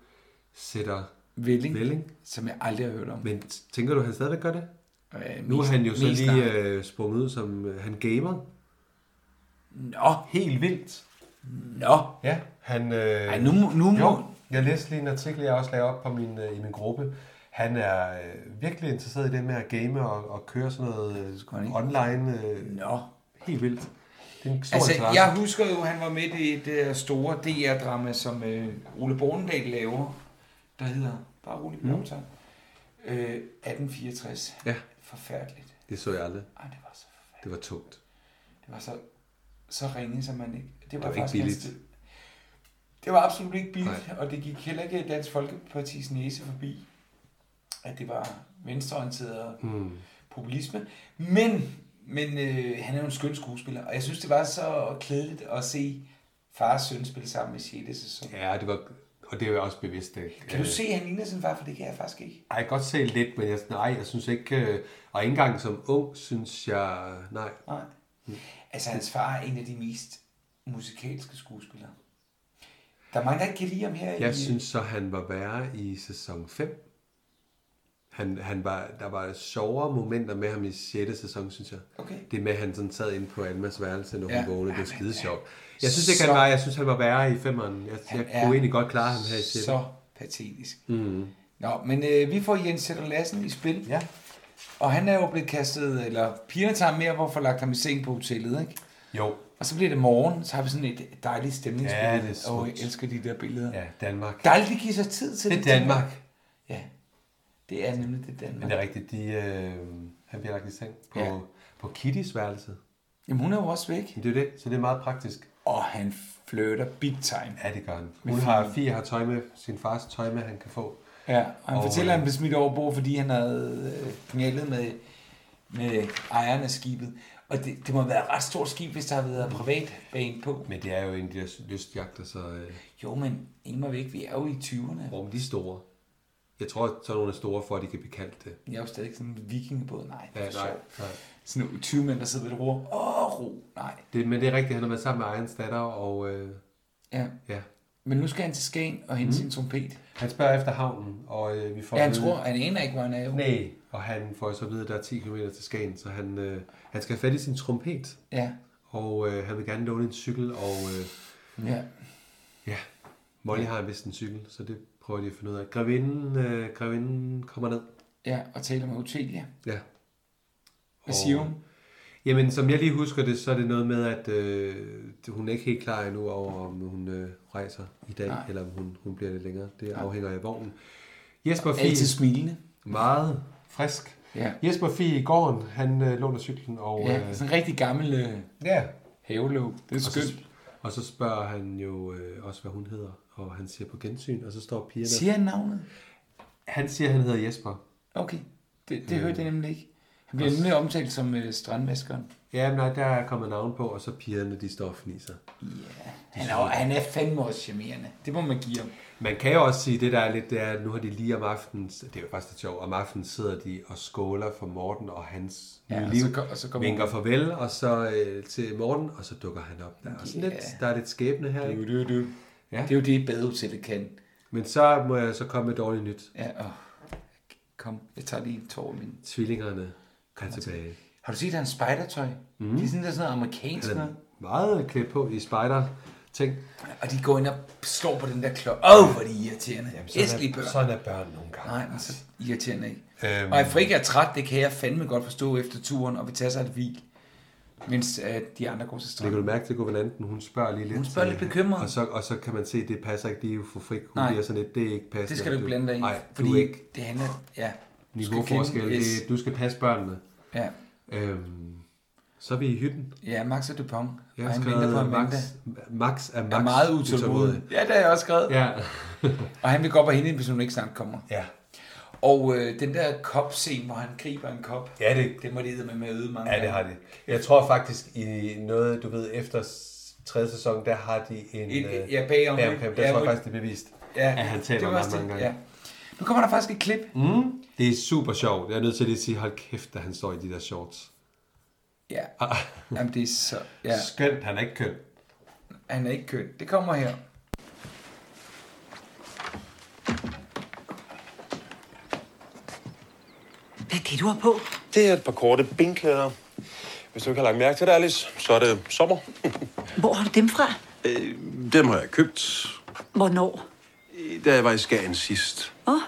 Speaker 4: sætter
Speaker 3: Velling,
Speaker 4: Velling.
Speaker 3: som jeg aldrig har hørt om.
Speaker 4: Men t- tænker du, han stadigvæk gør det?
Speaker 3: Øh,
Speaker 4: nu er
Speaker 3: mest-
Speaker 4: han jo så
Speaker 3: mest
Speaker 4: lige
Speaker 3: nej.
Speaker 4: øh, sprunget ud som, øh, han gamer.
Speaker 3: Nå.
Speaker 4: Helt vildt.
Speaker 3: Nå.
Speaker 4: Ja, han... Øh,
Speaker 3: Ej, nu må- nu må-
Speaker 4: Jo, jeg læste lige en artikel, jeg også lavede op på min, øh, i min gruppe. Han er øh, virkelig interesseret i det med at game og, og køre sådan noget øh, online. Øh,
Speaker 3: Nå.
Speaker 4: Helt vildt. Det er en stor
Speaker 3: Altså,
Speaker 4: interesse.
Speaker 3: jeg husker jo, at han var med i det der store DR-drama, som øh, Ole Bornedal laver, der hedder Bare rolig,
Speaker 4: Mm.
Speaker 3: mm. øh, 1864.
Speaker 4: Ja.
Speaker 3: Øh, Forfærdeligt.
Speaker 4: Det så jeg aldrig.
Speaker 3: Ej, det var så forfærdeligt.
Speaker 4: Det var tungt.
Speaker 3: Det var så, så ringe, som man ikke...
Speaker 4: Det var ikke
Speaker 3: faktisk
Speaker 4: billigt.
Speaker 3: hans- Det var absolut ikke billigt, Nej. og det gik heller ikke Dansk Folkeparti's næse forbi, at det var venstreorienteret
Speaker 4: Mm.
Speaker 3: mm. populisme. Men, men øh, han er jo en skøn skuespiller, og jeg synes, det var så klædeligt at se fars søn spille sammen i 6. sæson.
Speaker 4: Ja, det var, og det er jo også bevidst. Det.
Speaker 3: Kan du se, at han ligner sin far, for det kan jeg faktisk ikke.
Speaker 4: Ej, jeg kan godt se lidt, men jeg, nej, jeg synes ikke... øh, Og ikke engang som ung, synes jeg... Nej.
Speaker 3: Nej. Altså, hans far er en af de mest musikalske skuespillere. Der er mange, der ikke kan lide ham her i...
Speaker 4: Jeg synes så, han var værre i sæson 5. Han, han var, der var sjovere momenter med ham i 6. sæson, synes jeg.
Speaker 3: Okay.
Speaker 4: Det med, at han sådan sad inde på Almas værelse, når
Speaker 3: Ja.
Speaker 4: ja. hun vågnede. Det var
Speaker 3: Ja,
Speaker 4: skide
Speaker 3: men,
Speaker 4: sjovt.
Speaker 3: ja.
Speaker 4: Jeg synes ikke,
Speaker 3: Så-
Speaker 4: han var... Jeg synes, han var værre i 5'eren. Jeg, jeg
Speaker 3: er
Speaker 4: kunne egentlig godt klare ham her i 6.
Speaker 3: Så patetisk.
Speaker 4: Mm.
Speaker 3: Nå, men øh, vi får Jens Sætter Lassen i spil.
Speaker 4: Ja.
Speaker 3: Og han er jo blevet kastet, eller pigerne tager ham med op og får lagt ham i seng på hotellet, ikke?
Speaker 4: Jo.
Speaker 3: Og så bliver det morgen, så har vi sådan et dejligt stemningsbillede.
Speaker 4: Ja, det er smukt.
Speaker 3: Og jeg elsker de der billeder.
Speaker 4: Ja, Danmark.
Speaker 3: Dejligt, de giver sig tid til
Speaker 4: Det er
Speaker 3: tænker jeg.
Speaker 4: Danmark.
Speaker 3: Ja, det er nemlig det Danmark.
Speaker 4: Men det er rigtigt, de, øh, han bliver lagt i seng på,
Speaker 3: Ja.
Speaker 4: ja. på Kittys værelse.
Speaker 3: Jamen hun er jo også væk.
Speaker 4: Det er jo det, så det er meget praktisk.
Speaker 3: Og han flirter big time.
Speaker 4: Ja, det gør han.
Speaker 3: Med
Speaker 4: Hun har,
Speaker 3: Fie.
Speaker 4: Fie har tøj med, sin fars tøj med, han kan få.
Speaker 3: Ja, og han
Speaker 4: Og,
Speaker 3: fortæller, at han
Speaker 4: øh,
Speaker 3: blev smidt overbord, fordi han havde øh, knaldet med, med ejeren af skibet. Og det, det må have været et ret stort skib, hvis der har været privat bane på.
Speaker 4: Men det er jo en af de der lystjagter, så... Øh,
Speaker 3: jo, men Ingmar væk, vi er jo i 20'erne.
Speaker 4: Hvor de er store. Jeg tror, at sådan nogle er store, for at de kan blive kaldt det.
Speaker 3: Jeg er jo stadig sådan en vikingebåd. Nej, det
Speaker 4: Ja,
Speaker 3: er
Speaker 4: nej,
Speaker 3: sjovt.
Speaker 4: nej.
Speaker 3: Sådan nogle 20 mænd, der sidder ved et ror. Åh, ro. Nej.
Speaker 4: Det, men det er rigtigt, han har været sammen med egen datter, og øh,
Speaker 3: Ja.
Speaker 4: ja.
Speaker 3: Men nu skal han til Skagen og hente
Speaker 4: Mm.
Speaker 3: mm. sin trompet.
Speaker 4: han spørger efter havnen, og øh, vi får...
Speaker 3: Ja, han
Speaker 4: at vide-
Speaker 3: tror, han aner ikke, hvor han er. jo.
Speaker 4: Nej, og han får så at vide, at der er 10 km til Skagen, så han, øh, han skal have fat i sin trompet.
Speaker 3: Ja.
Speaker 4: Og øh, han vil gerne låne en cykel, og... Øh,
Speaker 3: Ja.
Speaker 4: Ja. Molly har vist en cykel, så det prøver de at finde ud af. Grevinden, øh, grevinden kommer ned.
Speaker 3: Ja, og taler med Otelia.
Speaker 4: Ja.
Speaker 3: Hvad siger hun?
Speaker 4: Jamen, som jeg lige husker det, så er det noget med, at øh, hun er ikke helt klar endnu over, om hun øh, rejser i dag,
Speaker 3: Nej.
Speaker 4: Nej. eller om hun, hun bliver det længere. Det
Speaker 3: Nej.
Speaker 4: afhænger af vognen. Jesper Fie...
Speaker 3: Altid smilende.
Speaker 4: Meget frisk.
Speaker 3: Ja.
Speaker 4: Jesper Fie i gården, han øh, låner cyklen, og...
Speaker 3: Ja, sådan en rigtig gammel øh,
Speaker 4: ja.
Speaker 3: havelåg. Det er
Speaker 4: og så,
Speaker 3: skønt.
Speaker 4: og så spørger han jo øh, også, hvad hun hedder, og han siger på gensyn, og så står pigerne...
Speaker 3: Siger han navnet?
Speaker 4: Han siger, han hedder Jesper.
Speaker 3: Okay, det, det
Speaker 4: Øh.
Speaker 3: hørte jeg nemlig ikke. Han bliver
Speaker 4: Og s-
Speaker 3: nemlig omtalt som øh, strandmaskeren.
Speaker 4: Ja, men nej, der er kommet navn på, og så pigerne, de står og fniser.
Speaker 3: Ja, han er, han er fandme også charmerende. Det må man give ham.
Speaker 4: Man kan jo også sige, det der er lidt, det er, at nu har de lige om aftenen, det er jo faktisk lidt sjovt, om aftenen sidder de og skåler for Morten og hans
Speaker 3: Ja,
Speaker 4: ja,
Speaker 3: og
Speaker 4: liv,
Speaker 3: så kom- og så kommer-
Speaker 4: vinker farvel, og så øh, til Morten, og så dukker han op. Der er, også
Speaker 3: Ja.
Speaker 4: lidt, der er lidt skæbne her, ikke?
Speaker 3: Du, du, du.
Speaker 4: Ja.
Speaker 3: Det er jo det, badehotellet kan.
Speaker 4: Men så må jeg så komme med dårligt nyt.
Speaker 3: Ja, åh. Kom, jeg tager lige en tår af min.
Speaker 4: Tvillingerne kommer tilbage.
Speaker 3: Har du set hans spejdertøj? Mm. Det er sådan, der er sådan noget amerikansk
Speaker 4: Han er
Speaker 3: noget.
Speaker 4: meget klædt på i spider-ting.
Speaker 3: Og de går ind og slår på den der klokke. Åh, oh, hvor er de irriterende. Jamen,
Speaker 4: sådan er-
Speaker 3: Æskelige børn.
Speaker 4: sådan er børn nogle gange.
Speaker 3: Nej, men så irriterende ikke. Øhm.
Speaker 4: Øhm.
Speaker 3: Og at Frigga er træt, det kan jeg fandme godt forstå efter turen, og vil tage sig et hvil, mens at de andre går til
Speaker 4: Det kan
Speaker 3: stranden.
Speaker 4: du mærke til guvernanten, hun spørger lige lidt. øh,
Speaker 3: Hun spørger lidt bekymret.
Speaker 4: Og så, og så kan man se, at det passer ikke lige for frik. Hun
Speaker 3: Nej.
Speaker 4: Nej. bliver sådan lidt, det er ikke passende.
Speaker 3: Det skal du ikke blande dig i,
Speaker 4: Nej,
Speaker 3: fordi
Speaker 4: du er ikke
Speaker 3: det handler... Ja, du skal
Speaker 4: niveauforskel.
Speaker 3: kende- yes.
Speaker 4: Det, er- du skal passe børnene.
Speaker 3: Ja.
Speaker 4: Øhm, så er vi i hytten.
Speaker 3: Ja, Max og Dupont.
Speaker 4: Jeg
Speaker 3: og
Speaker 4: har
Speaker 3: han venter
Speaker 4: skrevet, at
Speaker 3: på Amanda.
Speaker 4: Max, Max er Max
Speaker 3: er meget utålmodig. Ja, det har jeg også skrevet.
Speaker 4: Ja.
Speaker 3: og han vil gå op og hente hende, hvis hun ikke snart kommer.
Speaker 4: Ja.
Speaker 3: Og øh, den der kop-scene, hvor han griber en kop,
Speaker 4: Ja, det-
Speaker 3: det må de med med øde mange
Speaker 4: Ja, det
Speaker 3: gange.
Speaker 4: har de. Jeg tror faktisk, i noget, du ved, efter s- tredje sæson, der har de en...
Speaker 3: Et- et-
Speaker 4: øh,
Speaker 3: ja, bagom.
Speaker 4: bagomkamp. Der
Speaker 3: Ja,
Speaker 4: tror
Speaker 3: hvor-
Speaker 4: jeg faktisk, det er bevist,
Speaker 3: Ja,
Speaker 4: at han
Speaker 3: det
Speaker 4: taler
Speaker 3: var
Speaker 4: meget
Speaker 3: også det,
Speaker 4: mange gange.
Speaker 3: ja. Nu kommer der faktisk et klip.
Speaker 4: Mm. Det er super sjovt. Jeg er nødt til lige at sige, hold kæft, da han står i de der shorts.
Speaker 3: Ja.
Speaker 4: Ah.
Speaker 3: Jamen, det er så... Ja.
Speaker 4: Skønt, han er ikke køn.
Speaker 3: Han er ikke køn. Det kommer her.
Speaker 14: Hvad er det, du har på?
Speaker 15: Det er et par korte benklæder. Hvis du ikke har lagt mærke til det, Alice, så er det sommer.
Speaker 14: Hvor har du dem fra?
Speaker 7: Øh, dem har jeg købt,
Speaker 14: Hvornår?
Speaker 7: øh, da jeg var i Skagen sidst.
Speaker 14: Åh, oh,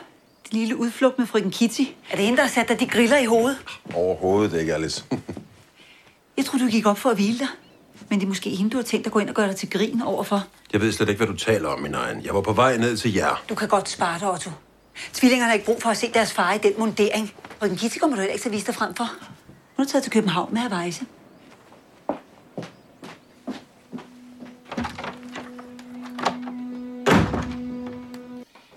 Speaker 14: det lille udflugt med frøken Kitty. Er det hende, der har sat dig de griller i hovedet?
Speaker 7: Overhovedet ikke, Alice.
Speaker 14: Jeg tror du gik op for at hvile dig. Men det er måske hende, du har tænkt at gå ind og gøre dig til grin overfor.
Speaker 7: jeg ved slet ikke, hvad du taler om, min egen. Jeg var på vej ned til jer.
Speaker 14: Du kan godt spare dig, Otto. Tvillingerne har ikke brug for at se deres far i den mundering. Og den kitty kommer du heller ikke til at vise dig frem for. Hun er taget til København med at rejse.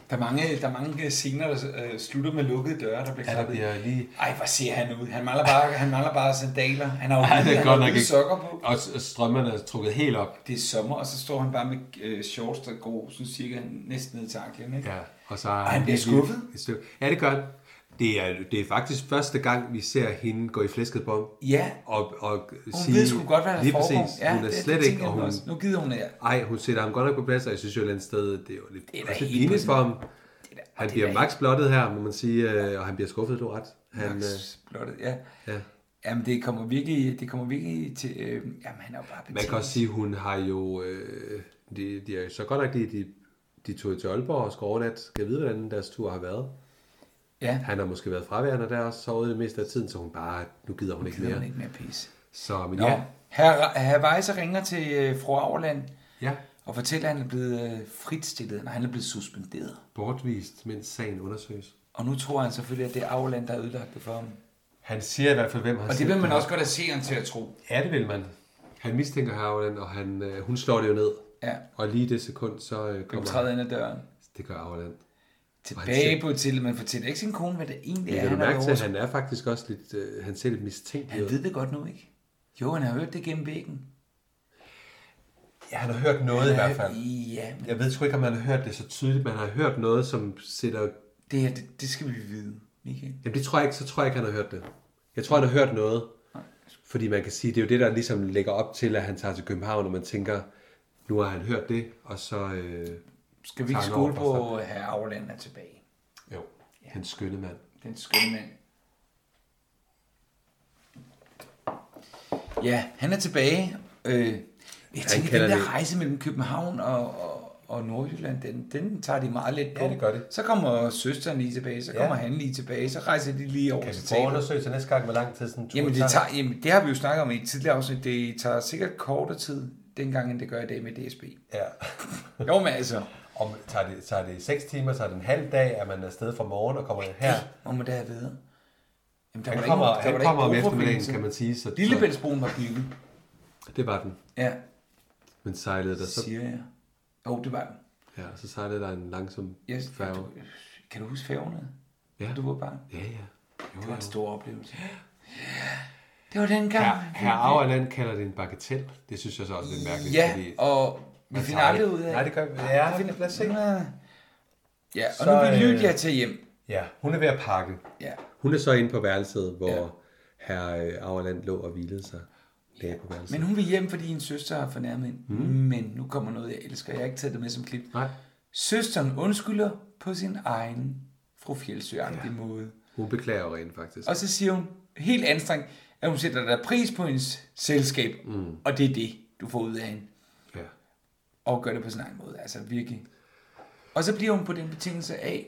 Speaker 3: Der er mange, der er mange scener, der øh, slutter med lukkede døre, der bliver
Speaker 4: Ja, der
Speaker 3: klappet.
Speaker 4: bliver lige...
Speaker 3: Ej, hvor ser han ud. Han mangler bare, han mangler bare sandaler. Han har jo
Speaker 4: Ej, det er
Speaker 3: han
Speaker 4: godt
Speaker 3: har
Speaker 4: nok
Speaker 3: hvide
Speaker 4: ikke.
Speaker 3: sokker på.
Speaker 4: Og s- og strømmerne er trukket helt op.
Speaker 3: Det er sommer, og så står han bare med øh, shorts, der går sådan cirka næsten ned til anklen, ikke?
Speaker 4: Ja, og så
Speaker 3: Ej, han bliver skuffet.
Speaker 4: Ja, det gør han. det er, det er faktisk første gang, vi ser hende gå i flæsket bom.
Speaker 3: Ja.
Speaker 4: Og, og
Speaker 3: Hun
Speaker 4: sige,
Speaker 3: ved sgu godt, hvad der
Speaker 4: lige
Speaker 3: foregår.
Speaker 4: præcis,
Speaker 3: Ja,
Speaker 4: ja, hun er
Speaker 3: det- det
Speaker 4: slet
Speaker 3: tænker
Speaker 4: ikke,
Speaker 3: jeg
Speaker 4: og hun...
Speaker 3: også. Nu gider hun det.
Speaker 4: Ej, hun sætter ham godt nok på plads, og jeg synes jo et eller andet sted, det er jo lidt, det
Speaker 3: da
Speaker 4: er lidt
Speaker 3: helt
Speaker 4: pinligt
Speaker 3: vildt.
Speaker 4: for ham. Han
Speaker 3: det er
Speaker 4: bliver
Speaker 3: da
Speaker 4: max blottet her, må man sige, øh, og han bliver skuffet, du har ret. Han, øh,
Speaker 3: Max blottet, ja.
Speaker 4: ja.
Speaker 3: Jamen, det kommer virkelig, det kommer virkelig til... Øh, jamen, han er jo bare
Speaker 4: Man kan
Speaker 3: betinget.
Speaker 4: også sige, hun har jo... Øh, de, de er jo så godt nok, de, de, de tog til Aalborg og skulle overnatte. Skal jeg vide, hvordan deres tur har været?
Speaker 3: Ja.
Speaker 4: Han har måske været fraværende der og sovet det meste af tiden, så hun bare, nu gider hun ikke
Speaker 3: gider
Speaker 4: mere.
Speaker 3: hun ikke mere pisse.
Speaker 4: Så, men
Speaker 3: Nå,
Speaker 4: ja.
Speaker 3: ja. herr, herr Weiser ringer til øh, fru Auerland
Speaker 4: Ja.
Speaker 3: og fortæller, at han er blevet øh, fritstillet, når han er blevet suspenderet.
Speaker 4: Bortvist, mens sagen undersøges.
Speaker 3: Og nu tror han selvfølgelig, at det er Auerland, der har ødelagt det for ham.
Speaker 4: Han siger i hvert fald, hvem har
Speaker 3: Og det
Speaker 4: set
Speaker 3: vil man også godt have seeren til at tro.
Speaker 4: Ja, det vil man. Han mistænker Havland, og han, øh, hun slår det jo ned.
Speaker 3: Ja.
Speaker 4: Og lige i det sekund, så øh, kommer
Speaker 3: træder
Speaker 4: han-
Speaker 3: ind ad døren?
Speaker 4: Det gør Havland.
Speaker 3: Tilbage på til, man fortæller ikke sin kone, hvad det egentlig
Speaker 4: Ja,
Speaker 3: er.
Speaker 4: kan du
Speaker 3: har
Speaker 4: mærke til, at
Speaker 3: overskud-
Speaker 4: han er faktisk også lidt, øh, han ser lidt mistænkt
Speaker 3: Han ved det godt nu, ikke? Jo, han har hørt det gennem væggen.
Speaker 4: Ja, han har hørt noget i hvert fald.
Speaker 3: Ja,
Speaker 4: Jeg ved sgu ikke, om han har hørt det så tydeligt, men han har hørt noget, som sætter...
Speaker 3: Det her, det, det skal vi vide, Michael.
Speaker 4: Jamen, det tror jeg ikke, så tror jeg ikke, han har hørt det. Jeg tror, han har hørt noget. Fordi man kan sige, det er jo det, der ligesom lægger op til, at han tager til København, og man tænker, nu har han hørt det, og så... Øh,
Speaker 3: Skal vi ikke skole på, at herre Auerland er tilbage?
Speaker 4: Jo, ja. en skønne mand.
Speaker 3: Den skønne mand. Ja, han er tilbage. Øh, jeg
Speaker 4: Han
Speaker 3: tænker,
Speaker 4: kalder
Speaker 3: den der
Speaker 4: det-
Speaker 3: rejse mellem København og, og, og Nordjylland, den, den tager de meget let på.
Speaker 4: Ja, det gør det.
Speaker 3: Så kommer søsteren lige tilbage, så
Speaker 4: Ja.
Speaker 3: kommer han lige tilbage, så rejser de lige over
Speaker 4: Kan vi
Speaker 3: til
Speaker 4: få
Speaker 3: Thailand.
Speaker 4: undersøgelser næste gang, hvor lang tid sådan en tur
Speaker 3: Altså, Jamen det,
Speaker 4: tager?
Speaker 3: tager, jamen, det har vi jo snakket om i et tidligere afsnit. Det tager sikkert kortere tid dengang, end det gør i dag med DSB.
Speaker 4: Ja.
Speaker 3: jo, men altså...
Speaker 4: Om, tager, det, tager det 6 timer, tager det en halv dag, er man afsted fra morgen og kommer her?
Speaker 3: Må man da have videre. Jamen,
Speaker 4: Han
Speaker 3: var da
Speaker 4: kommer-
Speaker 3: ikke- der
Speaker 4: han
Speaker 3: var da
Speaker 4: kommer om
Speaker 3: ikke broforbindelse.
Speaker 4: eftermiddagen, kan man sige, så-
Speaker 3: Lillebæltsbroen var bygget.
Speaker 4: Det var den.
Speaker 3: Ja.
Speaker 4: Men sejlede der så...
Speaker 3: Siger jeg. Jo, det var den.
Speaker 4: Ja, og så sejlede der en langsom
Speaker 3: Yes,
Speaker 4: færge.
Speaker 3: Kan du huske færgerne?
Speaker 4: Ja.
Speaker 3: Du var barn?
Speaker 4: Ja, ja. Jo,
Speaker 3: det var en
Speaker 4: jo.
Speaker 3: stor oplevelse. Det var den gang.
Speaker 4: Her, her Auerland kalder det en bagatell. Det synes jeg så også er lidt mærkeligt.
Speaker 3: Ja,
Speaker 4: fordi
Speaker 3: og vi
Speaker 4: man
Speaker 3: finder
Speaker 4: tager
Speaker 3: aldrig
Speaker 4: det-
Speaker 3: ud af
Speaker 4: Nej, det gør vi. Ja,
Speaker 3: vi. Lad os se. Ja, og
Speaker 4: Så,
Speaker 3: nu vil
Speaker 4: øh,
Speaker 3: Lydia tage hjem.
Speaker 4: ja, hun er ved at pakke.
Speaker 3: Ja.
Speaker 4: Hun er så inde på værelset, hvor ja. herr Auerland lå og hvilede sig. Ja, på værelset.
Speaker 3: Men hun vil hjem, fordi hendes søster har fornærmet hende.
Speaker 4: Mm.
Speaker 3: Mm. Men nu kommer noget, jeg elsker. Jeg har ikke taget det med som klip.
Speaker 4: Nej.
Speaker 3: Søsteren undskylder på sin egen fru Fjeldsø ja. måde.
Speaker 4: Hun beklager jo rent faktisk.
Speaker 3: Og så siger hun, helt anstrengt, at hun sætter der pris på hendes selskab.
Speaker 4: Mm.
Speaker 3: Og det er det, du får ud af hende.
Speaker 4: Ja.
Speaker 3: Og gør det på sin egen måde, altså virkelig. Og så bliver hun på den betingelse af,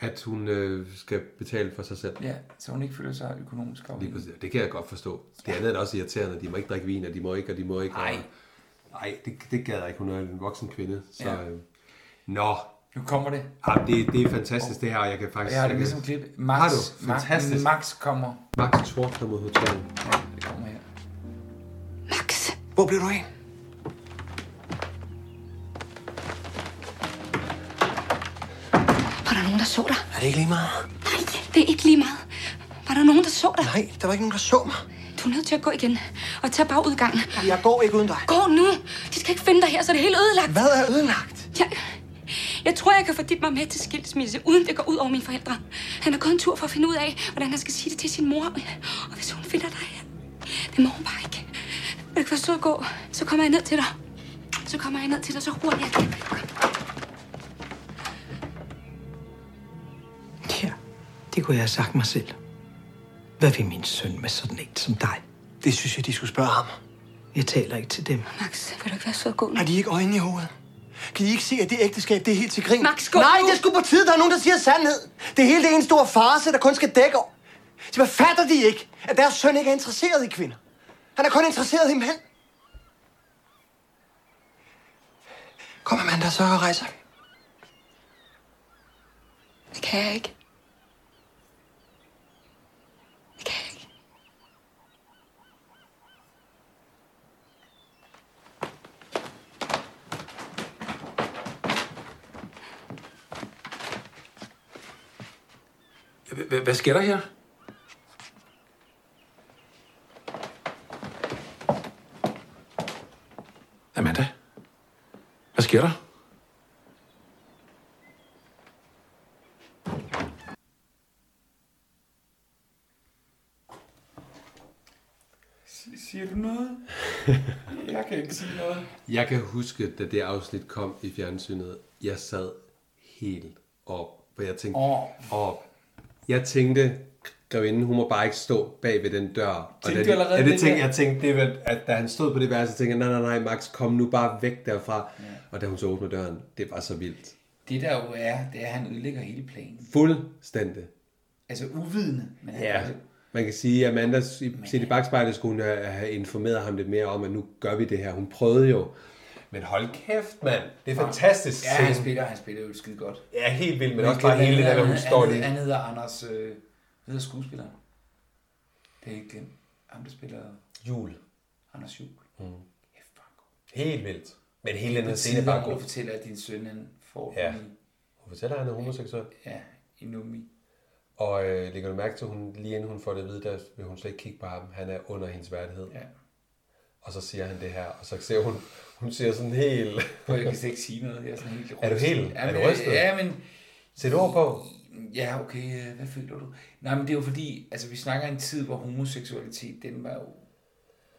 Speaker 4: At hun øh, skal betale for sig selv.
Speaker 3: ja, så hun ikke føler sig økonomisk
Speaker 4: Lige
Speaker 3: afhængig.
Speaker 4: præcis. Det kan jeg godt forstå. Det andet er da også irriterende. De må ikke drikke vin, og de må ikke, og de må ikke. Nej. Nej, det, det gad jeg ikke. Hun er en voksen kvinde. Så,
Speaker 3: Ja.
Speaker 4: ja. øh, nå.
Speaker 3: Nu kommer det.
Speaker 4: Jamen, Ah, det, det er fantastisk, det her. og Jeg kan faktisk...
Speaker 3: Og jeg har det
Speaker 4: kan-
Speaker 3: med som klip. Max,
Speaker 4: har du?
Speaker 3: Max-
Speaker 4: Fantastisk.
Speaker 3: Max kommer.
Speaker 4: Max Thor kommer mod hotellet.
Speaker 3: Det kommer her.
Speaker 12: Max! Hvor blev du af?
Speaker 9: Var der nogen, der så dig?
Speaker 12: Er det ikke lige meget?
Speaker 9: Nej, det er ikke lige meget. Var der nogen, der så dig?
Speaker 12: Nej, der var ikke nogen, der så mig.
Speaker 9: Du er nødt til at gå igen og tage bagudgangen.
Speaker 12: Jeg går ikke uden dig.
Speaker 9: Gå nu! De skal ikke finde dig her, så er det hele ødelagt.
Speaker 12: Hvad er ødelagt?
Speaker 9: Jeg, jeg tror, jeg kan få dit mig med til skilsmisse, uden det går ud over mine forældre. Han har gået en tur for at finde ud af, hvordan han skal sige det til sin mor. Og hvis hun finder dig her, det må hun bare ikke. Vil du ikke være sød at gå? Så kommer jeg ned til dig. Så kommer jeg ned til dig, så hurtigt jeg kan.
Speaker 12: Ja, det kunne jeg have sagt mig selv. Hvad vil min søn med sådan en som dig? Det synes jeg, de skulle spørge ham. Jeg taler ikke til dem.
Speaker 9: Max, vil du ikke være sød at gå nu?
Speaker 12: Har de ikke øjnene i hovedet?
Speaker 16: Kan I ikke se, at det ægteskab, det er helt til grin?
Speaker 9: Max, gå
Speaker 16: Nej,
Speaker 9: nu!
Speaker 16: det er sgu på tide, der er nogen, der siger sandhed. Det hele det er en stor farse, der kun skal dække over. Så hvad fatter de ikke, at deres søn ikke er interesseret i kvinder? Han er kun interesseret i mænd.
Speaker 12: Kommer man der så og rejser?
Speaker 9: Det kan jeg ikke. Det kan jeg ikke.
Speaker 11: Hva- Hvad sker der her? Amanda? Hvad sker der?
Speaker 3: Siger du noget? Jeg kan ikke sige noget.
Speaker 4: Jeg kan huske, da det afsnit kom i fjernsynet, jeg sad helt op, for jeg tænkte,
Speaker 3: Åh.
Speaker 4: op. Jeg tænkte, grevinden, hun må bare ikke stå bag ved den dør.
Speaker 3: Tænkte
Speaker 4: og
Speaker 3: du
Speaker 4: da,
Speaker 3: allerede
Speaker 4: ja, det
Speaker 3: det
Speaker 4: tænkte,
Speaker 3: der?
Speaker 4: jeg tænkte, det, var- at da han stod på det værelse, tænkte jeg, nej, nej, nej, Max, kom nu bare væk derfra. Ja. Og da hun så åbner døren, det var så vildt.
Speaker 3: Det der jo er, det er, at han ødelægger hele planen.
Speaker 4: Fuldstændig.
Speaker 3: Altså uvidende. Men han-
Speaker 4: Ja, Altså, man kan sige, at Amanda i- set
Speaker 3: øh,
Speaker 4: i bagspejlet skulle hun have have informeret ham lidt mere om, at nu gør vi det her. Hun prøvede jo. Men hold kæft, mand. Det er fantastisk.
Speaker 3: Ja, han
Speaker 4: scene.
Speaker 3: spiller, han spiller jo skide godt.
Speaker 4: Ja, helt vildt, men
Speaker 3: Jeg
Speaker 4: også
Speaker 3: glemmer,
Speaker 4: bare hele det
Speaker 3: han
Speaker 4: der, hvor hun
Speaker 3: hedder-
Speaker 4: står
Speaker 3: han
Speaker 4: lige.
Speaker 3: hedder- Han hedder Anders, øh, hvad hedder skuespilleren? Det er ikke glemt. Ham, der spiller...
Speaker 4: Jul.
Speaker 3: Anders Jul.
Speaker 4: Mm. Helt vildt. Men hele
Speaker 3: Det er
Speaker 4: den her
Speaker 3: på
Speaker 4: scene er
Speaker 3: tide,
Speaker 4: bare
Speaker 3: hvor
Speaker 4: god.
Speaker 3: Du fortæller, at din søn han får
Speaker 4: Ja.
Speaker 3: den i-
Speaker 4: Hun fortæller, at han er homoseksuel.
Speaker 3: Ja, i nummi.
Speaker 4: Og øh, lægger du mærke til, at hun, lige inden hun får det at vide, der vil hun slet ikke kigge på ham. Han er under hendes værdighed.
Speaker 3: Ja.
Speaker 4: Og så siger han det her, og så ser hun, hun ser sådan helt...
Speaker 3: Prøv, jeg kan slet ikke sige noget. Jeg er sådan helt
Speaker 4: Er du
Speaker 3: rystet.
Speaker 4: helt?
Speaker 3: Ja,
Speaker 4: er
Speaker 3: men,
Speaker 4: du rystet?
Speaker 3: Ja, men...
Speaker 4: Sæt ord på.
Speaker 3: Ja, okay, øh, hvad føler du? Nej, men det er jo fordi, altså vi snakker en tid, hvor homoseksualitet, den var jo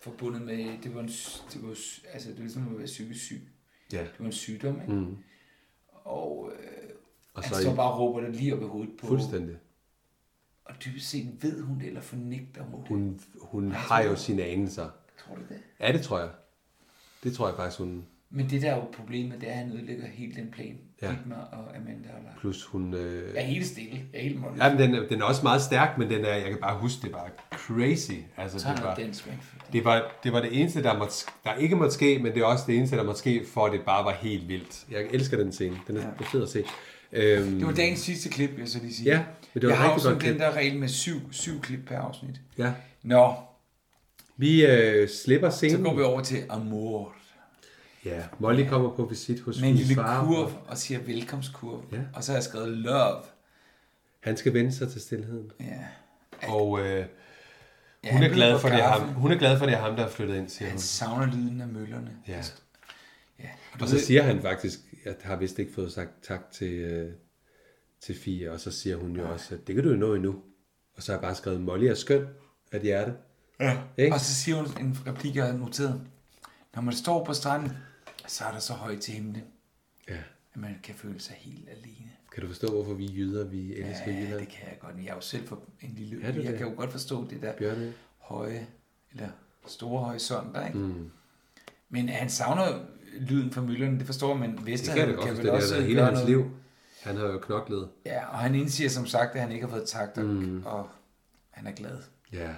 Speaker 3: forbundet med, det var, en, s- det var s- altså det var ligesom at være psykisk syg.
Speaker 4: Ja.
Speaker 3: Det var en sygdom, ikke?
Speaker 4: Mhm.
Speaker 3: Og, øh,
Speaker 4: Og
Speaker 3: og så
Speaker 4: så
Speaker 3: han står
Speaker 4: i-
Speaker 3: bare og råber det lige op i hovedet på
Speaker 4: Fuldstændig.
Speaker 3: Og dybest set ved hun det, eller fornægter hun det.
Speaker 4: Hun, hun
Speaker 3: Jeg
Speaker 4: har
Speaker 3: tror-
Speaker 4: jo sine anelser.
Speaker 3: Tror du det?
Speaker 4: Ja, det tror jeg. Det tror jeg faktisk, hun...
Speaker 3: Men det der er jo problemet, det er, at han ødelægger hele den plan.
Speaker 4: Ja.
Speaker 3: Ja. og Amanda har lagt.
Speaker 4: Plus hun... Øh...
Speaker 3: Jeg er helt stille. Jeg er helt målløs.
Speaker 4: Ja, men den, er- den er også meget stærk, men den er, jeg kan bare huske, det var crazy. Altså,
Speaker 3: Sådan
Speaker 4: det, var,
Speaker 3: den Springfield.
Speaker 4: det, var, det var det eneste, der, måtte, sk- der ikke måtte ske, men det er også det eneste, der måtte ske, for at det bare var helt vildt. Jeg elsker den scene. Den er ja. fed at se. Øhm,
Speaker 3: Det var dagens sidste klip, vil jeg så lige sige.
Speaker 4: Ja, men det var
Speaker 3: jeg
Speaker 4: et
Speaker 3: har
Speaker 4: rigtig
Speaker 3: også
Speaker 4: godt klip.
Speaker 3: den der regel med syv, syv klip per afsnit.
Speaker 4: Ja.
Speaker 3: Nå.
Speaker 4: Vi øh, slipper scenen.
Speaker 3: Så går vi over til Amor.
Speaker 4: Ja, Molly kommer på visit hos
Speaker 3: Med en
Speaker 4: min
Speaker 3: lille
Speaker 4: far.
Speaker 3: kurv og siger velkomstkurv.
Speaker 4: Ja.
Speaker 3: Og så har jeg skrevet love.
Speaker 4: Han skal vende sig til stillheden.
Speaker 3: Ja.
Speaker 4: Og øh,
Speaker 3: Ja,
Speaker 4: hun,
Speaker 3: han
Speaker 4: er glad
Speaker 3: ved,
Speaker 4: for,
Speaker 3: hvor
Speaker 4: det er ham,
Speaker 3: gaffe.
Speaker 4: hun er glad for, det er ham, der er flyttet ind, siger
Speaker 3: Han
Speaker 4: hun.
Speaker 3: savner lyden af møllerne.
Speaker 4: Ja.
Speaker 3: ja.
Speaker 4: Og så siger han faktisk, at jeg har vist ikke fået sagt tak til, øh, til Fie, og så siger hun jo også, at det kan du jo nå endnu. Og så har jeg bare skrevet, Molly er skøn af et hjerte.
Speaker 3: Ja.
Speaker 4: Ikke?
Speaker 3: Og så siger hun en replik, jeg havde noteret. Når man står på stranden, så er der så højt til himlen,
Speaker 4: Ja.
Speaker 3: at man kan føle sig helt alene.
Speaker 4: Kan du forstå, hvorfor vi jyder, vi elsker ja, jyder?
Speaker 3: det kan jeg godt. Jeg er jo selv for en lille
Speaker 4: Er
Speaker 3: jeg
Speaker 4: du det?
Speaker 3: kan jo godt forstå det der
Speaker 4: Bjørne.
Speaker 3: høje, eller store horisonter, ikke?
Speaker 4: Mm.
Speaker 3: Men han savner jo lyden fra møllerne, det forstår man.
Speaker 4: Det
Speaker 3: Vester,
Speaker 4: kan jeg da godt forstå, det har været hele hans liv. Han har jo knoklet.
Speaker 3: Ja, og han indsiger som sagt, at han ikke har fået takt, og, mm. og han er glad.
Speaker 4: Ja.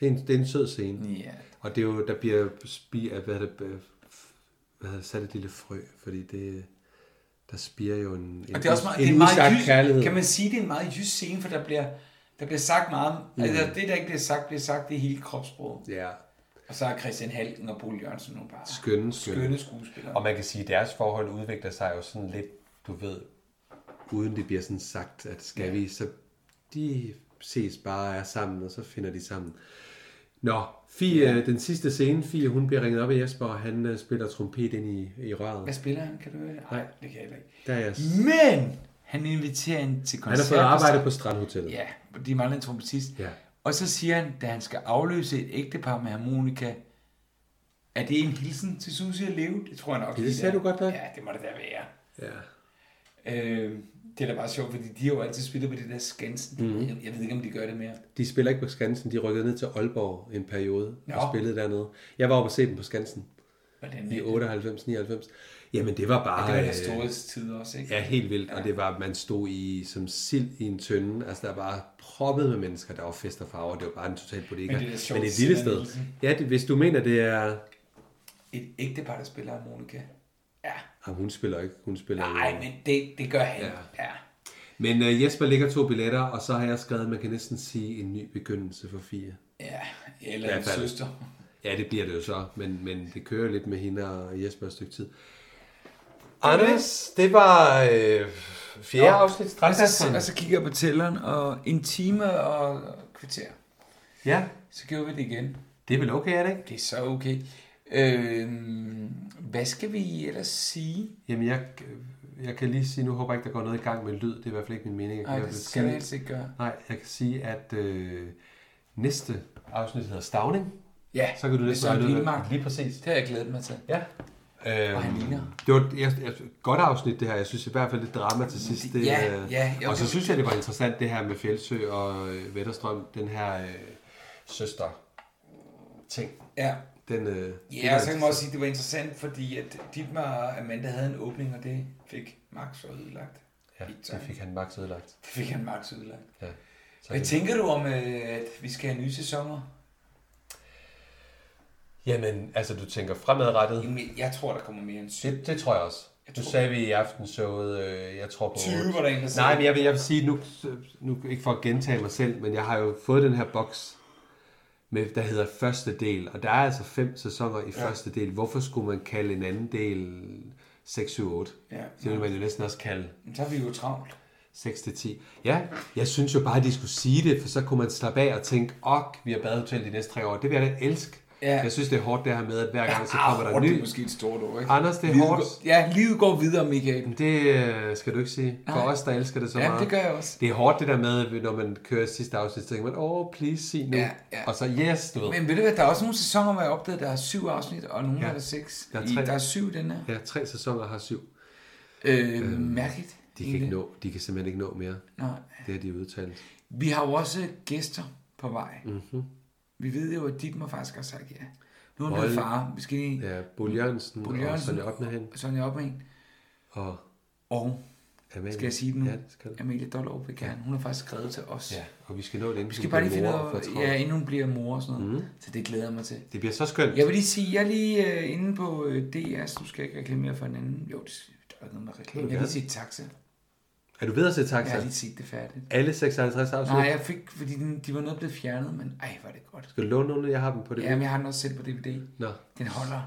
Speaker 4: Det er en, det er en sød scene.
Speaker 3: Ja.
Speaker 4: Og det er jo, der bliver spi, at, hvad er det, øh, hvad er det, sat et lille frø, fordi det, der spirer jo en, en,
Speaker 3: Og det er også meget,
Speaker 4: en
Speaker 3: det er en meget
Speaker 4: usagt
Speaker 3: jysk,
Speaker 4: kærlighed.
Speaker 3: kan man sige, det er en meget jysk scene, for der bliver, der bliver sagt meget. Mm. Altså,
Speaker 4: Mm.
Speaker 3: det, der ikke bliver sagt, bliver sagt, det er hele kropssproget.
Speaker 4: Ja.
Speaker 3: Og så er Christian Halken og Bo Jørgensen nu bare
Speaker 4: skønne, skønne,
Speaker 3: skønne skuespillere.
Speaker 4: Og man kan sige, at deres forhold udvikler sig jo sådan lidt, du ved, uden det bliver sådan sagt, at skal vi, så de ses bare og er sammen, og så finder de sammen. Nå, Fie, ja. den sidste scene, Fie, hun bliver ringet op af Jesper, og han øh, spiller trompet ind i, i røret.
Speaker 3: Hvad spiller han, kan du høre det? Nej, det kan jeg heller ikke.
Speaker 4: Der er jeg...
Speaker 3: Men han inviterer hende til
Speaker 4: Han
Speaker 3: koncert.
Speaker 4: har fået arbejde på Strandhotellet.
Speaker 3: Ja, de mangler en trompetist.
Speaker 4: Ja.
Speaker 3: Og så siger han, da han skal afløse et ægtepar med harmonika, er det en hilsen til Susie at leve? Det tror jeg nok.
Speaker 4: Det ser du godt nok.
Speaker 3: Ja, det må det da være.
Speaker 4: Ja.
Speaker 3: Øh, det er da bare sjovt, fordi de har jo altid spillet på det der Skansen.
Speaker 4: Mhm.
Speaker 3: Mm. Jeg, jeg ved ikke, om de gør det mere.
Speaker 4: De spiller ikke på Skansen, de rykkede ned til Aalborg en periode
Speaker 3: Nå.
Speaker 4: og spillede dernede. Jeg var oppe og se dem på Skansen
Speaker 3: Hvordan
Speaker 4: i 98-99. Jamen det var bare...
Speaker 3: Ja, det var
Speaker 4: øh,
Speaker 3: deres storhedstid tid også, ikke?
Speaker 4: Ja, helt vildt. Ja. Og det var, at man stod i som sild i en tønde. Altså, der var proppet med mennesker, der var fest og farver. Det var bare en total bodega.
Speaker 3: Men det er da sjovt,
Speaker 4: Men et lille
Speaker 3: Signe
Speaker 4: sted.
Speaker 3: Nielsen.
Speaker 4: Ja, det, hvis du mener, det er...
Speaker 3: Et ægtepar, der spiller harmonika.
Speaker 4: Mm. Jamen, Ah, hun spiller ikke. Hun spiller
Speaker 3: Nej, men det, det gør han. Ja. ja.
Speaker 4: Men uh, Jesper ligger to billetter, og så har jeg skrevet, at man kan næsten sige en ny begyndelse for fire.
Speaker 3: Ja, eller
Speaker 4: I hvert
Speaker 3: en
Speaker 4: fald.
Speaker 3: søster.
Speaker 4: Ja, det bliver det jo så, men, men det kører lidt med hende og Jesper et stykke tid. Anders, det var øh, fjerde
Speaker 3: Nå.
Speaker 4: afsnit
Speaker 3: Og så, og
Speaker 4: straks.
Speaker 3: så kigger jeg på tælleren, og en time og kvarter.
Speaker 4: Ja.
Speaker 3: Så gjorde vi det igen.
Speaker 4: Det er vel okay, er det ikke?
Speaker 3: Det er så okay. Øh, hvad skal vi ellers sige?
Speaker 4: Jamen, jeg, øh, jeg kan lige sige, nu håber jeg ikke, der går noget i gang med lyd. Det er i hvert fald ikke min mening. Jeg
Speaker 3: Nej,
Speaker 4: kan i hvert
Speaker 3: det
Speaker 4: fald
Speaker 3: skal
Speaker 4: sige-
Speaker 3: det helst ikke gøre.
Speaker 4: Nej, jeg kan sige, at øh, næste afsnit hedder Stavning.
Speaker 3: Ja,
Speaker 4: så kan du
Speaker 3: med
Speaker 4: næsten
Speaker 3: Søren
Speaker 4: regne ud, hvad-
Speaker 3: Pilmark.
Speaker 4: Lige præcis.
Speaker 3: Det har jeg glædet mig til.
Speaker 4: Ja. Øhm,
Speaker 3: Og han ligner.
Speaker 4: Det var et, jeg, jeg- godt afsnit, det her. Jeg synes i hvert fald, det drama til sidst. Det,
Speaker 3: Ja,
Speaker 4: øh,
Speaker 3: ja, jo,
Speaker 4: og så
Speaker 3: det-
Speaker 4: synes jeg, det var interessant, det her med Fjeldsø og øh, Vetterstrøm. Den her øh, søster-ting.
Speaker 3: Ja.
Speaker 4: Den, øh, det
Speaker 3: Ja,
Speaker 4: var
Speaker 3: og så kan man også sige, at det var interessant, fordi at Dietmar og Amanda havde en åbning, og det fik Max så ødelagt.
Speaker 4: Ja, det fik han maks ødelagt.
Speaker 3: Det fik han Max ødelagt.
Speaker 4: Ja. Så
Speaker 3: Hvad
Speaker 4: det-
Speaker 3: tænker du om, øh, at vi skal have nye sæsoner?
Speaker 4: Jamen, altså du tænker fremadrettet?
Speaker 3: Jamen, jeg tror, der kommer mere end
Speaker 4: 7. Det, det tror jeg også.
Speaker 3: Jeg
Speaker 4: Du
Speaker 3: tror-
Speaker 4: sagde vi i aftenshowet, øh, jeg tror på...
Speaker 3: 20 var der en, der sagde.
Speaker 4: Nej, men jeg vil, jeg vil sige, nu, nu ikke for at gentage mig selv, men jeg har jo fået den her boks, med, der hedder første del, og der er altså fem sæsoner i
Speaker 3: Ja.
Speaker 4: ja. første del. Hvorfor skulle man kalde en anden del 6, 7, 8?
Speaker 3: Ja.
Speaker 4: Det ville man jo næsten også kalde
Speaker 3: Men så har vi jo travlt.
Speaker 4: 6 til 10. Ja, jeg synes jo bare, at de skulle sige det, for så kunne man slappe af og tænke, ok, vi har badehotel de næste tre år. Det vil jeg da elske.
Speaker 3: Ja.
Speaker 4: Jeg synes, det er hårdt det her med, at hver gang så
Speaker 3: Ja,
Speaker 4: kommer der
Speaker 3: hårdt,
Speaker 4: ny...
Speaker 3: det er måske et stort ord, ikke?
Speaker 4: Anders, det er
Speaker 3: Livet
Speaker 4: hårdt.
Speaker 3: går- ja, livet går videre, Michael.
Speaker 4: Det øh, skal du ikke sige. For
Speaker 3: Nej.
Speaker 4: os, der elsker det så
Speaker 3: Ja,
Speaker 4: meget.
Speaker 3: det gør jeg også.
Speaker 4: Det er hårdt det der med, når man kører sidste afsnit, så tænker man, åh, oh, please, sig nu.
Speaker 3: Ja, ja.
Speaker 4: Og så, yes, du ved.
Speaker 3: Men ved du hvad, der er også nogle sæsoner, hvor jeg opdagede, der har syv afsnit, og nogle
Speaker 4: Ja.
Speaker 3: ja. er der seks.
Speaker 4: Der er
Speaker 3: I-
Speaker 4: tre.
Speaker 3: der er syv i den her.
Speaker 4: Ja, tre sæsoner har syv.
Speaker 3: Øh, mærkeligt,
Speaker 4: De kan, ikke
Speaker 3: egentlig.
Speaker 4: nå, de kan simpelthen ikke nå mere.
Speaker 3: Nej.
Speaker 4: Det har de udtalt.
Speaker 3: Vi har jo også gæster på vej.
Speaker 4: Mhm.
Speaker 3: Vi ved jo, at Dietmar faktisk har sagt ja. Nu er han
Speaker 4: Bolle-
Speaker 3: blevet far. Vi skal lige...
Speaker 4: Ja, Bo Jørgensen og Sonja Oppenhagen.
Speaker 3: Sonja Oppenhagen.
Speaker 4: Og,
Speaker 3: og
Speaker 4: Amalie.
Speaker 3: skal jeg sige det nu?
Speaker 4: Ja, det skal du.
Speaker 3: Amalie Dollerup vil gerne. Hun har faktisk skrevet til os.
Speaker 4: Ja, og vi skal nå det, inden
Speaker 3: Vi
Speaker 4: hun
Speaker 3: skal bare lige
Speaker 4: bliver
Speaker 3: finde
Speaker 4: mor,
Speaker 3: ud af,
Speaker 4: for Mhm. jeg tror-
Speaker 3: ja, inden hun bliver mor og sådan noget. Mm. Så det glæder jeg mig til.
Speaker 4: Det bliver så skønt.
Speaker 3: Jeg vil lige sige, jeg er lige øh, inde på øh, DR's, nu skal jeg ikke reklamere for en anden. Jo, det, der er ikke noget med reklame.
Speaker 4: du
Speaker 3: Jeg vil
Speaker 4: gerne. Altså-
Speaker 3: sige taxa.
Speaker 4: Er du ved at se taxa?
Speaker 3: Jeg har lige set det færdigt.
Speaker 4: Alle 56 afsnit?
Speaker 3: Nej, jeg fik, fordi den, de var noget blevet fjernet, men ej, var det godt.
Speaker 4: Skal du låne nogle? Jeg har dem på det.
Speaker 3: Ja, men jeg har den også selv på DVD.
Speaker 4: Nå.
Speaker 3: Den holder.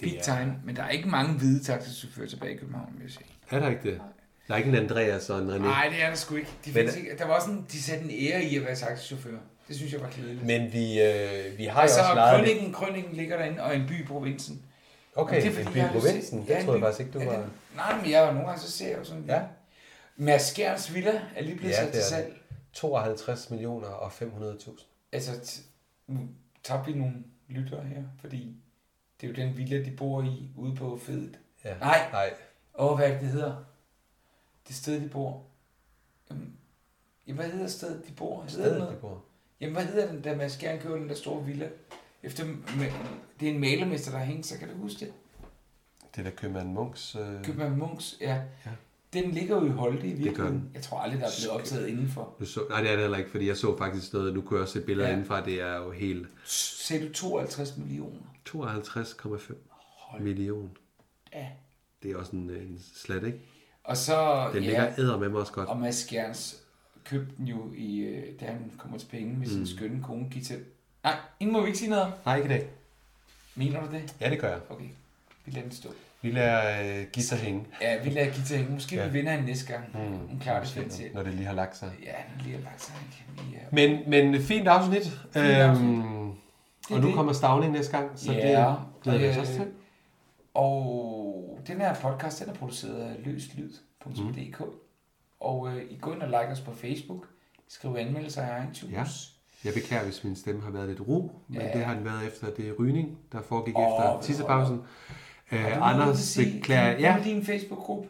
Speaker 3: Big time. Men der er ikke mange hvide taxichauffører tilbage i København, vil jeg sige.
Speaker 4: Er der ikke det? Der er ikke en Andreas og en René.
Speaker 3: Nej, det er der sgu ikke. De
Speaker 4: Men-
Speaker 3: findes ikke. Der var også en, de satte en ære i at være taxichauffør. Det synes jeg var kedeligt.
Speaker 4: Men vi, øh, vi har
Speaker 3: og
Speaker 4: jo
Speaker 3: så
Speaker 4: også lejet lidt-
Speaker 3: krønningen, krønningen ligger derinde, og en by i provinsen.
Speaker 4: Okay,
Speaker 3: Og
Speaker 4: en by
Speaker 3: jeg
Speaker 4: i
Speaker 3: har jo
Speaker 4: provinsen.
Speaker 3: set-
Speaker 4: Det
Speaker 3: en
Speaker 4: troede jeg
Speaker 3: by-
Speaker 4: faktisk ikke, du
Speaker 3: ja,
Speaker 4: var-
Speaker 3: den- Nej, men jeg var nogle gange, så ser jeg jo sådan... Ja. Mads Skjerns Villa er lige blevet
Speaker 4: Ja,
Speaker 3: sat
Speaker 4: det
Speaker 3: til
Speaker 4: er det.
Speaker 3: salg.
Speaker 4: 52 millioner og 500.000.
Speaker 3: Altså, t- nu tabte vi nogle lyttere her, fordi det er jo den villa, de bor i ude på Fedet.
Speaker 4: Ja.
Speaker 3: Nej.
Speaker 4: Nej.
Speaker 3: Og hvad er det, det hedder? Det sted, de bor. Jamen, jamen hvad hedder stedet, de bor? Hedder
Speaker 4: Stedet,
Speaker 3: det noget?
Speaker 4: de bor.
Speaker 3: Jamen, hvad hedder den, der Mads Skjern køber den der store villa? Efter, ma- det er en malermester, der har hængt, så kan du huske det?
Speaker 4: Det der købmand Munks... Øh...
Speaker 3: Købmann Munks, ja. Den ligger jo i Holte i virkeligheden.
Speaker 4: den.
Speaker 3: Jeg tror aldrig, der er blevet optaget indenfor.
Speaker 4: Nu så, nej, det er det heller ikke, fordi jeg så faktisk noget, nu kunne jeg også se billeder
Speaker 3: Ja.
Speaker 4: ja. indenfra, det er jo helt
Speaker 3: Sagde du 52 millioner?
Speaker 4: 52,5 millioner.
Speaker 3: Ja.
Speaker 4: Det er også en, øh, en slat, ikke?
Speaker 3: Og så...
Speaker 4: Den ligger æder med mig også godt.
Speaker 3: Og Mads Gerns købte den jo, i, øh, da han kommer til penge med sin
Speaker 4: Mm.
Speaker 3: skønne kone Gita. Nej, inden må vi ikke sige noget om.
Speaker 4: Nej, ikke i dag.
Speaker 3: Mener du det?
Speaker 4: Ja, det gør jeg.
Speaker 3: Okay, vi lader den stå.
Speaker 4: Vi lader øh, Gita hænge.
Speaker 3: Ja, vi lader Gita hænge. Måske ja.
Speaker 4: Ja.
Speaker 3: vi vinder hende næste gang.
Speaker 4: Mm,
Speaker 3: Hun klarer det
Speaker 4: måske,
Speaker 3: fint til.
Speaker 4: Når det lige har lagt sig.
Speaker 3: Ja, nu lige har lagt sig. ikke? Vi er...
Speaker 4: Men, men fint afsnit. Fint
Speaker 3: afsnit.
Speaker 4: Øhm,
Speaker 3: er
Speaker 4: og nu
Speaker 3: det.
Speaker 4: kommer Stavning næste gang, så
Speaker 3: Ja,
Speaker 4: det glæder vi os
Speaker 3: øh,
Speaker 4: også til.
Speaker 3: Og den her podcast, den er produceret af
Speaker 4: Mm.
Speaker 3: løslyd.dk. Og øh, I går ind og like os på Facebook. Skriv anmeldelser i iTunes.
Speaker 4: Ja. Jeg beklager, hvis min stemme har været lidt ro, men
Speaker 3: Ja.
Speaker 4: ja. det har den været efter det rygning, der foregik
Speaker 3: Åh,
Speaker 4: oh,
Speaker 3: hold op.
Speaker 4: efter tissepausen.
Speaker 3: Har du
Speaker 4: Øh,
Speaker 3: noget at
Speaker 4: Anders
Speaker 3: sige?
Speaker 4: beklager...
Speaker 3: Hvad
Speaker 4: Ja,
Speaker 3: med din Facebook-gruppe?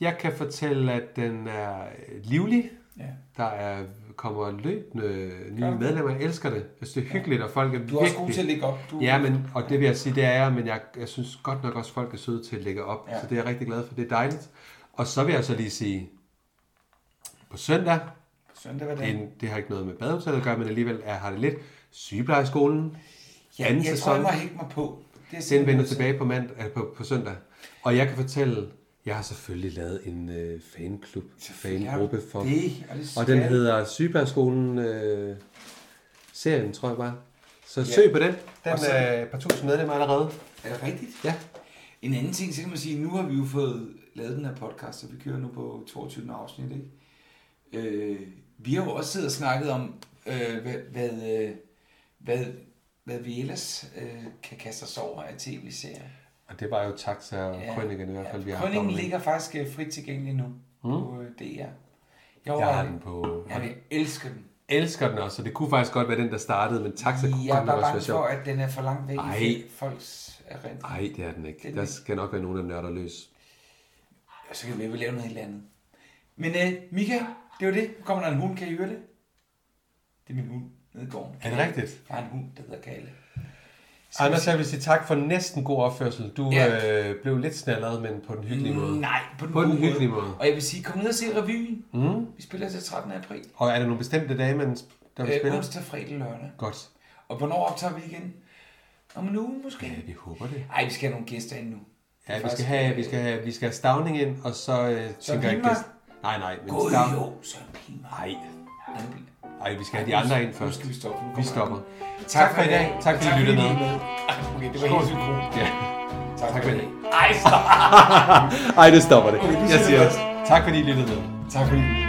Speaker 4: jeg kan fortælle, at den er øh, livlig.
Speaker 3: Ja.
Speaker 4: Der er, kommer løbende nye
Speaker 3: Gør du?
Speaker 4: medlemmer. Jeg elsker det. Jeg synes, det er hyggeligt, og folk er
Speaker 3: Du er også god til at lægge op. Du-
Speaker 4: Ja, men, og det vil jeg sige, det er jeg, men jeg, jeg synes godt nok også, folk er søde til at lægge op.
Speaker 3: Ja.
Speaker 4: Ja. Så det er jeg rigtig glad for. Det er dejligt. Og så vil jeg så lige sige, på søndag,
Speaker 3: Søndag, hvad dag?
Speaker 4: det, det har ikke noget med badehotellet at gøre, men alligevel er, har det lidt. Sygeplejeskolen,
Speaker 3: Ja,
Speaker 4: anden
Speaker 3: jeg tror,
Speaker 4: sæson,
Speaker 3: jeg må hænge mig på. Det er
Speaker 4: den
Speaker 3: simpelthen
Speaker 4: vender
Speaker 3: nødt til.
Speaker 4: tilbage på, mand, øh, på, på søndag. Og jeg kan fortælle, jeg har selvfølgelig lavet en øh, fanklub, fangruppe for,
Speaker 3: det, og det
Speaker 4: og den
Speaker 3: skal-
Speaker 4: hedder Sygeplejeskolen øh, serien, tror jeg bare. Så
Speaker 3: Ja.
Speaker 4: søg på den. øh, Den
Speaker 3: Og så-
Speaker 4: er et par tusind medlemmer allerede.
Speaker 3: Er det rigtigt?
Speaker 4: Ja.
Speaker 3: En anden ting, så kan man sige, nu har vi jo fået lavet den her podcast, så vi kører nu på 22. afsnit, ikke? Øh, vi har jo også siddet og snakket om, øh, hvad, hvad, øh, hvad, hvad vi ellers øh, kan kaste os over af tv-serier.
Speaker 4: Og det var jo taxa og ja, krønningen i hvert fald, vi har haft
Speaker 3: Krønningen
Speaker 4: om.
Speaker 3: ligger faktisk øh, frit tilgængelig nu på øh, DR. Jeg,
Speaker 4: Jeg
Speaker 3: overvejer
Speaker 4: har
Speaker 3: det.
Speaker 4: den på...
Speaker 3: Ja, jeg elsker den.
Speaker 4: elsker den også, så det kunne faktisk godt være den, der startede, men taxa kunne
Speaker 3: Jeg er
Speaker 4: godt nok
Speaker 3: bare
Speaker 4: også
Speaker 3: bange
Speaker 4: være
Speaker 3: for,
Speaker 4: sjov.
Speaker 3: at den er for langt væk i
Speaker 4: Ej.
Speaker 3: folks erindring.
Speaker 4: Nej, det er den ikke.
Speaker 3: Den
Speaker 4: Der
Speaker 3: er-
Speaker 4: skal nok være nogen, der nørder løs.
Speaker 3: Og så kan vi vel lave noget helt andet. Men øh, Mika, det var det. Nu kommer der en hund, kan I høre det? Det er min hund nede i gården.
Speaker 4: Er det rigtigt?
Speaker 3: Jeg har en hund, der hedder Kalle. Skal vi
Speaker 4: Anders,
Speaker 3: sige-
Speaker 4: jeg vil sige tak for næsten god opførsel. Du
Speaker 3: Ja. Mm.
Speaker 4: ja. øh, blev lidt snallet, men på den hyggelige måde.
Speaker 3: Nej, på den,
Speaker 4: på den
Speaker 3: gode
Speaker 4: hyggelige måde.
Speaker 3: Og jeg vil sige, kom ned og se revyen.
Speaker 4: Mm.
Speaker 3: Vi spiller til 13. april.
Speaker 4: Og er der nogle bestemte dage, man, der vi
Speaker 3: Øh,
Speaker 4: spiller?
Speaker 3: onsdag, fredag, lørdag.
Speaker 4: Godt.
Speaker 3: Og hvornår optager vi igen? Om en uge måske? Ja,
Speaker 4: vi håber det.
Speaker 3: Ej, vi skal have nogle gæster ind nu. Det er
Speaker 4: Ja, vi skal,
Speaker 3: faktisk-
Speaker 4: have, vi skal have, vi skal have Stavning ind, og så øh, tænker jeg ikke...
Speaker 3: Pilmark?
Speaker 4: gæst- Nej, nej. Men
Speaker 3: God
Speaker 4: Stav-
Speaker 3: jo, Søren Pilmark.
Speaker 4: Nej. Nej, vi skal have de
Speaker 3: Ej, nu-
Speaker 4: andre ind
Speaker 3: nu
Speaker 4: først.
Speaker 3: skal vi stoppe. Nu
Speaker 4: Vi
Speaker 3: kommer
Speaker 4: stopper.
Speaker 3: han.
Speaker 4: Tak for i dag. Tak fordi I lyttede med.
Speaker 3: Ej, Okay, det var helt synkron.
Speaker 4: Ja.
Speaker 3: Tak
Speaker 4: Tak
Speaker 3: for
Speaker 4: for
Speaker 3: i
Speaker 4: i
Speaker 3: dag. Ej, stop.
Speaker 4: Ej, det stopper det.
Speaker 3: Okay, du
Speaker 4: Jeg
Speaker 3: siger
Speaker 4: siger
Speaker 3: det.
Speaker 4: også. Tak fordi I lyttede med.
Speaker 3: Tak fordi I lyttede.